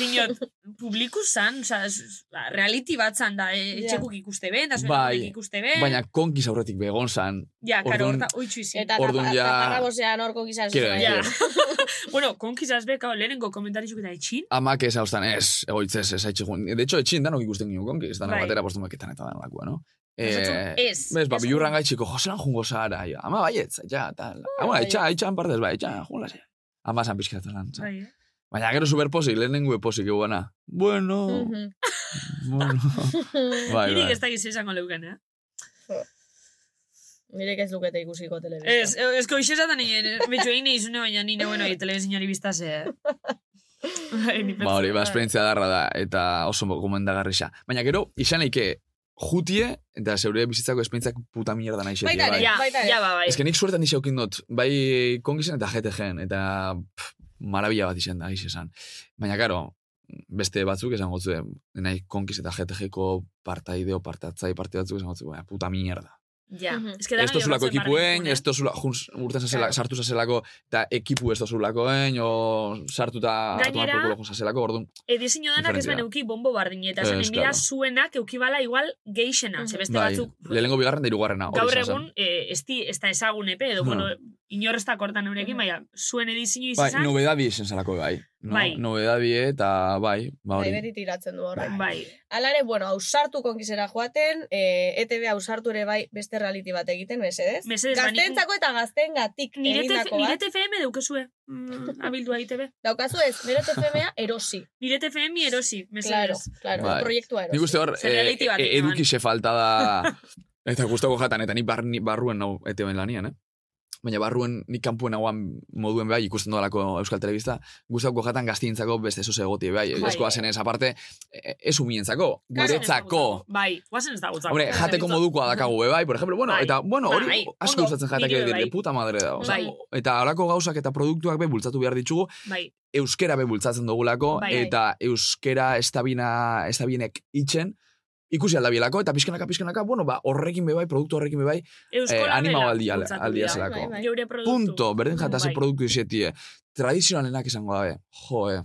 S7: dinot, publiku zan, osea, ez- ba, reality bat zan da, eh,
S2: Ja.
S7: etxekuk ikuste ben, da zuen
S8: bai,
S7: honek ikuste ben.
S8: baina konkiz aurretik begon zan.
S7: Ja, karo,
S8: Orduan,
S7: horta, oitxu izin.
S2: Eta
S8: Orduan
S2: tapa-
S8: ja-
S2: taparrabosean orko gizaz.
S8: Quiero
S2: Ja.
S8: decir,
S7: bueno, konkizaz bekao, lehenengo komentarizuk eta etxin,
S8: amak ez haustan, ez, egoitzez, ez haitxegun. De hecho, etxin danok ikusten ginen konkiz, danok
S7: Bai.
S8: batera postumeketan eta danolakoa, no?
S7: Nosotros, ez,
S8: Bez, ba,
S7: ez.
S8: bilurran gaitxiko, joselan jungo zara, ia. ama baietz, ja, tal. Ama,
S7: baietz.
S8: etxa, etxan partez, bai, etxa, jungo zara. Ama zan pizkatan lan. zan.
S7: Bai, eh?
S8: Baina gero superposik, lehenengo eposik eguana. Bueno, bueno. Bai,
S7: Mhm. Irik
S8: bai.
S7: ez dakiz esango leuken, eh?
S2: Mirek ez lukete ikusiko telebizta.
S7: Ez, ez koixe esaten nien, betxo egin nahi zune, baina nire, bueno, bai, telebizinari biztaz, eh? Bai,
S8: Ba hori, ba, esperientzia darra da, eta oso gomendagarri xa. Baina gero, izan leike, jutie, eta zeure bizitzako esperientziak puta mierda nahi xetie,
S7: Baita ere,
S8: bai.
S7: ja, ja, ba, bai.
S8: Ez que nik suertan nixeu dut, bai kongizen eta GTGen, eta pff, marabila bat izan da, giz esan. Baina, karo, beste batzuk esango zuen, nahi konkiz eta GTGko partaideo, partatzai, parte batzuk esango zuen, baina puta mierda.
S7: Ja, ez que dana
S8: Esto zulako
S7: jorratzen
S8: ekipuein,
S7: barren
S8: ¿eh? esto zula, junz, urten zazela, sartu zazelako, eta ekipu esto zulakoen, o sartuta atuan
S7: Gainera-
S8: porkulo zazelako, orduan,
S7: Edizinio Eh, danak ez
S8: Diferentzia.
S7: ben euki bombo bardin, eta
S8: Ez,
S7: esan enbira
S8: claro.
S7: zuenak eukibala igual geixena, ze beste
S8: bai,
S7: batzuk
S8: lehenengo bigarren da hirugarrena. hori
S7: gaur
S8: izan zen.
S7: egun eh, ez, di, ez da ezagun epe, edo,
S8: No.
S7: bueno, inor ez da kortan eurekin, baina zuen edizio
S8: Bai,
S7: izan,
S8: nobedadi izen zelako bai. No?
S7: Bai.
S8: Nobedadi eta bai,
S2: Bai,
S8: ba hori.
S2: beti tiratzen du horrek.
S7: Bai.
S2: Alare, bueno, ausartu konkizera joaten, eh, ETV ausartu ere bai beste reality bat egiten, mesedez?
S7: Mesedez, ba, nik-
S2: Gaztentzako eta gaztengatik
S7: nire, tef,
S2: egindako
S7: nire
S2: bat.
S7: TFM daukezue, mm, abildua ITB.
S2: Daukazu ez, nire TFMea erosi.
S7: Nire TFM erosi,
S2: Claro,
S7: mesedez.
S2: claro,
S8: Bai.
S2: proiektua erosi.
S8: Nik uste hor,
S7: Zer
S8: eh,
S7: reality bat
S8: e,
S7: egin
S8: eduki ze falta da, eta guztoko jatan, eta ni, bar, ni barruen nau ete ben lanian, eh? Baina barruen, nik kanpuen hauan moduen bai ikusten dodalako Euskal Telebista, guztoko jatan gaztientzako beste zoze goti, bai,
S7: Bai.
S8: eskoa zenez aparte, eh, ez umientzako, guretzako.
S7: Bai, guazen ez da gutzako.
S8: Hombre, jateko modukoa dakagu, be, bai, por ejemplo, bueno,
S7: Bai.
S8: eta, bueno, hori
S7: Bai.
S8: asko
S7: Ondo,
S8: gustatzen jatak
S7: niri be
S8: dire,
S7: bai.
S8: puta madre da, osea,
S7: Bai.
S8: eta halako gauzak eta produktuak be bultzatu behar ditugu,
S7: Bai,
S8: euskera be bultzatzen dugulako,
S7: Bai.
S8: eta euskera estabina, estabienek itxen, ikusi aldabielako, eta pixkanaka, pixkanaka, bueno, ba, horrekin be bai, produktu horrekin be bai, eh,
S7: euskola
S8: anima
S7: dela
S8: aldia,
S7: bultzatu
S8: aldia
S7: dira.
S8: zelako.
S7: Geure produktu.
S8: Punto, berdin jatase
S7: Bai.
S8: produktu izetie. Tradizionalenak esango dabe, jo, eh,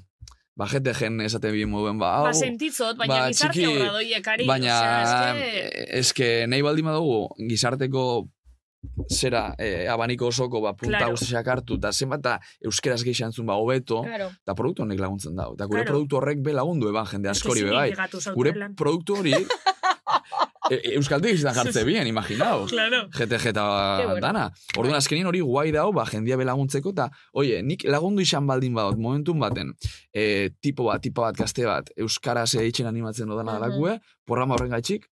S8: ba, jete gen esaten bien moduen, ba,
S7: Ba,
S8: hau,
S7: sentitzot, baina
S8: ba,
S7: gizarte
S8: txiki,
S7: horra doiek, ari.
S8: Baina,
S7: osea, eske-
S8: eh, eske, nahi baldin badugu, gizarteko zera, eh, abaniko osoko, ba, punta
S7: Claro.
S8: claro. guztiak hartu, eta zenbat da euskeraz gehi xantzun, ba, hobeto,
S7: Claro.
S8: eta produktu honek laguntzen dau. Eta gure
S7: Claro.
S8: produktu horrek be lagundu eban jende
S7: Eske
S8: askori be
S7: zilegi
S8: bai.
S7: gatu zaute
S8: Gure
S7: lan.
S8: produktu hori e, euskaltik izan jartze bien, imaginau.
S7: Claro.
S8: GTG eta
S7: Qué bueno. Bai.
S8: dana. Orduan azkenien hori guai dao, ba, jendia belaguntzeko, eta, oie, nik lagundu izan baldin badot, momentun baten, e, tipo bat, tipa bat, gazte bat, euskaraz eitzen animatzen dodana dalakue, programa horren gaitxik,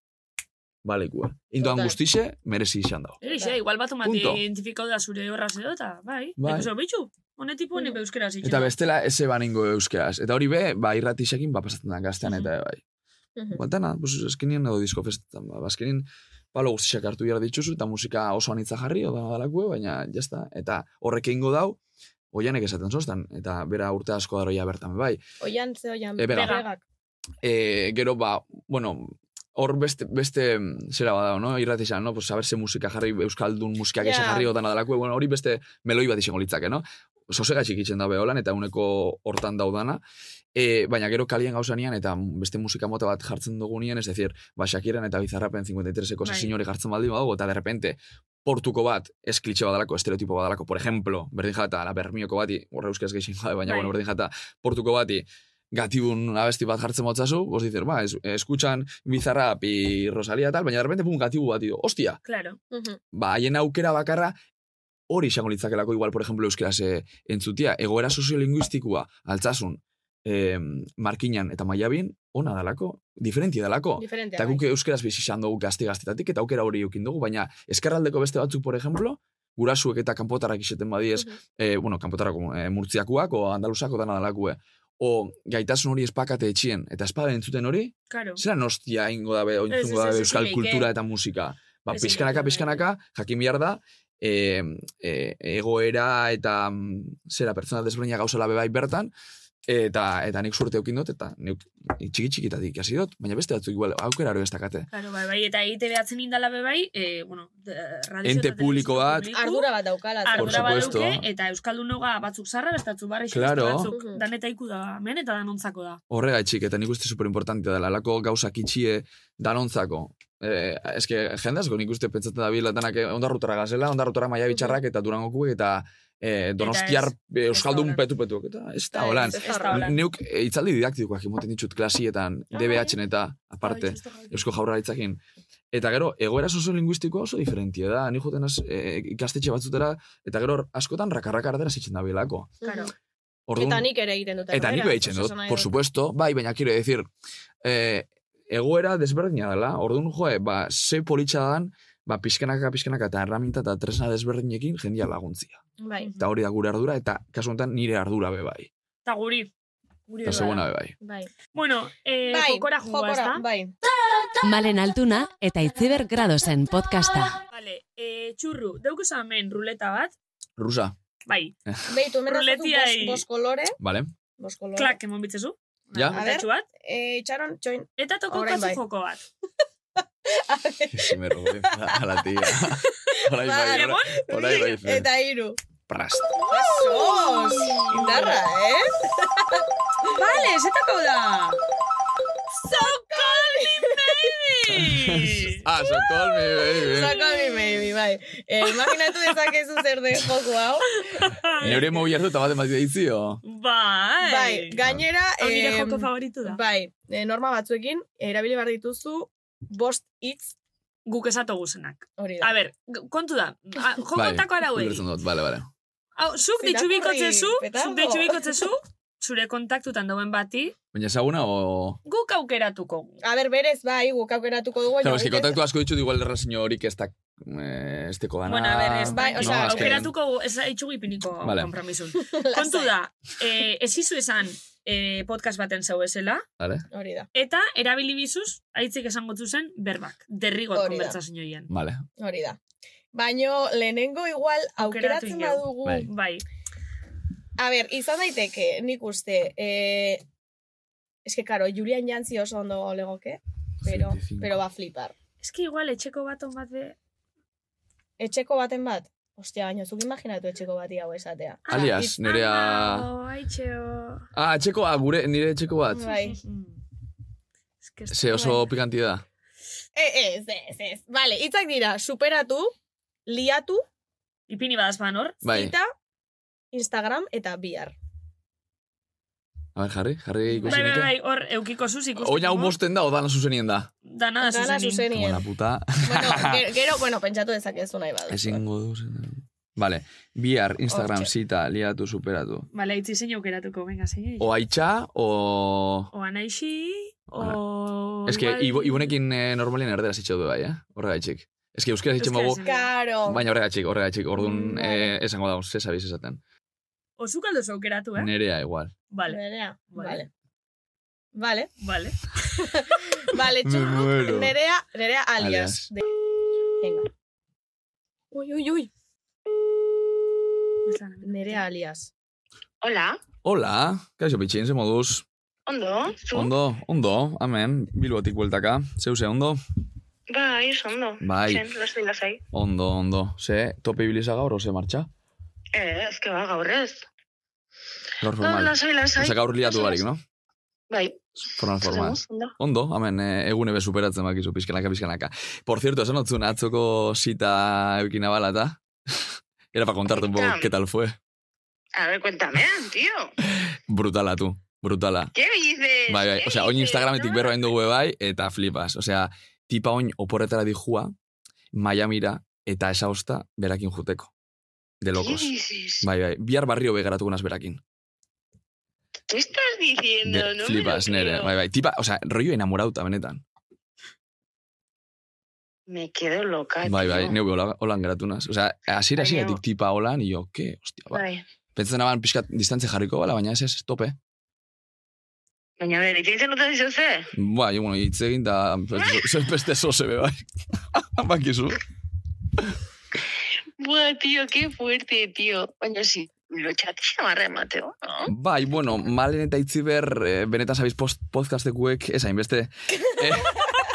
S8: balekua. Indoan
S7: Total.
S8: guztixe, merezi izan dao.
S7: Eri, xe, igual bat umati
S8: Punto.
S7: identifikau da zure horra zedo, eta bai.
S8: Bai.
S7: Bai. Ikuso, bitxu, Hone tipo honen euskera zitzen.
S8: Eta bestela ez eba ningo euskeraz. Eta hori be, ba, irratisekin, ba, pasatzen da gaztean, eta bai.
S7: Mhm.
S8: Guantana, pues, azkenien edo disko festetan, ba, azkenien palo guztiak hartu behar dituzu, eta musika oso anitza jarri, oda dalakue, baina jazta. Eta horrek ingo dau, oianek esaten zoztan, eta bera urte asko daroia bertan, bai.
S2: Oian, ze oian,
S8: E, bega.
S2: begak.
S8: E, gero, ba, bueno, hor beste, beste mm, zera badao, no? Irratizan, no? Pues, saberse musika jarri, euskaldun musikak yeah.
S2: Ja.
S8: jarri otan adalako, e, bueno, hori beste meloi bat izango litzake, no? Sosega txikitzen da beholan, eta uneko hortan daudana. E, baina gero kalien gauzanean, eta beste musika mota bat jartzen dugunean, es decir, ba, Shakiran eta Bizarrapen 53eko
S7: Bai.
S8: sesin hori jartzen baldin badugu, eta de repente, portuko bat, ez klitxe badalako, estereotipo badalako, por ejemplo, berdin jata, la bermioko bati, horre euskaz geixin gabe, baina,
S7: Bai.
S8: bueno, berdin jata, portuko bati, gatibun abesti bat jartzen motzazu, vos dices, ba, es, eskuchan bizarrap y Rosalía tal, baina de repente pum gatibu bat dido, hostia,
S7: Claro.
S8: ba, haien aukera bakarra, hori izango litzakelako igual, por ejemplo, euskeraz eh, entzutia, egoera soziolinguistikua, altzasun, eh, markinan eta maiabin, ona dalako, diferentia dalako.
S2: Diferentea,
S8: Eta guk euskeraz bizi izan dugu gazte gaztetatik, eta aukera hori eukin dugu, baina eskerraldeko beste batzuk, por ejemplo, gurasuek eta kanpotarrak iseten badiez, eh, bueno, kanpotarrako eh, murtziakuak, o andaluzako dana dalakue, o gaitasun hori espakate etxien, eta espada entzuten hori,
S7: Claro.
S8: zelan hostia ingo dabe, ointzungo
S7: ez, ez,
S8: dabe
S7: ez,
S8: euskal
S7: ez,
S8: kultura
S7: ez.
S8: eta musika. Ba,
S7: Ez, ez,
S8: pizkanaka,
S7: ez, ez.
S8: pizkanaka, jakin behar da, eh, eh, egoera eta mm, zera pertsona desbreina gauzela bebai bai bertan, eta eta nik surte eukin dut, eta nik txiki txikitatik ikasi dut, baina beste batzuk igual aukera hori ez dakate.
S7: Claro, bai, bai, eta egite behatzen indala be bai, e, bueno, de- radio
S8: Ente
S7: eta
S8: publiko
S7: telebista
S8: bat.
S7: publiko,
S2: Ardura bat daukala.
S7: Ardura
S8: Por
S7: bat
S8: supuesto.
S7: dauke, eta Euskaldun noga batzuk zarra, bestatzu barri,
S8: Claro.
S7: batzuk, daneta iku da, men, eta danontzako da.
S8: Horregaitxik, eta nik uste superimportantea dela, lako gauzak itxie danontzako. Eh, eske, jendazko nik uste pentsatzen da bila danak eh, ondarrutara gazela, ondarrutara maia bitxarrak eta durangokuk eta eh, donostiar eh, euskaldun
S7: holan.
S8: petu-petuak. Eta ez da
S7: Ez,
S8: holan.
S7: ez da holan.
S8: Neuk eh, itzaldi didaktikoak emoten ditut klasietan, DBH-en eta
S2: Bai,
S8: aparte, eusko jaurlaritzakin. Eta gero, egoera soziolinguistikoa oso diferentia da. Ni joten az, eh, ikastetxe batzutera, eta gero hor, askotan rakarrakar dara zitzen da bilako.
S2: Claro.
S8: Orduan-
S2: Eta nik ere egiten dut.
S8: Eta nik behitzen dut, por supuesto, bai, baina quiero decir, eh, egoera desberdina dela, orduan joe, ba, ze politxa dan, ba, pizkenaka, pizkenaka eta herramienta eta tresna desberdinekin jendia laguntzia.
S2: Bai.
S8: Eta hori da gure ardura, eta kasu honetan nire ardura be bai.
S7: Eta guri. Guri
S8: Eta
S7: bada.
S8: segona be bai.
S2: Bai.
S7: Bueno, eh,
S2: Bai,
S7: jokora jungoa,
S2: jokora,
S7: ezta?
S2: Bai.
S13: Malen Altuna eta Itziber Gradosen podcasta.
S2: bai.
S7: Vale, eh, txurru, deuk esan hemen ruleta bat,
S8: Rusa,
S7: bai,
S2: Beitu, hemen dazatu bos,
S7: Ruletiai.
S2: bos kolore.
S8: bale?
S2: Bos kolore.
S7: klak emon bitzezu.
S2: Bai. A
S8: Ja?
S2: ver.
S7: Abertxu bat,
S2: Eh, itxaron, txoin.
S7: eta toko
S2: Orain bai.
S7: joko bat.
S8: Si me robé a la tía. Horai bai,
S7: Lemon?
S8: horai- horai bai. fe.
S2: Eta iru.
S8: Prast.
S2: Asos! Indarra, eh? vale, zetako da! So call me maybe!
S8: Ah, so call me,
S2: so
S8: baby.
S2: call me maybe, bai. Eh, imaginatu dezakezu zer den joku hau.
S8: Neure mogu jartu eta baten bat dizio.
S7: Bai.
S2: Bai, gainera...
S7: Hau nire
S2: em,
S7: joko favoritu da.
S2: Bai, eh, norma batzuekin, eh, erabili behar dituzu, bost hitz
S7: Guk esatogu zenak.
S2: hori da.
S7: A ber, g- kontu da, a- joko
S8: Bai,
S7: ontako arauei.
S8: ulertzen dut, Bale, bale.
S7: Hau, zuk
S2: Zer
S7: ditxu bikotzezu,
S2: irakurri, petardo.
S7: zuk ditxu bikotzezu, zure kontaktutan dauen bati,
S8: Baina ezaguna o...
S7: guk aukeratuko gu.
S2: A ber, berez, bai, guk aukeratuko dugu. baina
S8: Claro, eski
S2: guk ez-
S8: kontaktu asko ditut igual erraziño horik ez da eh, esteko dana.
S7: Bueno, a ber, ez da,
S2: Bai, osea,
S8: azken-
S7: aukeratuko gu, ez da itxugi piniko
S8: Vale.
S7: kompromisun.
S2: Lasai.
S7: Kontu da, eh, ez izu esan eh, podcast baten zau esela,
S8: Vale,
S2: Hori da,
S7: eta erabili bizuz, aitzik esango zen berbak, derrigor
S2: Hori da.
S7: konbertsazioien.
S8: vale.
S2: hori da. Baino, lehenengo igual
S7: Aukeratu
S2: aukeratzen
S7: ingo.
S2: badugu.
S8: Bai.
S7: Bai,
S2: A ber, izan daiteke, nik uste, eh, eske, karo, Julian Jantzi oso ondo legoke, pero,
S8: 25.
S2: pero va a flipar.
S7: eski igual etxeko bat on bat be...
S2: Etxeko baten bat? Hostia, baino, zuk imaginatu etxeko bati hau esatea.
S7: Ah,
S8: Alias, nerea...
S7: Amao, aitxeo...
S8: Ah, txeko, ah, gure, nire txeko bat.
S2: Bai.
S7: Es que
S8: Ze
S7: esto-
S8: oso pikanti da.
S2: Eh, ez, ez, ez. Vale, hitzak dira, superatu, liatu,
S7: Ipini badazpan hor,
S8: Bai,
S2: zita, Instagram eta bihar.
S8: a ber, jarri, jarri
S7: Bai,
S8: ikusi
S7: bai,
S8: nike.
S7: bai, hor, eukiko zuz ikusten.
S8: Oina hau mosten da, odana zuzenien da.
S7: Dana
S2: Gana
S7: zuzenin.
S8: Como
S2: zuzenien.
S8: la puta,
S2: bueno, gero, gero, bueno, pentsatu dezakezu nahi badu.
S8: ezingo du. Vale, bihar, Instagram,
S2: Hortxe.
S8: zita, liatu, superatu.
S7: Bale, itzi zein aukeratuko, venga, zein.
S8: O aitxa, o...
S7: O anaixi, o...
S8: Ez que,
S7: igual-
S8: Ibo- ibonekin eh, normalien erdera zitxo du bai, eh? Horregaitxik. Ez que euskera zitxo
S7: Euskaraz
S8: magu,
S7: esan.
S2: Karo.
S8: baina horregaitxik, horregaitxik, orduan
S7: Mm,
S8: eh, esango dauz, ze sabiz esaten.
S7: Osukaldo zaukeratu, eh?
S8: Nerea igual.
S7: Vale.
S2: Nerea,
S7: vale.
S2: Vale.
S7: Vale.
S2: vale,
S8: Me
S2: txurruk,
S8: muero.
S2: nerea, nerea alias.
S8: Alias.
S2: De... Venga. Ui, ui, ui. Nerea alias.
S14: Hola,
S8: Hola, kaixo pitxin, ze moduz?
S14: ondo, zu?
S8: Ondo, ondo, amen, bilbotik bueltaka. Zeu ze, ondo?
S14: Bai, oso ondo.
S8: Bai.
S14: Zen, lasai, lasai.
S8: Ondo, ondo. Ze, tope ibiliza gaur, oze martxa?
S14: Eh, ezke ba, gaur ez.
S8: Gaur
S14: Gaur
S8: formal.
S14: lasai, lasai.
S8: Oza, gaur liatu
S14: Oso
S8: barik,
S14: oso.
S8: no?
S14: Bai.
S8: Formal, formal.
S14: Zeguz, ondo.
S8: Ondo, amen, e, egune be superatzen bakizu, pizkanaka, pizkanaka. Por cierto, esan otzun atzoko zita eukina balata. Era para contarte un poco qué tal fue.
S14: A ver, cuéntame, tío.
S8: Brutala, tú. Brutala.
S14: ¿Qué dices?
S8: Bai, bai,
S14: ¿Qué
S8: osea, oin
S14: dices?
S8: Instagrametik
S14: No.
S8: berro hain dugu bai, eta flipas. Osea, tipa oin oporretara dihua, Miamira, eta esausta berakin juteko. De locos.
S14: ¿Qué dices?
S8: Bai, bai, bihar barrio begaratuko naz berakin.
S14: ¿Qué estás diciendo?
S8: De-
S14: no me
S8: flipas,
S14: lo
S8: nere.
S14: creo.
S8: Bai, bai, tipa, osea, rollo enamorauta, benetan.
S14: Me quedo loca,
S8: Bai, bai,
S14: tío.
S8: neu hola, holan geratu naz. Osea, asira,
S14: Baina-
S8: asiratik tipa holan, i jo, ke, hostia, ba.
S14: Bai.
S8: Pentsatzen aban pixkat distantzia jarriko bala, baina ez ez, tope.
S14: Baina, bere, itzen dut dizu ze?
S8: Bai, bueno, hitz egin da, zer beste zoze, be, bai. Bakizu.
S14: Buah, tío, qué fuerte, tío. Baina, si, lo txatia marre, Mateo. ¿no?
S8: Bai, bueno, malen eta itziber, eh, benetan sabiz post, podcastekuek, ez hainbeste, eh,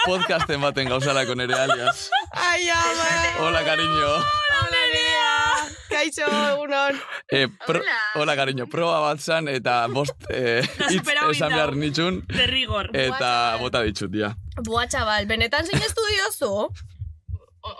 S8: podcasten baten gauzalako nere alias.
S2: Ai, ama!
S8: Hola, cariño.
S2: Hola, nerea! Kaixo, egunon.
S8: Eh, pro, hola. cariño. Proba bat zan, eta bost eh, hitz
S2: superau
S8: esan behar
S2: indau.
S8: nitxun.
S2: Derrigor.
S8: Eh. Eta bota ditxut, ja.
S2: Buah, txabal, benetan zein estu diozu?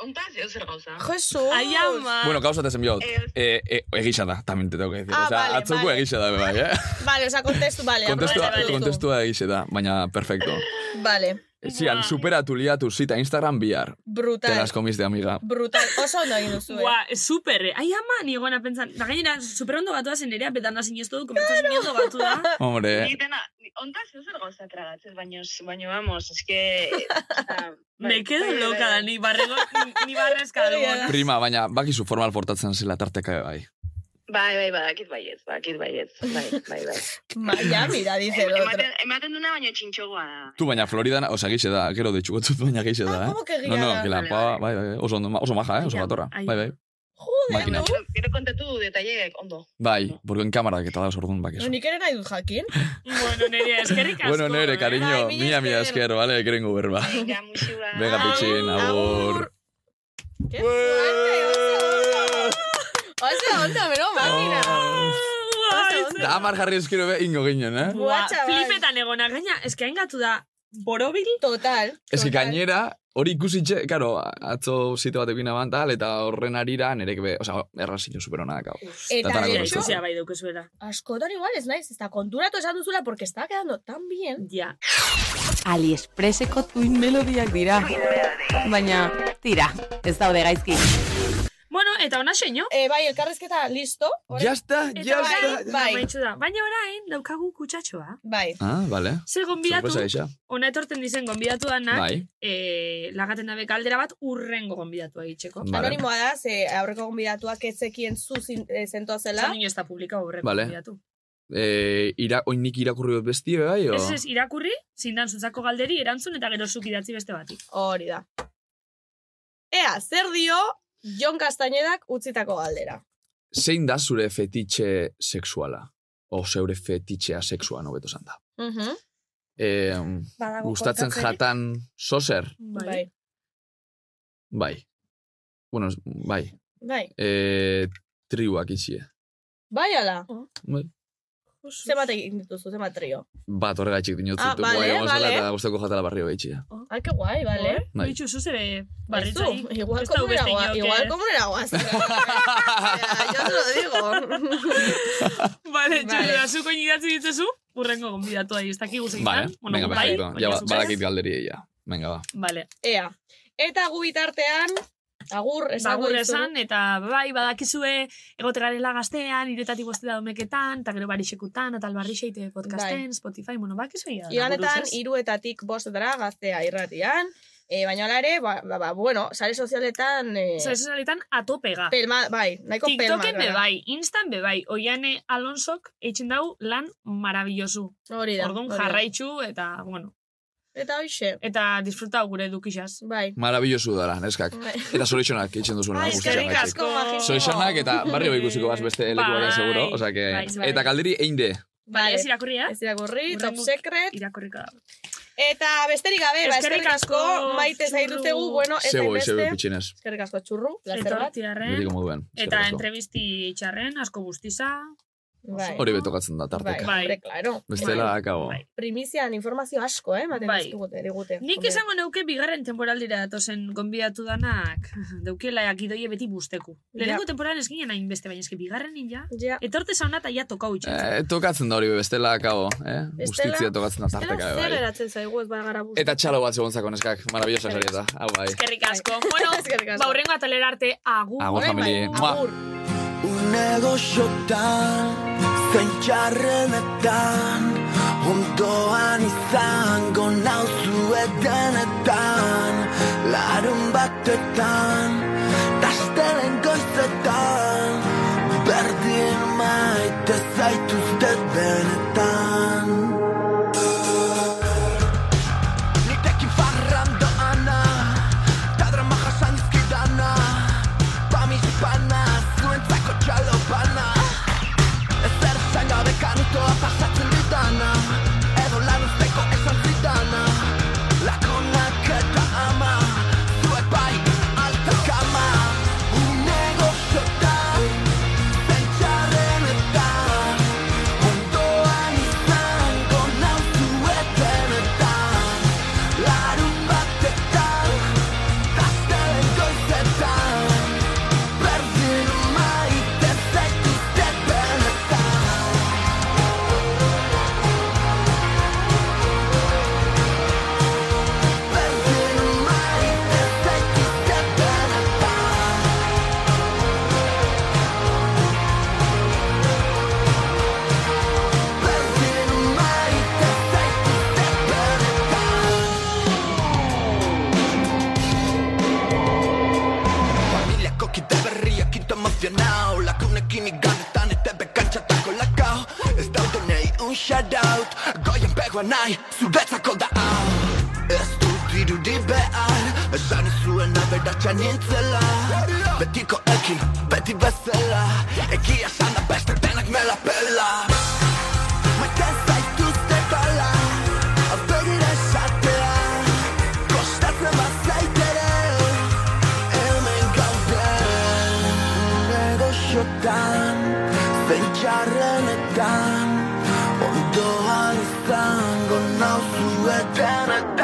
S14: Ontaz, eo zer gauza.
S2: Jesu. Ai, ama.
S8: Bueno, gauza tezen biot.
S2: Eh,
S8: Eh, eh, egisa da, tamin te tengo que decir.
S2: Ah,
S8: o sea,
S2: vale,
S8: atzoko
S2: vale.
S8: egisa da, be bai, eh?
S2: Vale, oza, kontestu, vale.
S8: Kontestua,
S2: aprobatu duzu.
S8: kontestua egisa da, baina perfecto.
S2: Vale,
S8: Zian, superatu liatu zita Instagram bihar. Te
S7: Brutal.
S8: las comiste, amiga.
S7: Brutal, oso ondo egin
S2: duzu, eh?
S7: Ua, super, eh? Ai, ama, ni goena pentsan. Da gainera, super ondo gatu da zen nerea, betan da sinestu du, komentzen claro. ondo gatu da.
S8: Hombre.
S14: Ni dena, ni- ontaz ez zer gauza tragatzen, baina, baina, vamos, es que... bai,
S7: Me quedo loca da, ni barrego, ni- ni barrezka dugu.
S8: Prima, baina bakizu formal portatzen zela tarteka ere bai.
S14: Bai, bai, bai, akit baiet, bai, akit baiet, bai, bai, bai.
S2: Miami da, dice el otro.
S14: Ematen, ematen duna baino txintxogoa da.
S8: Tu baina Floridan, osea, gixe da, gero deitxu gotzut, baina gixe da, eh?
S14: como Ah, que
S8: no, no,
S14: gila da?
S8: que la
S14: Vale,
S8: pava, bai, bai, oso, ondo, oso maja, eh? oso batorra.
S14: ai.
S8: Bai, bai. Makina.
S14: Gero, gero kontatu detaileek, ondo.
S8: Bai, porque en cámara que dauz ordun bakizu.
S2: Nik ere nahi dut jakin.
S14: Bueno, nerea, eskerrik
S8: Bueno,
S7: ¿eh?
S8: nere, cariño,
S2: Bai,
S8: mía, mía, esker, vale, ekerengo berba.
S14: Venga,
S8: Venga, pitxin, agur.
S2: Oso, ondo, bero,
S8: Oh.
S2: makina.
S8: Da, amar jarri eskero be, ingo ginen, eh?
S7: Ua, flipetan egona, gaina, eske hain gatu da, borobil.
S2: Total.
S8: Ez que gainera, hori ikusitxe, karo, atzo zite batekin eban tal, eta horren arira, nerek be, osea, errazio superona dakau.
S2: Eta
S8: Datanako
S2: de hecho,
S8: gustuko.
S7: bai daukazuela.
S2: Askotan igual ez naiz, ez da konturatu esan duzula, porque está quedando tan bien.
S7: Ja.
S10: Aliexpreseko tuin melodiak dira. Baina, tira, ez daude gaizki.
S7: Bueno, eta ona seño.
S2: Eh, bai, elkarrezketa listo.
S8: Ya está,
S7: Eta
S8: ya
S7: orain,
S8: está.
S7: Bai. amaitxu da. Baina orain, daukagu kutsatxoa.
S2: Bai.
S8: Ah, vale.
S7: Ze gonbidatu,
S8: Sorpresa gisa.
S7: ona etorten dizen gonbidatu danak,
S8: Bai.
S7: eh, lagaten dabe kaldera bat urrengo gonbidatu egiteko.
S8: Vale. Anonimoa
S2: da, ze eh, aurreko gonbidatuak ez zekien zuzin eh, zentozela.
S7: Zan ez da publika aurreko
S8: Vale.
S7: gonbidatu.
S8: Eh, ira, oinik irakurri dut besti, be, bai, o?
S7: Ez ez, irakurri, zindan zutzako galderi, erantzun eta gero zuk idatzi beste bati.
S2: Hori da. Ea, zer dio Jon Kastañedak utzitako galdera?
S8: Zein da zure fetitxe sexuala? O zeure fetitxea sexuan, hobeto esan da.
S7: Mhm,
S8: Eh,
S2: Badago
S8: gustatzen
S2: kontatzerik?
S8: jatan sozer?
S2: Bai.
S8: Bai. Bueno, ez- bai.
S2: Bai.
S8: Eh, triuak itxie.
S2: Bai, ala.
S7: Oh,
S8: Bai.
S2: Zemat egin dituzu, zemat trio.
S8: Bat horregatik dinotzut.
S2: Ah, vale,
S8: guai, vale.
S2: vale.
S8: Eta guztako jatala barrio behitxia.
S7: Oh,
S2: Ah, que guai, bale.
S8: Bai.
S7: Bitxu, zuze be,
S2: Barritu,
S7: barritzaik.
S2: igual
S7: Ez da
S2: komunera
S7: beste
S2: guaz.
S7: inork,
S2: Igual
S7: eh?
S2: komunera guaz. Yo te lo digo.
S7: Vale,
S2: Vale.
S7: txurra, zuko inidatzi ditzezu, urrengo gonbidatu da, ez dakigu zein
S8: Vale,
S7: dan, bueno,
S8: venga,
S7: bai,
S8: perfecto.
S7: baina
S8: Ja, ba-
S7: zuk ez.
S8: badakit galderia, ja. Venga, ba.
S7: Vale.
S2: Ea. Eta gu bitartean, agur
S7: Ba,
S2: esango
S7: agur
S2: dizugu.
S7: esan, eta bai, badakizue, egote garela gaztean, iretatik bostela domeketan, eta gero barixekutan, eta albarrixeite podcasten,
S2: Bai.
S7: Spotify, bueno, bakizue.
S2: Iganetan, iruetatik bostetara gaztea irratian. E, baina hala ere, ba, ba, ba, bueno, sare sozialetan... E,
S7: Sare sozialetan atopega.
S2: Pelma, bai, nahiko pelma.
S7: TikToken be bai, Instan be bai, oiane Alonsok eitzen dau lan marabillosu.
S2: Hori da,
S7: Orduan
S2: hori da.
S7: jarraitzu eta, bueno.
S2: Eta hoxe.
S7: Eta disfrutau gure dukixaz.
S2: Bai.
S8: Marabillosu dara, neskak.
S7: Bai.
S8: Eta zorionak itxen duzuen.
S7: Ai, Bai, eskerrik asko, magiko.
S8: Zorionak eta barrio ikusiko baz beste leku batean seguro. Osea que...
S2: bai, bai.
S8: Eta kalderi egin de.
S7: Vale, ez irakurri, eh?
S2: Ez irakurri, top secret.
S7: Irakurrika.
S2: Eta besterik gabe, ba,
S7: Eskerrik
S2: eskerrik asko,
S7: asko,
S2: maite
S7: churru.
S2: zaituztegu, bueno, ez
S8: Segoi,
S2: hainbeste. Bai.
S8: segoi pitxinez.
S2: Eskerrik asko txurru, placer bat.
S8: Betiko moduen. eskerrik
S7: Eta
S8: asko.
S7: entrevisti txarren, asko guztiza.
S2: Bai.
S8: Hori betokatzen da, tarteka.
S2: Bai, hombre, claro.
S8: Bestela,
S2: Bai.
S8: akago.
S2: Primizian informazio asko, eh? Maten
S7: Bai.
S2: dizkigute, digute.
S7: Nik
S2: Hombre.
S7: esango neuke bigarren temporaldira datozen gonbidatu danak daukiela gidoie beti busteku. Lehenengo temporadan ez ginen hain beste, baina eski bigarren ja. Etorte sauna eta ja tokau itxatzen.
S8: Eh, tokatzen da hori be, bestela akago, eh?
S7: Bestela-
S8: Justitzia tokatzen da tarteka,
S2: Zer
S8: bai.
S2: geratzen zaigu ez bagara buz.
S8: Eta txalo bat segon zako neskak, maravillosa sari eta, hau bai.
S7: Eskerrik asko. Bueno, baurrengo atalera arte agur.
S8: Agur,
S2: Bai,
S8: famili. Mua.
S11: Une goxotan, zein txarrenetan, ondoan izango nauzu edenetan, larun batetan, tastelen goizetan, berdin maite zaituztet benetan. Nitekin farrandoana, ta drama jasan dizkidana, Pamić pana, zuentzako txalo bana Ezer esan gabe kanutoa pasatzen ditana Edo lan usteko esan zidana Lakonak eta ama Zuek bai, alta kama Une goxotan Pentsaren eta Ondoan izango nauzu etenetan Larun batetan Gaztelen goizetan Berdin maite zaituztet benetan Berdin maite zaituztet benetan Berdin maite zaituztet Familiako kide berriak into emozionau Lakunekin igandetan etebe kantxatako lakau Ez daude nahi un shoutout Goian begoa nahi, zuretzako da hau Ez du dirudi behar Esan ez zuen aberatxa nintzela Betiko ekin, beti bezala Egia esan da beste denak me la pela Maite zaituztet ala Abegira esatea Kostatzen bazait ere hemen gaude Negoxotan, zein txarrenetan Ondoan izango nauzu etenetan